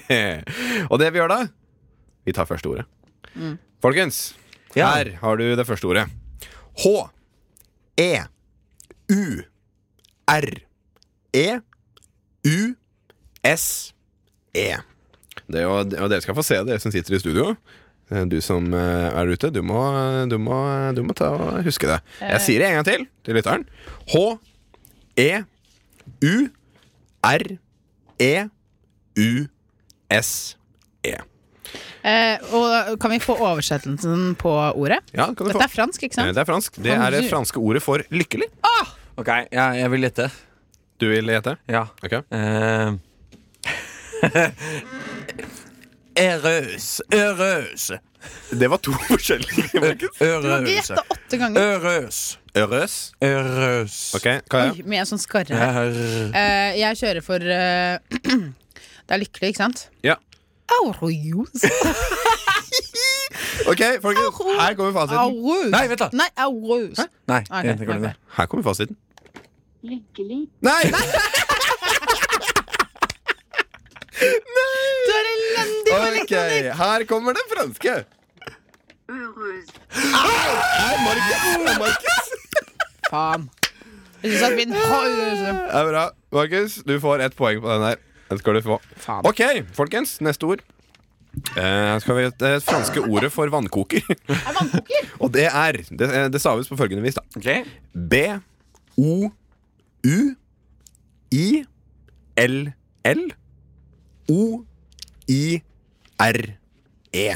[SPEAKER 2] *laughs* og det vi gjør da Vi tar første ordet. Folkens,
[SPEAKER 1] Ja.
[SPEAKER 2] her har du det første ordet. H E U R E U S E. Det er jo, og dere skal få se det, dere som sitter i studio. eh, du som eh, er ute, du må, du må, du må ta og huske det. Jeg sier det en gang til til lytteren. E H-e-u-r-e-u-s-e. E.
[SPEAKER 3] Eh, og kan vi få oversettelsen på ordet?
[SPEAKER 2] Ja, det kan du
[SPEAKER 3] Dette
[SPEAKER 2] få.
[SPEAKER 3] er fransk, ikke
[SPEAKER 2] Eh,
[SPEAKER 3] sant?
[SPEAKER 2] Det er fransk. Det er det franske ordet for lykkelig.
[SPEAKER 1] Ok, ja, jeg vil gjette.
[SPEAKER 2] Du vil gjette?
[SPEAKER 1] Ja.
[SPEAKER 2] Ok.
[SPEAKER 1] Eh, *laughs* Erøs, erøs,
[SPEAKER 2] Det var to forskjellige.
[SPEAKER 3] Du kan ikke
[SPEAKER 1] erøs,
[SPEAKER 3] gjette åtte
[SPEAKER 1] Eh,
[SPEAKER 3] ganger.
[SPEAKER 1] erøs,
[SPEAKER 2] Røs.
[SPEAKER 1] erøs.
[SPEAKER 2] Ok, Kaja.
[SPEAKER 3] Oi, Med en sånn skarre her.
[SPEAKER 1] Er-
[SPEAKER 3] Eh, jeg kjører for eh, *clears throat* Det er lykkelig, ikke sant?
[SPEAKER 2] Ja.
[SPEAKER 3] Aurojus.
[SPEAKER 2] Ok, folkens. Her kommer fasiten.
[SPEAKER 3] Aurojus.
[SPEAKER 1] Altså, Nei, vent da.
[SPEAKER 3] Nei, aurojus.
[SPEAKER 1] Nei,
[SPEAKER 3] Ok,
[SPEAKER 1] jeg tenker
[SPEAKER 3] ok.
[SPEAKER 1] det.
[SPEAKER 2] Her kommer fasiten.
[SPEAKER 6] Lykkelig.
[SPEAKER 2] Nei!
[SPEAKER 3] Du er elendig på
[SPEAKER 2] Ok, her kommer den franske. Nei, Markus! Markus.
[SPEAKER 3] Faen. Jeg synes at min
[SPEAKER 2] Det er bra. Markus, du får ett poeng på den her. Den skal du få.
[SPEAKER 3] Faen.
[SPEAKER 2] Ok, folkens. Neste ord. Eh, skal vi Det franske ordet for vannkoker.
[SPEAKER 3] Er vannkoker?
[SPEAKER 2] *laughs* Og det er Det, eh, det staves på følgende vis, da.
[SPEAKER 1] Ok.
[SPEAKER 2] B-O-U-I-L-L-O-I-R-E. E.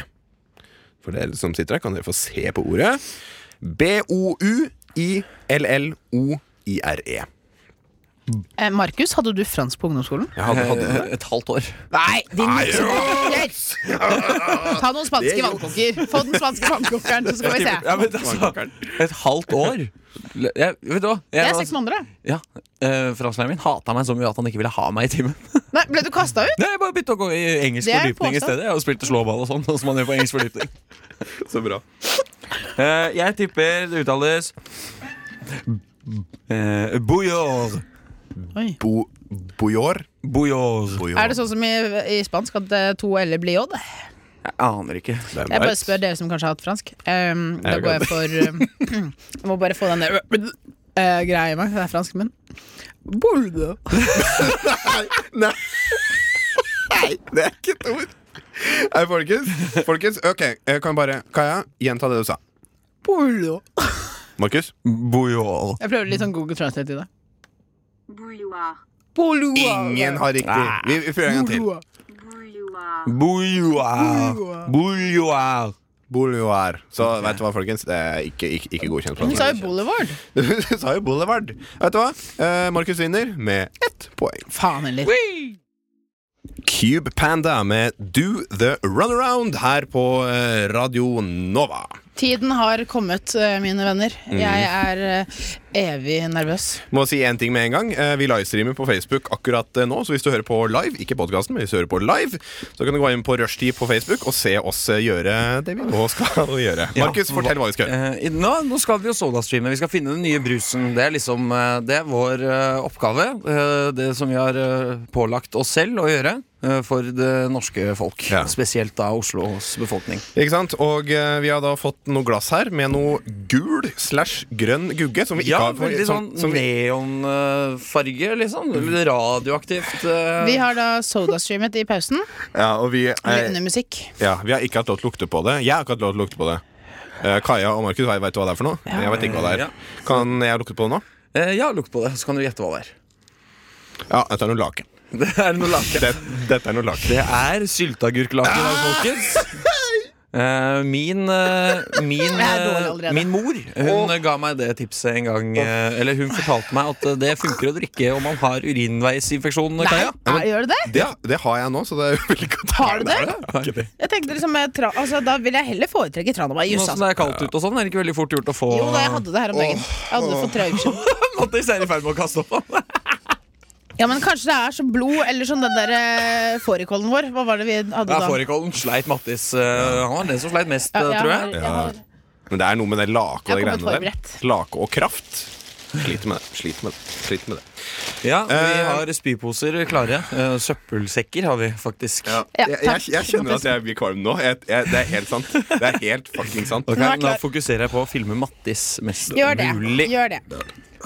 [SPEAKER 2] For dere som sitter her, kan dere få se på ordet. B-O-U-I-L-L-O-I-R-E.
[SPEAKER 3] Eh, Markus, hadde du fransk på ungdomsskolen?
[SPEAKER 2] Jeg hadde, hadde
[SPEAKER 1] Eh, Et halvt år.
[SPEAKER 3] Nei, din voksenkoker! Ta noen
[SPEAKER 2] Det
[SPEAKER 3] spanske
[SPEAKER 2] gjorde-
[SPEAKER 3] vannkoker. Få den spanske vannkokeren, så skal vi se.
[SPEAKER 1] Ja, men altså, et halvt år? Jeg, vet du hva?
[SPEAKER 3] Det
[SPEAKER 1] Jeg,
[SPEAKER 3] er seks måneder, det.
[SPEAKER 1] ja, eh, Franskleiren min hata meg så mye at han ikke ville ha meg i timen. *laughs*
[SPEAKER 3] Nei, ble du kasta ut?
[SPEAKER 1] Nei, jeg bare begynte å gå i engelsk
[SPEAKER 3] Det er
[SPEAKER 1] fordypning i
[SPEAKER 3] påstått.
[SPEAKER 1] stedet. Og spilte slåball og sånn. Som man gjør på engelsk fordypning
[SPEAKER 2] Så bra.
[SPEAKER 1] Eh, Jeg tipper det uttales uh, Bojor.
[SPEAKER 3] Oi.
[SPEAKER 2] Bo, bojor.
[SPEAKER 1] Bojor.
[SPEAKER 3] Er det sånn som i, i spansk at eh, to l-er blir j?
[SPEAKER 1] Jeg aner ikke.
[SPEAKER 2] Det er
[SPEAKER 3] Jeg bare
[SPEAKER 2] nice.
[SPEAKER 3] spør dere som kanskje har hatt fransk. Ehm, da
[SPEAKER 2] Jeg
[SPEAKER 3] går
[SPEAKER 2] kan.
[SPEAKER 3] jeg for um, Jeg må bare få den der eh, greia i meg. Det er fransk munn. Boule.
[SPEAKER 2] Nei. Nei, det er ikke et ord. Nei, folkens. folkens ok, jeg kan bare Kaja, gjenta det du sa.
[SPEAKER 3] Boule.
[SPEAKER 2] Markus?
[SPEAKER 1] Bojor.
[SPEAKER 3] Jeg prøver litt sånn Google Translate i det.
[SPEAKER 6] Bouilloir.
[SPEAKER 3] Boule.
[SPEAKER 2] Ingen har riktig.
[SPEAKER 3] Ah.
[SPEAKER 2] Vi, vi prøver en gang til.
[SPEAKER 3] Boule.
[SPEAKER 6] Bouilloir.
[SPEAKER 1] Bojor. Bojor.
[SPEAKER 2] Boulevard. Så vet du hva, folkens? Det er ikke, ikke, ikke godkjent.
[SPEAKER 3] Hun sa jo Boulevard.
[SPEAKER 2] Du sa jo Boulevard. Vet du hva? Eh, Markus vinner med ett poeng.
[SPEAKER 3] Faen heller.
[SPEAKER 2] Cube Panda med Do The Runaround her på eh, Radio Nova.
[SPEAKER 3] Tiden har kommet, eh, mine venner. Jeg
[SPEAKER 1] Mhm.
[SPEAKER 3] er eh, evig nervøs.
[SPEAKER 2] Må si en ting med en gang. Eh, Vi livestreamer på Facebook akkurat eh, nå, så hvis du hører på live, ikke podcasten, men hvis du hører på live, så kan du gå inn på Rushtid på Facebook og se oss eh, gjøre det vi nå *laughs* skal gjøre. Markus, fortell hva vi skal gjøre.
[SPEAKER 1] Eh, i- nå, nå skal vi jo sodastreame. Vi skal finne den nye brusen. Det er liksom eh, Det er vår eh, oppgave. eh, det som vi har eh, pålagt oss selv å gjøre eh, for det norske folk.
[SPEAKER 2] Ja.
[SPEAKER 1] Spesielt da Oslos befolkning.
[SPEAKER 2] Ikke sant? Og eh, vi har da fått noe glass her med noe gul slash grønn gugge. Som vi ikke
[SPEAKER 1] Ja,
[SPEAKER 2] har
[SPEAKER 1] veldig sånn
[SPEAKER 2] som, som,
[SPEAKER 1] neonfarge, liksom. Litt radioaktivt.
[SPEAKER 3] Vi
[SPEAKER 1] eh.
[SPEAKER 3] har da sodastreamet i pausen.
[SPEAKER 2] ja, og vi, eh,
[SPEAKER 3] Levende musikk.
[SPEAKER 2] ja, vi har ikke hatt lov til å lukte på det. Jeg har ikke hatt lov til å lukte på det. Eh, Kaja og Markus veit hva det er for noe. Jeg vet ikke hva det
[SPEAKER 1] Ja.
[SPEAKER 2] er. Kan jeg lukte på det nå?
[SPEAKER 1] Eh, ja, lukt på det, så kan du gjette hva det er. *laughs*
[SPEAKER 2] Ja, dette er noe laken.
[SPEAKER 1] Det er noe laken.
[SPEAKER 2] Det, dette er noe laken.
[SPEAKER 1] Det er sylteagurklake i dag,
[SPEAKER 3] Ah!
[SPEAKER 1] folkens.
[SPEAKER 3] *laughs*
[SPEAKER 1] Eh, min eh, min,
[SPEAKER 3] Jeg er dårlig
[SPEAKER 1] eh,
[SPEAKER 3] allerede.
[SPEAKER 1] min mor Hun eh, ga meg det tipset en gang. eh, eller hun fortalte meg at eh, det funker å drikke om man har urinveisinfeksjon.
[SPEAKER 3] Nei,
[SPEAKER 1] Kaja.
[SPEAKER 3] er- gjør det det?
[SPEAKER 2] Det, det har jeg nå, så det er jo *laughs* veldig godt.
[SPEAKER 3] Har du det?
[SPEAKER 2] Har ikke det?
[SPEAKER 3] Jeg tenkte liksom, jeg tra altså, Da vil jeg heller foretrekke Trandabad
[SPEAKER 1] Nå
[SPEAKER 3] jus.
[SPEAKER 1] som
[SPEAKER 3] Altså.
[SPEAKER 1] det er kaldt ute og sånn, er det ikke veldig fort gjort å få
[SPEAKER 3] Jo da, jeg hadde det her om dagen. Jeg hadde det for tre uker siden.
[SPEAKER 1] Mattis er i ferd med å kaste opp.
[SPEAKER 3] Ja, men kanskje det er som blod, eller som den der eh, fårikålen vår. Hva var det vi hadde
[SPEAKER 1] Ja,
[SPEAKER 3] da?
[SPEAKER 1] Fårikålen sleit Mattis. eh, han var den som sleit mest, eh,
[SPEAKER 3] jeg
[SPEAKER 1] tror
[SPEAKER 3] har-
[SPEAKER 1] jeg.
[SPEAKER 3] jeg har-
[SPEAKER 2] Men det er noe med det lake og det
[SPEAKER 3] Jeg har kommet
[SPEAKER 2] greiene der.
[SPEAKER 3] forberedt.
[SPEAKER 2] Lake og kraft. Sliter med det. Sliter med det. Sliter med det.
[SPEAKER 1] Ja, Vi
[SPEAKER 2] Eh,
[SPEAKER 1] har spyposer klare. Eh, søppelsekker har vi faktisk.
[SPEAKER 3] Ja,
[SPEAKER 2] jeg,
[SPEAKER 3] takk.
[SPEAKER 2] jeg, jeg kjenner at jeg blir kvalm nå. Jeg, jeg, det er helt sant. Det er helt fucking sant.
[SPEAKER 1] Ok,
[SPEAKER 3] Nå er jeg
[SPEAKER 1] Da
[SPEAKER 3] klar.
[SPEAKER 1] fokuserer jeg på å filme Mattis mest
[SPEAKER 3] Gjør det.
[SPEAKER 1] mulig.
[SPEAKER 3] Gjør det.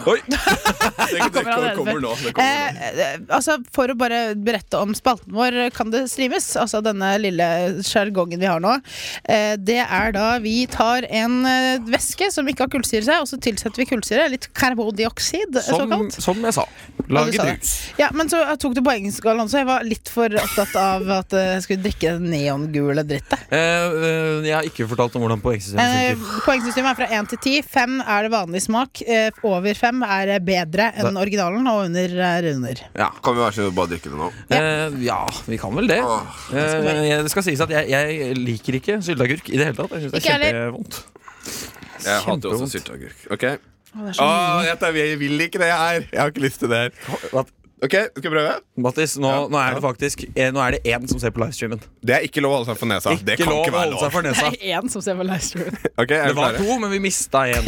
[SPEAKER 9] Oi! Det
[SPEAKER 3] kommer han
[SPEAKER 9] kommer nå. Det kommer nå.
[SPEAKER 3] Eh, eh, altså, for å bare berette om spalten vår, kan det streames? Altså denne lille sjargongen vi har nå. Eh, det er da vi tar en eh, væske som ikke har kullsyre i seg, og så tilsetter vi kullsyre. Litt karbondioksid, eh,
[SPEAKER 1] Som,
[SPEAKER 3] såkalt.
[SPEAKER 1] som jeg sa.
[SPEAKER 3] Ja, du
[SPEAKER 1] Lage
[SPEAKER 3] sa det.
[SPEAKER 1] brus.
[SPEAKER 3] Ja, men så jeg tok du på engelsk, Alonso. Jeg var litt for opptatt av at eh, jeg skulle drikke den neongule drittet.
[SPEAKER 1] Eh, eh, jeg har ikke fortalt om hvordan poengsystemet
[SPEAKER 3] Eh,
[SPEAKER 1] funker.
[SPEAKER 3] poengsystemet er fra 1 til 10. 5 er det vanlig smak. Eh, over 5 er eh, bedre enn originalen, og under er under.
[SPEAKER 1] Ja.
[SPEAKER 2] Kan vi være så snill å bare drikke det nå?
[SPEAKER 1] Eh, ja, vi kan vel det. Eh, jeg- det skal sies at jeg, jeg liker ikke sylteagurk i det hele tatt. Jeg syns det er
[SPEAKER 3] Ikke jeg
[SPEAKER 1] kjempevondt.
[SPEAKER 2] Jeg hater jo også
[SPEAKER 1] Kjempevondt.
[SPEAKER 2] sylteagurk. Ok
[SPEAKER 3] Å, det er så
[SPEAKER 2] Åh, dette, Jeg vil ikke det her. Jeg har ikke lyst til det her.
[SPEAKER 1] Mat-
[SPEAKER 2] Ok, skal jeg prøve?
[SPEAKER 1] Mattis, nå, nå er det faktisk eh, Nå er det én som ser på livestreamen.
[SPEAKER 2] Det er ikke lov å holde seg for nesa. det
[SPEAKER 1] ikke
[SPEAKER 2] kan
[SPEAKER 1] lov å
[SPEAKER 2] ikke være
[SPEAKER 1] holde seg
[SPEAKER 2] lov.
[SPEAKER 1] for nesa.
[SPEAKER 3] Det er én som ser på livestream.
[SPEAKER 2] Ok, er
[SPEAKER 1] Det
[SPEAKER 2] dere
[SPEAKER 1] var
[SPEAKER 2] klare?
[SPEAKER 1] to, men vi mista én.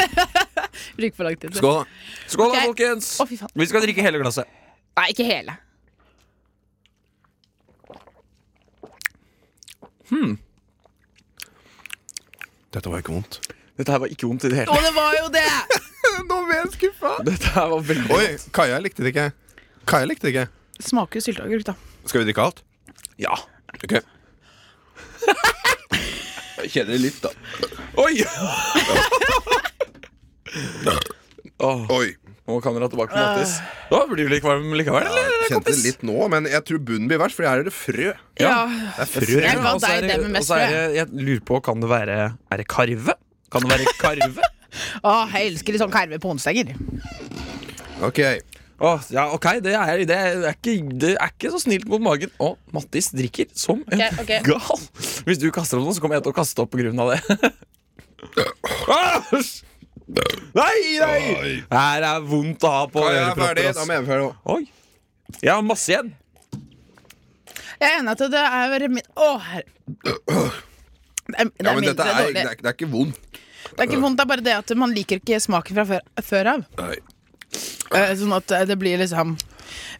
[SPEAKER 3] Bruker for lang tid.
[SPEAKER 2] Skål, da.
[SPEAKER 1] Skål da,
[SPEAKER 3] Ok.
[SPEAKER 1] folkens!
[SPEAKER 3] Å, fy faen.
[SPEAKER 1] Vi skal drikke hele glasset.
[SPEAKER 3] Nei, ikke hele.
[SPEAKER 2] Dette var ikke vondt.
[SPEAKER 1] Dette her var ikke vondt i det
[SPEAKER 3] Å, det var jo det!
[SPEAKER 2] Nå ble jeg skuffa.
[SPEAKER 1] Dette her var veldig
[SPEAKER 2] Oi, Kaja likte det ikke. Kaja likte det ikke.
[SPEAKER 3] Smaker jo sylteagurk, da.
[SPEAKER 2] Skal vi drikke alt?
[SPEAKER 1] Ja.
[SPEAKER 3] *laughs*
[SPEAKER 2] Ok. Jeg kjenner litt, da.
[SPEAKER 1] Oi! Åh,
[SPEAKER 2] Oi.
[SPEAKER 1] nå må kameraet tilbake på Mattis. Da blir du litt varm likevel, eller?
[SPEAKER 2] Ah. Kjente det litt nå, men jeg tror bunnen blir verst, for her er det frø.
[SPEAKER 3] Ja.
[SPEAKER 2] Det er frø.
[SPEAKER 3] Jeg ga
[SPEAKER 1] Og så er
[SPEAKER 3] deg
[SPEAKER 1] det-
[SPEAKER 3] det med mest
[SPEAKER 1] og så er det- Jeg lurer på, kan det være Er det karve? Kan det være
[SPEAKER 2] *laughs*
[SPEAKER 1] karve?
[SPEAKER 3] Å, jeg elsker litt sånn karve på onsdager.
[SPEAKER 2] Ok.
[SPEAKER 1] Åh, ja, ok, det er, det, er ikke, det er ikke så snilt mot magen. Og Mattis drikker som en
[SPEAKER 3] Ok, ok.
[SPEAKER 1] gal. Hvis du kaster opp noe, så kommer jeg til å kaste opp på grunn av
[SPEAKER 2] *laughs*
[SPEAKER 1] det. Ah, æsj! nei, nei!
[SPEAKER 2] Oi.
[SPEAKER 1] Her er vondt å ha på
[SPEAKER 2] Kaja er
[SPEAKER 1] ørepropper.
[SPEAKER 2] ferdig. Da
[SPEAKER 1] ass.
[SPEAKER 2] må jeg ferdig nå.
[SPEAKER 1] Oi. Jeg har masse igjen.
[SPEAKER 3] Jeg er enig i at det er min Å, herre det er, det,
[SPEAKER 2] Ja,
[SPEAKER 3] er
[SPEAKER 2] men
[SPEAKER 3] mindre
[SPEAKER 2] dette er, det
[SPEAKER 3] dårlig.
[SPEAKER 2] er, det er ikke vondt.
[SPEAKER 3] det er ikke vondt, det er bare det at man liker ikke smaken fra før, før av.
[SPEAKER 2] Nei.
[SPEAKER 3] Eh, Sånn at eh, det blir liksom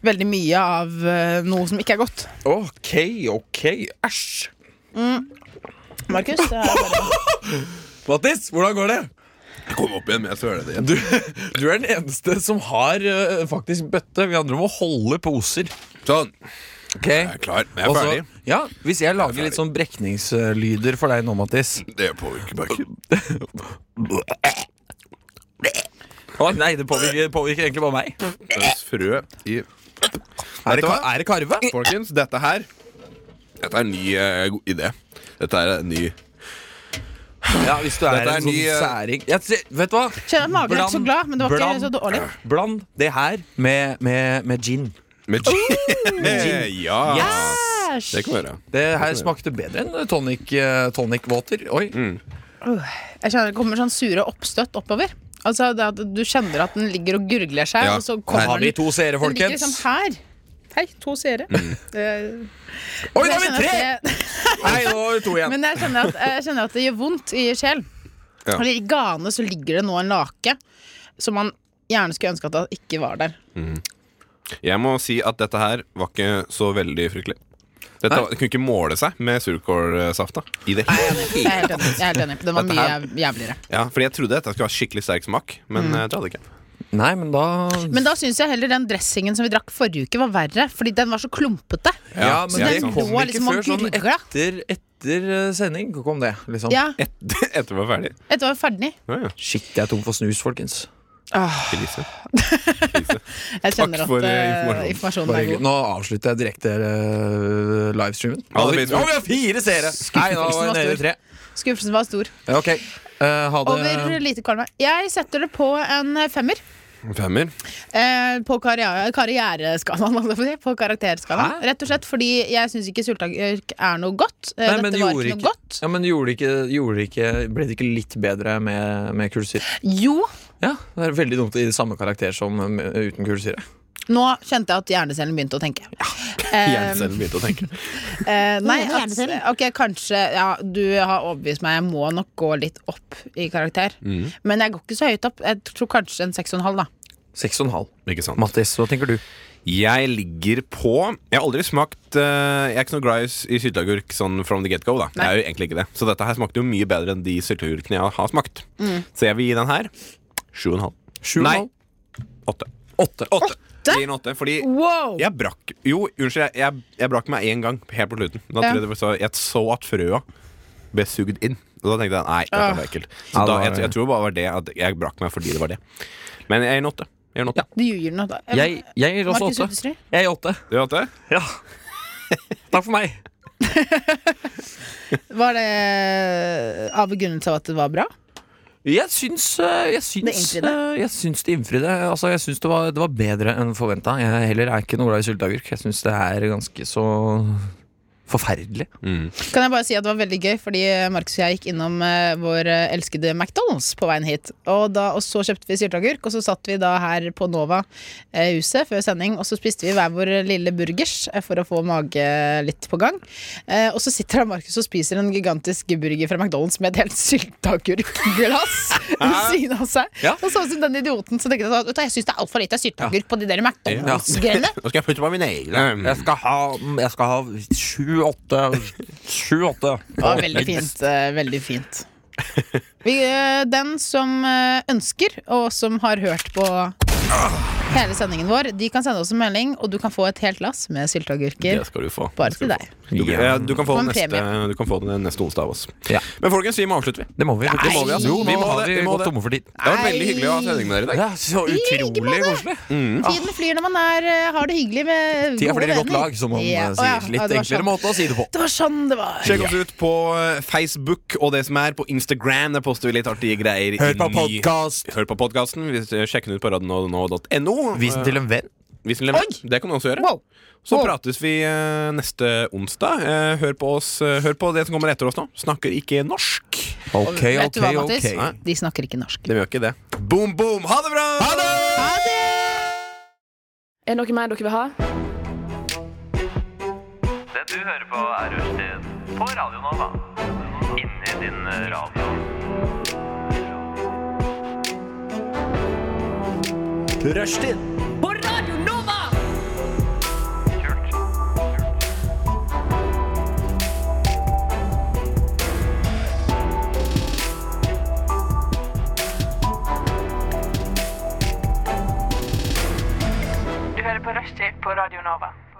[SPEAKER 3] veldig mye av eh, noe som ikke er godt.
[SPEAKER 1] OK, OK. Æsj.
[SPEAKER 3] Markus, det er bare
[SPEAKER 1] Mattis, hvordan går det?
[SPEAKER 2] Jeg kom opp igjen, men jeg søler det igjen.
[SPEAKER 1] Du, du er den eneste som har eh, faktisk bøtte. Vi andre må holde poser.
[SPEAKER 2] Sånn.
[SPEAKER 1] Okay.
[SPEAKER 2] Jeg er klar. Jeg er
[SPEAKER 1] Og så-
[SPEAKER 2] ferdig.
[SPEAKER 1] Ja, Hvis jeg lager litt sånn brekningslyder for deg nå, Mattis
[SPEAKER 2] Det påvirker meg ikke.
[SPEAKER 1] Å, Nei, det påvirker, påvirker egentlig bare meg.
[SPEAKER 2] Løs Frø i
[SPEAKER 1] Er
[SPEAKER 2] Vet
[SPEAKER 1] det, ka-
[SPEAKER 2] du hva?
[SPEAKER 1] er det karve?
[SPEAKER 2] Folkens, dette her Dette er en ny eh, god idé. Dette er en ny
[SPEAKER 1] Ja, hvis du er,
[SPEAKER 2] Dette er
[SPEAKER 1] en sånn
[SPEAKER 2] ny, eh,
[SPEAKER 1] særing jeg, ser- Vet du hva?
[SPEAKER 3] Kjenner at magen er ikke så
[SPEAKER 1] Bland-
[SPEAKER 3] glad, men det var ikke
[SPEAKER 1] bland-
[SPEAKER 3] så dårlig.
[SPEAKER 1] Bland det her med, med, med gin.
[SPEAKER 2] Med gin. *laughs* ja.
[SPEAKER 3] Æsj!
[SPEAKER 2] Det kan vi gjøre.
[SPEAKER 1] Det her smakte bedre enn tonic, eh, tonic water. Oi.
[SPEAKER 3] Jeg kjenner det kommer sånn sure oppstøtt oppover. Altså det at Du kjenner at den ligger og gurgler seg,
[SPEAKER 2] Ja.
[SPEAKER 3] og så
[SPEAKER 1] Her har
[SPEAKER 3] kommer
[SPEAKER 1] vi
[SPEAKER 3] den.
[SPEAKER 1] to seere,
[SPEAKER 3] Den ligger liksom
[SPEAKER 1] folkens. Mm.
[SPEAKER 3] her. Hei, to seere. Eh,
[SPEAKER 1] Oi, nå
[SPEAKER 3] men jeg
[SPEAKER 1] er vi
[SPEAKER 3] kjenner
[SPEAKER 1] tre!
[SPEAKER 3] at det-
[SPEAKER 1] Nei, nå er vi to igjen.
[SPEAKER 3] Men jeg kjenner, at, jeg kjenner at det gjør vondt i sjel.
[SPEAKER 2] Ja.
[SPEAKER 3] Eller I gane så ligger det nå en lake som man gjerne skulle ønske at det ikke var der.
[SPEAKER 2] Jeg må si at dette her var ikke så veldig fryktelig. Dette var, det kunne ikke måle seg med surkålsafta. I det hele
[SPEAKER 3] Jeg er helt enig. Jeg er helt enig. Den var
[SPEAKER 2] Dette
[SPEAKER 3] mye
[SPEAKER 2] her-
[SPEAKER 3] jæv- jævligere.
[SPEAKER 2] Ja, Fordi jeg trodde dette skulle ha skikkelig sterk smak, men
[SPEAKER 3] Mm.
[SPEAKER 2] eh, det hadde det ikke. *laughs*
[SPEAKER 1] Nei, men da
[SPEAKER 3] Men da syns jeg heller den dressingen som vi drakk forrige uke, var verre. Fordi den var så klumpete.
[SPEAKER 1] Ja, men
[SPEAKER 2] Ja,
[SPEAKER 1] det
[SPEAKER 2] sant.
[SPEAKER 1] kom
[SPEAKER 3] Det var
[SPEAKER 1] ikke
[SPEAKER 3] liksom
[SPEAKER 1] før
[SPEAKER 3] man
[SPEAKER 1] sånn
[SPEAKER 3] gurgla.
[SPEAKER 1] etter, etter eh, sending. Kom det, liksom.
[SPEAKER 3] Ja,
[SPEAKER 2] Etter, etter vi var ferdig.
[SPEAKER 3] Etter å være ferdig.
[SPEAKER 2] Ja, ja.
[SPEAKER 1] Shit, jeg er tom for snus, folkens.
[SPEAKER 2] Elise.
[SPEAKER 3] Jeg kjenner
[SPEAKER 2] Takk for,
[SPEAKER 3] at eh,
[SPEAKER 2] eh, informasjonen.
[SPEAKER 3] informasjonen
[SPEAKER 1] Bare
[SPEAKER 3] er god.
[SPEAKER 1] hyggelig. Nå avslutter jeg direkte eh, livestreamen.
[SPEAKER 2] Ha
[SPEAKER 1] Å,
[SPEAKER 2] det
[SPEAKER 1] vi-
[SPEAKER 2] fint.
[SPEAKER 1] å, vi har fire seere! Nei, nå var
[SPEAKER 3] Skuffelsen
[SPEAKER 1] jeg
[SPEAKER 3] var
[SPEAKER 1] nede i tre.
[SPEAKER 3] Skuffelsen var stor.
[SPEAKER 1] Ja, ok. Eh, ha det.
[SPEAKER 3] Over lite kvalme. Jeg setter det på en *laughs* femmer.
[SPEAKER 2] Femmer.
[SPEAKER 3] Eh, på karriere- karriereskalaen, holdt jeg på å si. På karakterskalaen.
[SPEAKER 1] Hæ?
[SPEAKER 3] Rett og slett fordi jeg syns ikke sulteagurk er noe godt. Eh,
[SPEAKER 1] Nei, men
[SPEAKER 3] Dette
[SPEAKER 1] det
[SPEAKER 3] var
[SPEAKER 1] gjorde
[SPEAKER 3] ikke noe
[SPEAKER 1] ikke-
[SPEAKER 3] godt.
[SPEAKER 1] Ja, men gjorde det ikke, gjorde det ikke, ble det ikke litt bedre med, med kullsyre?
[SPEAKER 3] Jo,
[SPEAKER 1] Ja, det er veldig dumt i samme karakter som med, uten kullsyre.
[SPEAKER 3] nå kjente jeg at hjernecellen begynte å tenke.
[SPEAKER 1] *laughs*
[SPEAKER 3] Um.
[SPEAKER 2] Hjernen selv begynte å tenke.
[SPEAKER 3] Eh, nei, at, ok, kanskje ja, Du har overbevist meg. Jeg må nok gå litt opp i karakter.
[SPEAKER 1] Mm.
[SPEAKER 3] Men jeg går ikke så høyt opp. Jeg tror kanskje en seks og en halv, da.
[SPEAKER 1] Seks og en halv.
[SPEAKER 2] Ikke sant.
[SPEAKER 1] Mattis, hva tenker du?
[SPEAKER 2] Jeg ligger på Jeg har aldri smakt eh, Jeg er ikke noe glad i, s- i sylteagurk sånn from the get go. da Jeg er jo egentlig ikke det Så dette her smakte jo mye
[SPEAKER 3] Mm.
[SPEAKER 2] bedre enn de sylteagurkene jeg har smakt. Så jeg vil gi den her sju og en halv.
[SPEAKER 1] Sju og en
[SPEAKER 2] Nei,
[SPEAKER 1] halv?
[SPEAKER 2] Åtte.
[SPEAKER 1] Åtte.
[SPEAKER 2] Åtte. Gir en åtte fordi
[SPEAKER 3] Wow!
[SPEAKER 2] jeg brakk Jo, unnskyld, jeg, jeg, jeg brakk meg én gang helt på slutten. Da
[SPEAKER 3] Ja.
[SPEAKER 2] tror jeg, det var så, jeg så at frøa ble sugd inn. Og da tenkte jeg nei, dette var ekkelt. Så
[SPEAKER 1] Ja, det
[SPEAKER 2] da,
[SPEAKER 1] var-
[SPEAKER 2] jeg, jeg tror bare det var det at jeg brakk meg fordi det var det. Men jeg gir en åtte. Jeg gir en åtte.
[SPEAKER 3] Du ljuger nå, da.
[SPEAKER 1] Jeg, jeg gir også
[SPEAKER 3] Markus
[SPEAKER 1] åtte.
[SPEAKER 3] Uttesrud?
[SPEAKER 1] Jeg gir åtte.
[SPEAKER 2] Du gir åtte?
[SPEAKER 1] Ja. Takk for meg.
[SPEAKER 3] Var det av begrunnelse av at det var bra?
[SPEAKER 1] Jeg syns, eh, jeg syns,
[SPEAKER 3] Det innfridde?
[SPEAKER 1] eh, jeg syns det innfridde. Altså, jeg syns det var, det var bedre enn forventa. Jeg heller er ikke noe glad i sylteagurk. Jeg syns det er ganske så forferdelig.
[SPEAKER 3] Kan jeg bare si at det var veldig gøy, fordi Markus og jeg gikk innom eh, vår eh, elskede McDonald's på veien hit. Og, da, og så kjøpte vi sylteagurk, og så satt vi da her på Nova-huset før sending, og så spiste vi hver vår lille burgers eh, for å få mage litt på gang. Eh, og så sitter da Markus og spiser en gigantisk burger fra McDonald's med et helt sylteagurkglass ved siden av seg.
[SPEAKER 1] Ja.
[SPEAKER 3] Og sånn som den idioten som tenkte sånn, «Vet du hva, jeg syns det er altfor lite sylteagurk på de der McDonald's-greiene.
[SPEAKER 2] Nå skal jeg putte på mine egne.
[SPEAKER 1] Jeg skal ha, jeg skal ha sju-åtte. Sju-åtte.
[SPEAKER 3] Det var veldig fint. eh, Veldig fint. Vi, eh, den som eh, ønsker, og som har hørt på hele sendingen vår, de kan sende oss en melding, og du kan få et helt lass med sylteagurker
[SPEAKER 2] Det skal du få.
[SPEAKER 3] bare til deg.
[SPEAKER 2] Du, ja, du, kan få
[SPEAKER 3] Og
[SPEAKER 2] den
[SPEAKER 3] en
[SPEAKER 2] neste, du kan få den neste onsdag av oss.
[SPEAKER 1] Ja.
[SPEAKER 2] Men folkens, vi må avslutte, vi.
[SPEAKER 1] Det må vi. Det må vi, altså.
[SPEAKER 3] Jo,
[SPEAKER 1] Nå
[SPEAKER 2] vi må
[SPEAKER 1] har
[SPEAKER 2] det,
[SPEAKER 1] vi
[SPEAKER 2] vi må
[SPEAKER 1] gått
[SPEAKER 2] det.
[SPEAKER 1] tomme for tid.
[SPEAKER 5] Det har vært veldig hyggelig å ha sending med dere i dag.
[SPEAKER 1] Det er så utrolig koselig.
[SPEAKER 3] Tiden flyr når man er, eh, har det hyggelig
[SPEAKER 1] Tida
[SPEAKER 3] med
[SPEAKER 1] Mm. Ah. flyr i godt
[SPEAKER 3] venner.
[SPEAKER 1] lag, som man
[SPEAKER 3] Ja,
[SPEAKER 1] eh,
[SPEAKER 3] å ja,
[SPEAKER 1] sier.
[SPEAKER 3] ja,
[SPEAKER 1] Litt
[SPEAKER 3] det var
[SPEAKER 1] enklere
[SPEAKER 3] sånn.
[SPEAKER 1] måte å si det på.
[SPEAKER 3] Det var sånn det var.
[SPEAKER 2] Sjekk oss ut på eh, Facebook og det som er på Instagram. Der poster vi litt artige greier.
[SPEAKER 1] Hør på
[SPEAKER 2] i-
[SPEAKER 1] podkast.
[SPEAKER 2] Hør på podkasten. Sjekk den ut på radionå.no.
[SPEAKER 1] Vis den til en venn.
[SPEAKER 2] Eh, Vis den til en venn. Det kan du også gjøre.
[SPEAKER 3] Wow.
[SPEAKER 2] Så
[SPEAKER 3] Wow.
[SPEAKER 2] prates vi eh, neste onsdag. Eh, Hør på oss eh, Hør på det som kommer etter oss nå. Snakker ikke norsk.
[SPEAKER 1] Ok,
[SPEAKER 3] Vet
[SPEAKER 1] ok,
[SPEAKER 3] du hva, Mattis?
[SPEAKER 1] ok.
[SPEAKER 3] De snakker ikke norsk.
[SPEAKER 2] De gjør ikke det. Boom, boom! Ha det bra!
[SPEAKER 3] Ha det!
[SPEAKER 10] Er det noe mer dere vil ha?
[SPEAKER 11] Det du hører på er Rushtid på Radio Nova. Inni din eh, radio. Rushtid på Radio Nova! Kult.
[SPEAKER 12] Du hører på Rushtid på Radio Nova.